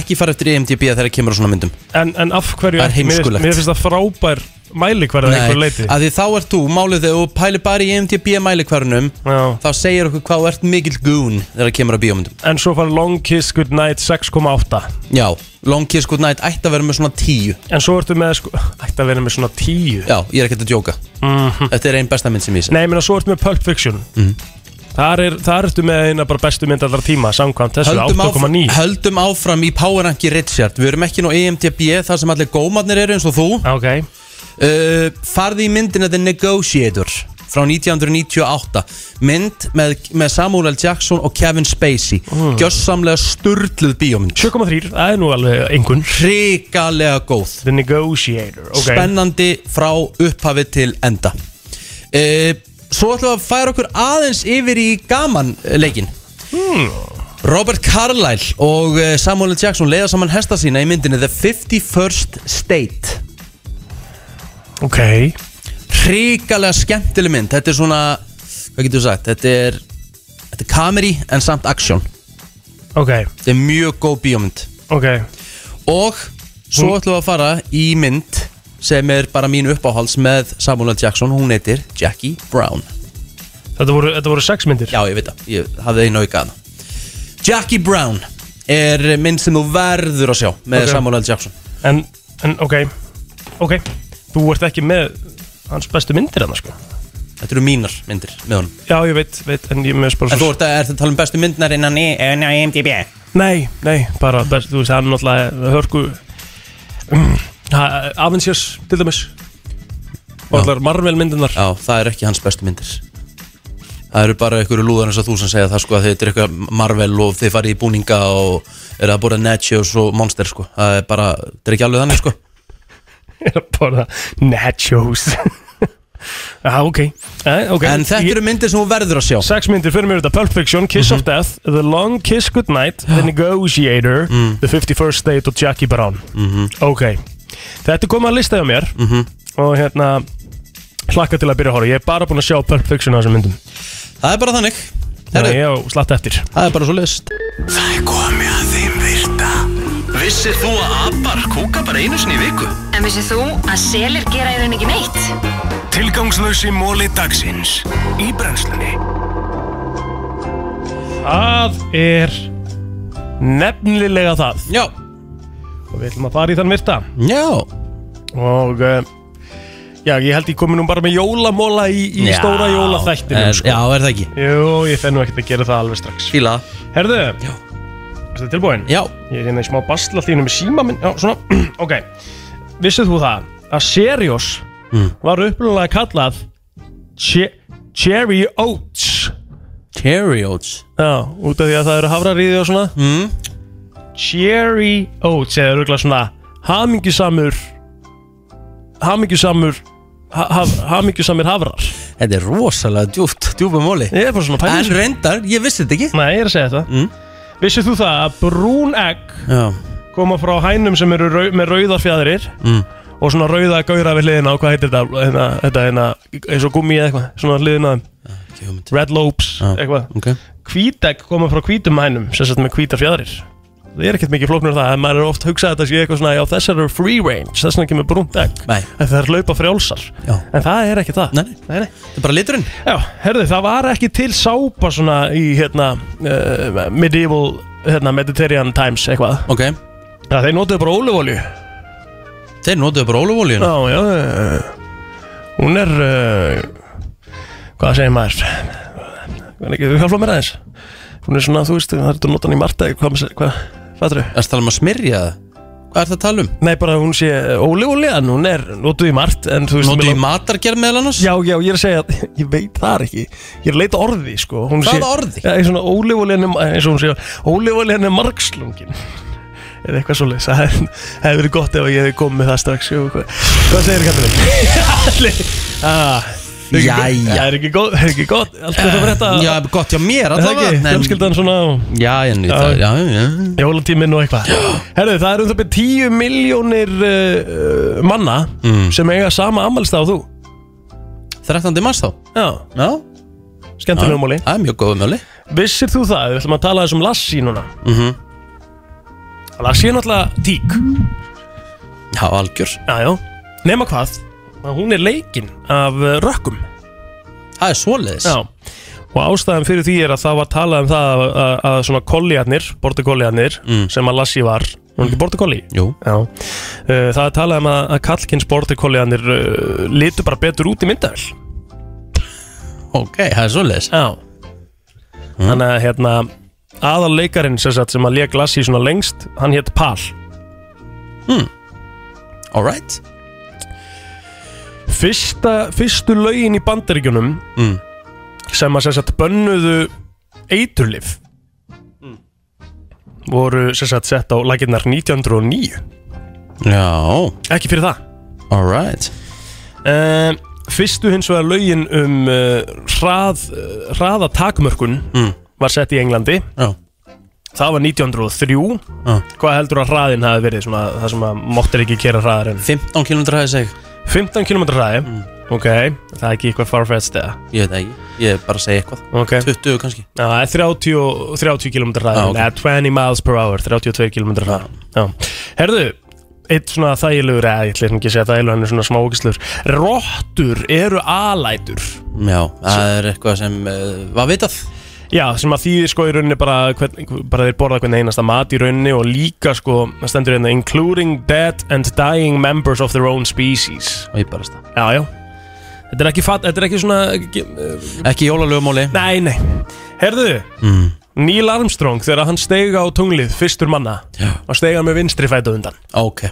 S3: Ekki fara eftir E IMDb þegar kemur á svona myndum
S4: en, en af hverju
S3: Það er
S4: ekki? Mér finnst-
S3: heimskulegt.
S4: Mér finnst það frábær mæli hverða einhver leiti
S3: að því þá ert þú Málið þegar þú pælir bara í E IMDb mælikvarunum
S4: Já.
S3: Þá segir okkur hvað þú ert mikill goon Þegar kemur á bíómyndum
S4: En svo fær Long Kiss Goodnight 6,8
S3: Já, Long Kiss Goodnight ætti að vera með svona 10
S4: En svo ertu með sko, Ætti að vera með svona 10
S3: Já, ég er ekkert að djóka
S4: Mhm.
S3: Þetta er einn besta mynd sem ég sé
S4: Nei, ég meina, svo ertu með Pulp Fiction
S3: Mhm.
S4: Þar, er, þar ertu með eina bara bestu mynd allra tíma Samkvæmt þessu
S3: höldum, áfram,
S4: 8,9
S3: höldum áfram í Power Ranki Richard Við erum ekki nú E EMTB þar sem allir gómadnir eru eins og þú
S4: okay.
S3: uh, Farði í myndina The Negotiator frá 1998 mynd með, með Samuel L. Jackson og Kevin Spacey mm. gjörsamlega sturluð bíómynd
S4: 7,3, það er nú alveg engun
S3: hrikalega góð
S4: The Negotiator, ok
S3: spennandi frá upphafi til enda uh, Svo ætlum við að færa okkur aðeins yfir í gamanleikin
S4: hmm.
S3: Robert Carlyle og eh, Samuel L. Jackson leiða saman hesta sína í myndinni The 51st State
S4: Ok
S3: Ríkalega skemmtileg mynd Þetta er svona, hvað getur þú sagt Þetta er, þetta er kameri en samt action
S4: Ok,
S3: Þetta er mjög góð bíómynd
S4: ok
S3: Og svo ætlum við að fara í mynd sem er bara mín uppáhalds með Samuel L. Jackson Hún heitir Jackie Brown
S4: Þetta voru, þetta voru sex myndir
S3: Já, ég veit það, ég hafði einu auka hana Jackie Brown er mynd sem þú verður að sjá með
S4: Ok.
S3: Samuel L. Jackson
S4: En, en ok, ok Þú ert ekki með hans bestu myndir hann sko.
S3: Þetta eru mínar myndir með honum
S4: Já, ég veit, veit En, ég, mér finnst bara
S3: En þú
S4: svo-
S3: ert að, ert að tala um bestu myndnar innan í, innan í IMDb
S4: Nei, nei, bara best, Þú veist, hann er náttúrulega hörku mm, ha- Avengers, til dæmis Og allar Marvel myndirnar
S3: Já, það eru ekki hans bestu myndir Það eru bara einhverju lúðar eins og þú sem segja það sko að þið er eitthvað Marvel og þið farið í búninga og eru að borða Nachos og Monster sko Það er bara, það er ekki alveg þannig sko
S4: er að borða nachos Já, ok, eh, okay.
S3: En þetta eru Mhm. myndir sem þú verður að sjá
S4: Sex myndir fyrir mér þetta Pulp Fiction, Kiss of Death, The Long Kiss Goodnight The Negotiator,
S3: Mm.
S4: The 51st State og Jackie Brown
S3: Mhm.
S4: Ok, þetta er komið að lista hjá mér og hérna hlakka til að byrja að horfa, ég er bara búin að sjá Pulp Fiction á þessum myndum
S3: Það er bara þannig
S4: Þannig að ég á slatt eftir
S3: Það er bara svo list
S14: Það er komið að þeim virta Vissir þú að abar kúka bara einu sinni í viku?
S12: En vissið þú að selir gera í raun ekki neitt?
S14: Tilgangslösi móli dagsins Í brennslunni
S4: Það er nefnilega það
S3: Já
S4: Og við ætlum að fara í þann virta
S3: Já
S4: Og uh, já, ég held ég komi nú bara með jólamóla í, í
S3: Já.
S4: stóra sko. jólaþættinu
S3: En- Já, er það ekki
S4: Jú, ég fennu ekkert að gera það alveg strax
S3: Fíla
S4: Herðu, já Þetta tilbúin?
S3: Já
S4: Ég er hérna í smá basla þínu með síma minn Já, svona, ok Vissið þú það að Serios
S3: Hmm.
S4: var upplunalega kallað che Cherry Oats
S3: Cherry Oats
S4: Já, út af því að það eru hafraríði og svona
S3: mm.
S4: Cherry Oats eða örgulega svona hamingjusamur hamingjusamur ha- haf- hamingjusamir hafrar
S3: Þetta er rosalega djúpt, djúpa móli
S4: Ég er bara svona pælis
S3: En reyndar, ég vissi þetta ekki
S4: Nei, ég er að segja þetta mm. Vissið þú það að brún egg
S3: Já.
S4: koma frá hænum sem eru rau, með rauðar fjæðrir
S3: Mm.
S4: og svona rauða gauðra við hliðina og hvað heitir þetta, hérna, þetta hérna, eins og gummi eða eitthvað, svona hliðina á þeim. Red Lopes, eitthvað
S3: okay.
S4: Hvítegg koma frá hvítum hænum sem sett með hvítar fjæðrir Það er ekkert mikið flóknur það, en maður er oft hugsað að þetta sé eitthvað svona, já þessar eru free range, þess vegna kemur brúnt egg,
S3: Nei.
S4: en það er laupa frjálsar, já. en það er ekki það. Nei, nei. nei,
S3: Það er bara liturinn.
S4: Já, herðu, það var ekki til sápa svona í hérna uh, medieval, hérna Mediterranean times eitthvað.
S3: Ok.
S4: Já, þeir notuðu bara ólífólju.
S3: Þeir notuðu bara ólífólju?
S4: Já, já, já. Hún er, uh, hvað segir maður? Hvað er ekki, þú hjálpa mér aðeins? Hún er svona, þú veist, það er þetta notan í Marta, hvað, hvað, fattur þau?
S3: Það er tala um að smyrja það. Hvað er það að tala um?
S4: Nei, bara hún sé ólífóljan, hún er notuð í Mart, en þú veist...
S3: Notuð í
S4: matargerð meðal annars? Já, já, ég er að segja, að- ég veit það ekki, ég er að leita að orði, sko. Hún
S3: Hvaða
S4: sé-
S3: orði?
S4: Já, eins og ólífóljan, eins og hún sé, ólífóljan er margslungin. Eða eitthvað svo leys, það hef- hefði verið gott ef ég hefði komið með það strax. jú, Hvað, hvað segir Katrin? Ah, það er ekki-
S3: Jæja. Eh,
S4: Það er ekki gott, það er ekki gott, allt er það frétta.
S3: Já, gott hjá mér
S4: Er það
S3: allavega.
S4: ekki? Fjölskyldan svona...
S3: Já, en ég það, já, já.
S4: Jólatíminn og eitthvað Herðu, það eru um það byrð 10 miljónir uh, uh, manna
S3: Mm.
S4: sem eiga sama ammælstað og þú
S3: 13. mars þá?
S4: Já,
S3: Já.
S4: skemmtilegum móli
S3: Það er mjög góðum móli.
S4: Vissir þú það, við ætlum að tala þessum Lassi núna
S3: Mhm.
S4: Lassi er náttúrulega tík
S3: Já, algjör.
S4: Já, já, nema hvað að hún er leikinn af uh, rökkum
S3: Það er svoleiðis
S4: Já Og ástæðan fyrir því er að það var talað um það að, að, að svona kolliarnir, bortakolliarnir sem að Lassi var, hún er ekki bortakolli?
S3: Mm. Jú
S4: Já, uh, það er talað um að, að kallkins bortakolliarnir uh, litu bara betur út í myndavel
S3: Ok, það er svoleiðis
S4: Já Þannig
S3: Mm.
S4: að hérna aðal leikarinn sem, sagt, sem að leik Lassi svona lengst, hann hétt Pal
S3: Hmm Alright
S4: Fyrsta, fyrstu lögin í bandaríkjunum
S3: mm.
S4: sem að sem sagt, bönnuðu eiturlif
S3: Mm.
S4: voru sem sagt, sett á laginnar 1909
S3: Já
S4: ekki fyrir það
S3: Alright
S4: um, Fyrstu hins vegar lögin um uh, hrað, uh, hraða takmörkun
S3: Mm.
S4: var sett í Englandi
S3: Já.
S4: Það var 1903
S3: Já.
S4: Hvað heldur að hraðin hafi verið svona, það sem að móttir ekki kera hraðar en
S3: 15 km hraði seg
S4: 15 km hraði,
S3: Mm.
S4: ok Það er ekki eitthvað farfetched eða
S3: Ég veit það ekki Ég er bara að segja eitthvað
S4: Ok.
S3: 20 kannski
S4: Já, það er 30, og- 30 km hraði
S3: Já,
S4: ah,
S3: ok.
S4: 20 miles per hour, 32 km hraði Já, herðu Eitt svona þægilegur, eða ég ætlum ekki að segja þægilegur Hann er svona smákislegur Rottur eru alætur
S3: Já, það er eitthvað sem uh, var vitað
S4: Já, sem að þýðir sko í rauninni bara, hvern, bara þeir borða hvernig einasta mat í rauninni og líka sko, það stendur hérna including dead and dying members of their own species
S3: Og ég bara stað
S4: Já, já Þetta er ekki, fat, þetta er ekki svona ekki,
S3: Ekki jólalögumóli
S4: Nei, nei Herðu,
S3: mm.
S4: Neil Armstrong þegar hann steiga á tunglið fyrstur manna
S3: Já.
S4: og steiga með vinstri fæta undan
S3: Ok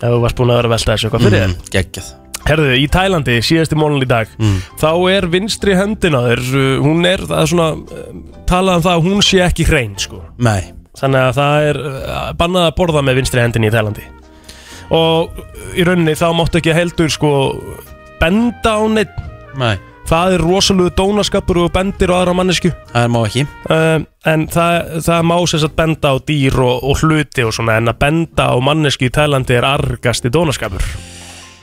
S4: Ef þú varst búin að vera að velta þessu eitthvað fyrir þér
S3: mm. Geggjað
S4: Herðu, í Tælandi, síðasti mólun í dag
S3: Mm.
S4: þá er vinstri höndin á þér uh, hún er, það er svona uh, talað um það að hún sé ekki hrein sko
S3: Nei
S4: Þannig að það er uh, bannað að borða með vinstri hendin í Þælandi Og uh, í rauninni þá máttu ekki heldur sko benda á neitt
S3: Nei
S4: Það er rosalega dónaskapur og bendir á aðra mannesku
S3: Það má ekki
S4: um, En það, það má sem sagt benda á dýr og, og hluti og svona En að benda á mannesku í Þælandi er argasti dónaskapur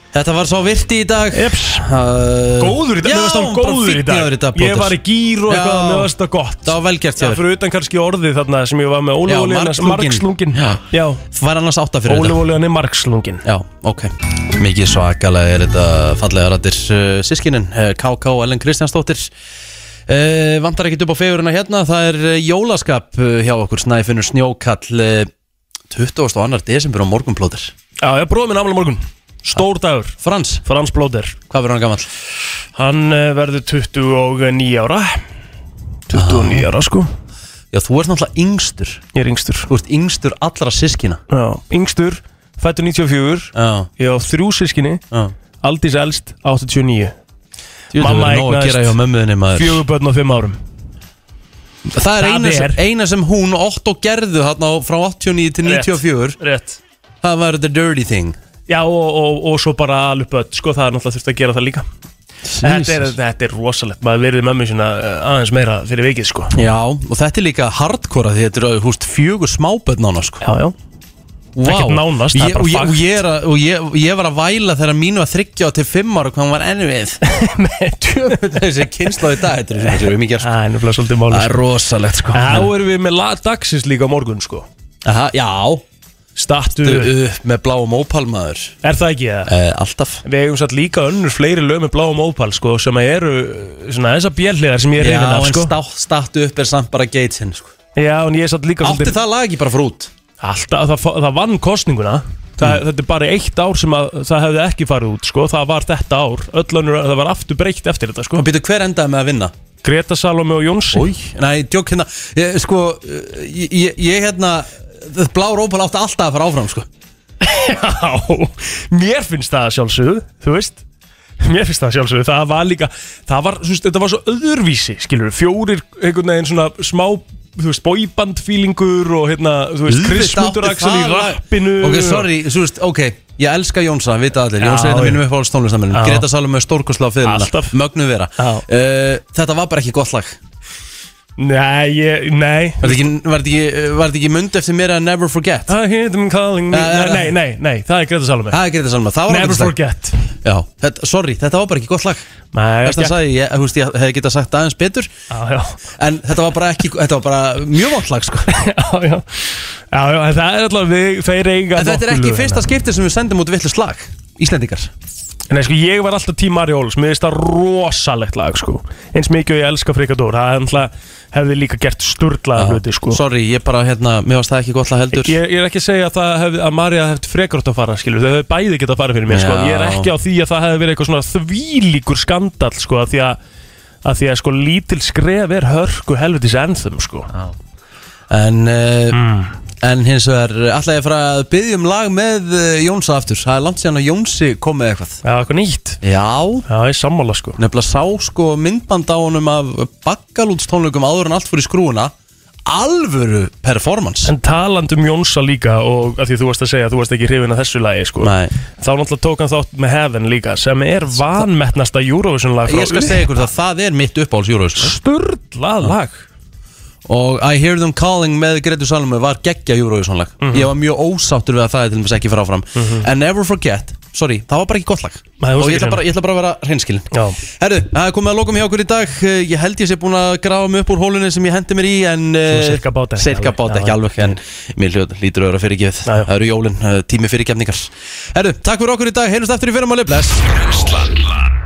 S3: Þetta var svo virti í dag
S4: Jeps
S3: uh,
S4: Góður í dag,
S3: Já,
S4: mér varst hann
S3: bara
S4: góður í
S3: fínn
S4: dag,
S3: í dag
S4: Ég
S3: Plóters.
S4: var í gýr og
S3: Já.
S4: eitthvað, mér varst það gott
S3: Það var velgjert hjá
S4: Það
S3: þér
S4: fyrir utan kannski orðið þarna sem ég var með
S3: Já,
S4: ólífólíðan
S3: margslungin.
S4: Margslungin Já,
S3: Það var annars átta fyrir þetta
S4: ólífólíðan er margslungin
S3: Já, ok Mikið svakalega er þetta fallega rættir uh, sískinin uh, KK Ellen Kristjánsdóttir uh, Vandar ekkit upp á fegurina hérna Það er uh, jólaskap uh, hjá okkur Snæfinnur Snjókall uh, 22. desember á morgunplóðir
S4: Já, ég bróði minn afmæli á morgun Stór dagur
S3: Frans
S4: Frans Blóter
S3: Hvað verður hann gammal?
S4: Hann eh, verður 29 ára
S3: Ah.
S4: 29 ára sko
S3: Já, þú ert náttúrulega yngstur
S4: Ég er yngstur
S3: Þú ert yngstur allra sískina
S4: Já, yngstur Fættur 94
S3: Já
S4: Ég á þrjú sískinni
S3: Já.
S4: Aldís elst 89
S3: Jú, það verður nóg að gera hjá mömmuðinni, maður.
S4: Fjögur börn á fimm árum
S3: Það er eina, sem, eina sem hún og Otto gerðu þarna á- frá 89 til
S4: Rétt,
S3: 94
S4: Rétt
S3: Það var the dirty thing
S4: Já og, og, og svo bara alupöld sko það er náttúrulega þurft að gera það líka þetta er, þetta er rosalegt, maður verið mömmu sína eh, aðeins meira fyrir vikið sko
S3: Já, og þetta er líka hardcore af Því þetta eru húst fjögur smábönd nána sko
S4: Já, já
S3: Vá.
S4: Ekkert nánast,
S3: ég,
S4: það er bara
S3: og, ég,
S4: fakt.
S3: og, ég er að, og, ég, og ég var að væla þegar mínu að þryggja á til fimm ára hvað hann var ennvið Þessi kynsla í dag Þetta er svona sem við mikið
S4: Það er náttúrulega svolítið máli
S3: Það er rosalegt sko
S4: Þá erum við með lag dagsins líka á morgun sko
S3: Aha, Já
S4: Stattu
S3: upp með bláum ópalmaður
S4: Er það ekki það?
S3: Eh, alltaf
S4: Við eigum satt líka önnur fleiri lög með bláum ópal sko sem að eru eh, svona þessar bjelliðar sem ég er
S3: Já,
S4: reyðin af
S3: en
S4: sko
S3: stát, státt upp er samt bara geitinn sko.
S4: Já, en ég er satt líka
S3: Átti það lag ekki bara fór út?
S4: Alltaf, það, það vann kostninguna Þa,
S3: Mm.
S4: Þetta er bara eitt ár sem að það hefði ekki farið út sko. Það var þetta ár Öll önnur, það var aftur breykt eftir þetta sko.
S3: Og býtu hver endaði með að vinna?
S4: Greta Salome og Jónsi
S3: Új, Nei, djók hérna ég, Sko, eh, ég, ég, ég hérna Blár ópal átti alltaf að fara áfram sko.
S4: Já, mér finnst það að sjálfsögðu, þú veist Mér finnst það að sjálfsögðu, það var líka Það var, þú veist, þetta var svo öðurvísi, skilur Fjórir, einhvern veginn svona smá Þú veist, bóibandfílingur Og hérna, þú veist,
S3: Auðvitað
S4: Krismundur
S3: átti
S4: Axel í
S3: það lag.
S4: rappinu
S3: Ok, sorry, þú veist, ok Ég elska Jónsa, vita allir
S4: Já,
S3: Jónsa er
S4: já.
S3: þetta mínum upp á alls tónlistamennum
S4: Já.
S3: Greta Salome stórkosla á fyrirna
S4: Alltaf.
S3: Mögnu vera uh, Þetta var bara ekki gott lag
S4: Nei, ég, nei
S3: Var þetta ekki, var þetta ekki, eh, var þetta ekki mynd eftir mér að Never Forget?
S4: I hear them calling me
S3: Eh,
S4: Nei, nei, nei, nei, það er Greta Salome
S3: Það er Greta Salome, það var
S4: Never
S3: ágætis lag.
S4: forget
S3: Já, þetta, sorry, þetta var bara ekki gott lag
S4: Nei,
S3: Þess að
S4: gekk-
S3: sagði, ég, þú veist, ég hefði getað sagt aðeins betur
S4: Já, já
S3: En þetta var bara ekki, þetta var bara mjög vant lag, sko
S4: Já, já Já, já, en það er alltaf við, þeir eiga
S3: En þetta er
S4: nokkur
S3: ekki
S4: lög
S3: í fyrsta skipti sem við sendum út vittlust lag Íslendingar
S4: Nei, sko, ég var alltaf tím Ari Óls, mér finnst það rosalegt lag, sko. Eins mikið og ég elska Frikadór, það er alltaf, hefði líka gert sturglaða hluti, sko.
S3: Sorry, ég bara, hérna, mér varst það ekki gott lag heldur
S4: Ég, ég er ekki að segja að, það hefði, að Marja hefði frekar átt að fara, skilur, þau hefði bæði getað að fara fyrir mér, sko.
S3: Já.
S4: Ég er ekki á því að það hefði verið eitthvað svona þvílíkur skandal, sko, að því að, að því að, sko, lítil skref er hörku helvitis ennþum, sko. Já.
S3: En, uh, en hins vegar Alltaf ég að fara að byggja um lag með eh, Jónsa aftur, það er langt síðan að Jónsi kom með eitthvað
S4: Já, eitthvað nýtt
S3: Já
S4: Já, ég sammála sko
S3: Nefnilega sá sko myndband á honum af bakkalútstónleikum áður en allt fór í skrúuna Alvöru performance
S4: En taland um Jónsa líka og að því þú varst að segja að þú varst ekki hrifin að þessu lagi sko.
S3: Nei.
S4: þá náttúrulega tók hann þátt með Heaven líka sem er vanmetnasta Eurovision lag
S3: Ég skal segja ykkur það, það er mitt uppáhalds Eurovision
S4: Sturlað lag
S3: Og I Hear Them Calling með Gretu Salome var geggja Eurovision lag
S4: Mhm.
S3: Ég var mjög ósáttur við að það er til dæmis ekki fara áfram En Never Forget, sorry, það var bara ekki gott lag
S4: Nei, þú varst
S3: Og ég
S4: ekki
S3: ætla, bara,
S4: hrifin.
S3: ég ætla bara að vera hreinskilin
S4: Já.
S3: Herru, það er komið að lokum hjá okkur í dag Eh, Ég held ég sé búin að grafa mig upp úr hólunni sem ég hendi mér í En eh,
S4: sirka bát ekki
S3: sirka
S4: alveg.
S3: bát
S4: Já,
S3: ekki alveg En mér hljóð- lítur að vera fyrirgefið Það eru jólin, eh, tími fyrirgefningar Herru, takk fyrir okkur í dag, heyrjumst aftur í fyrramálið Bless
S1: Brenslan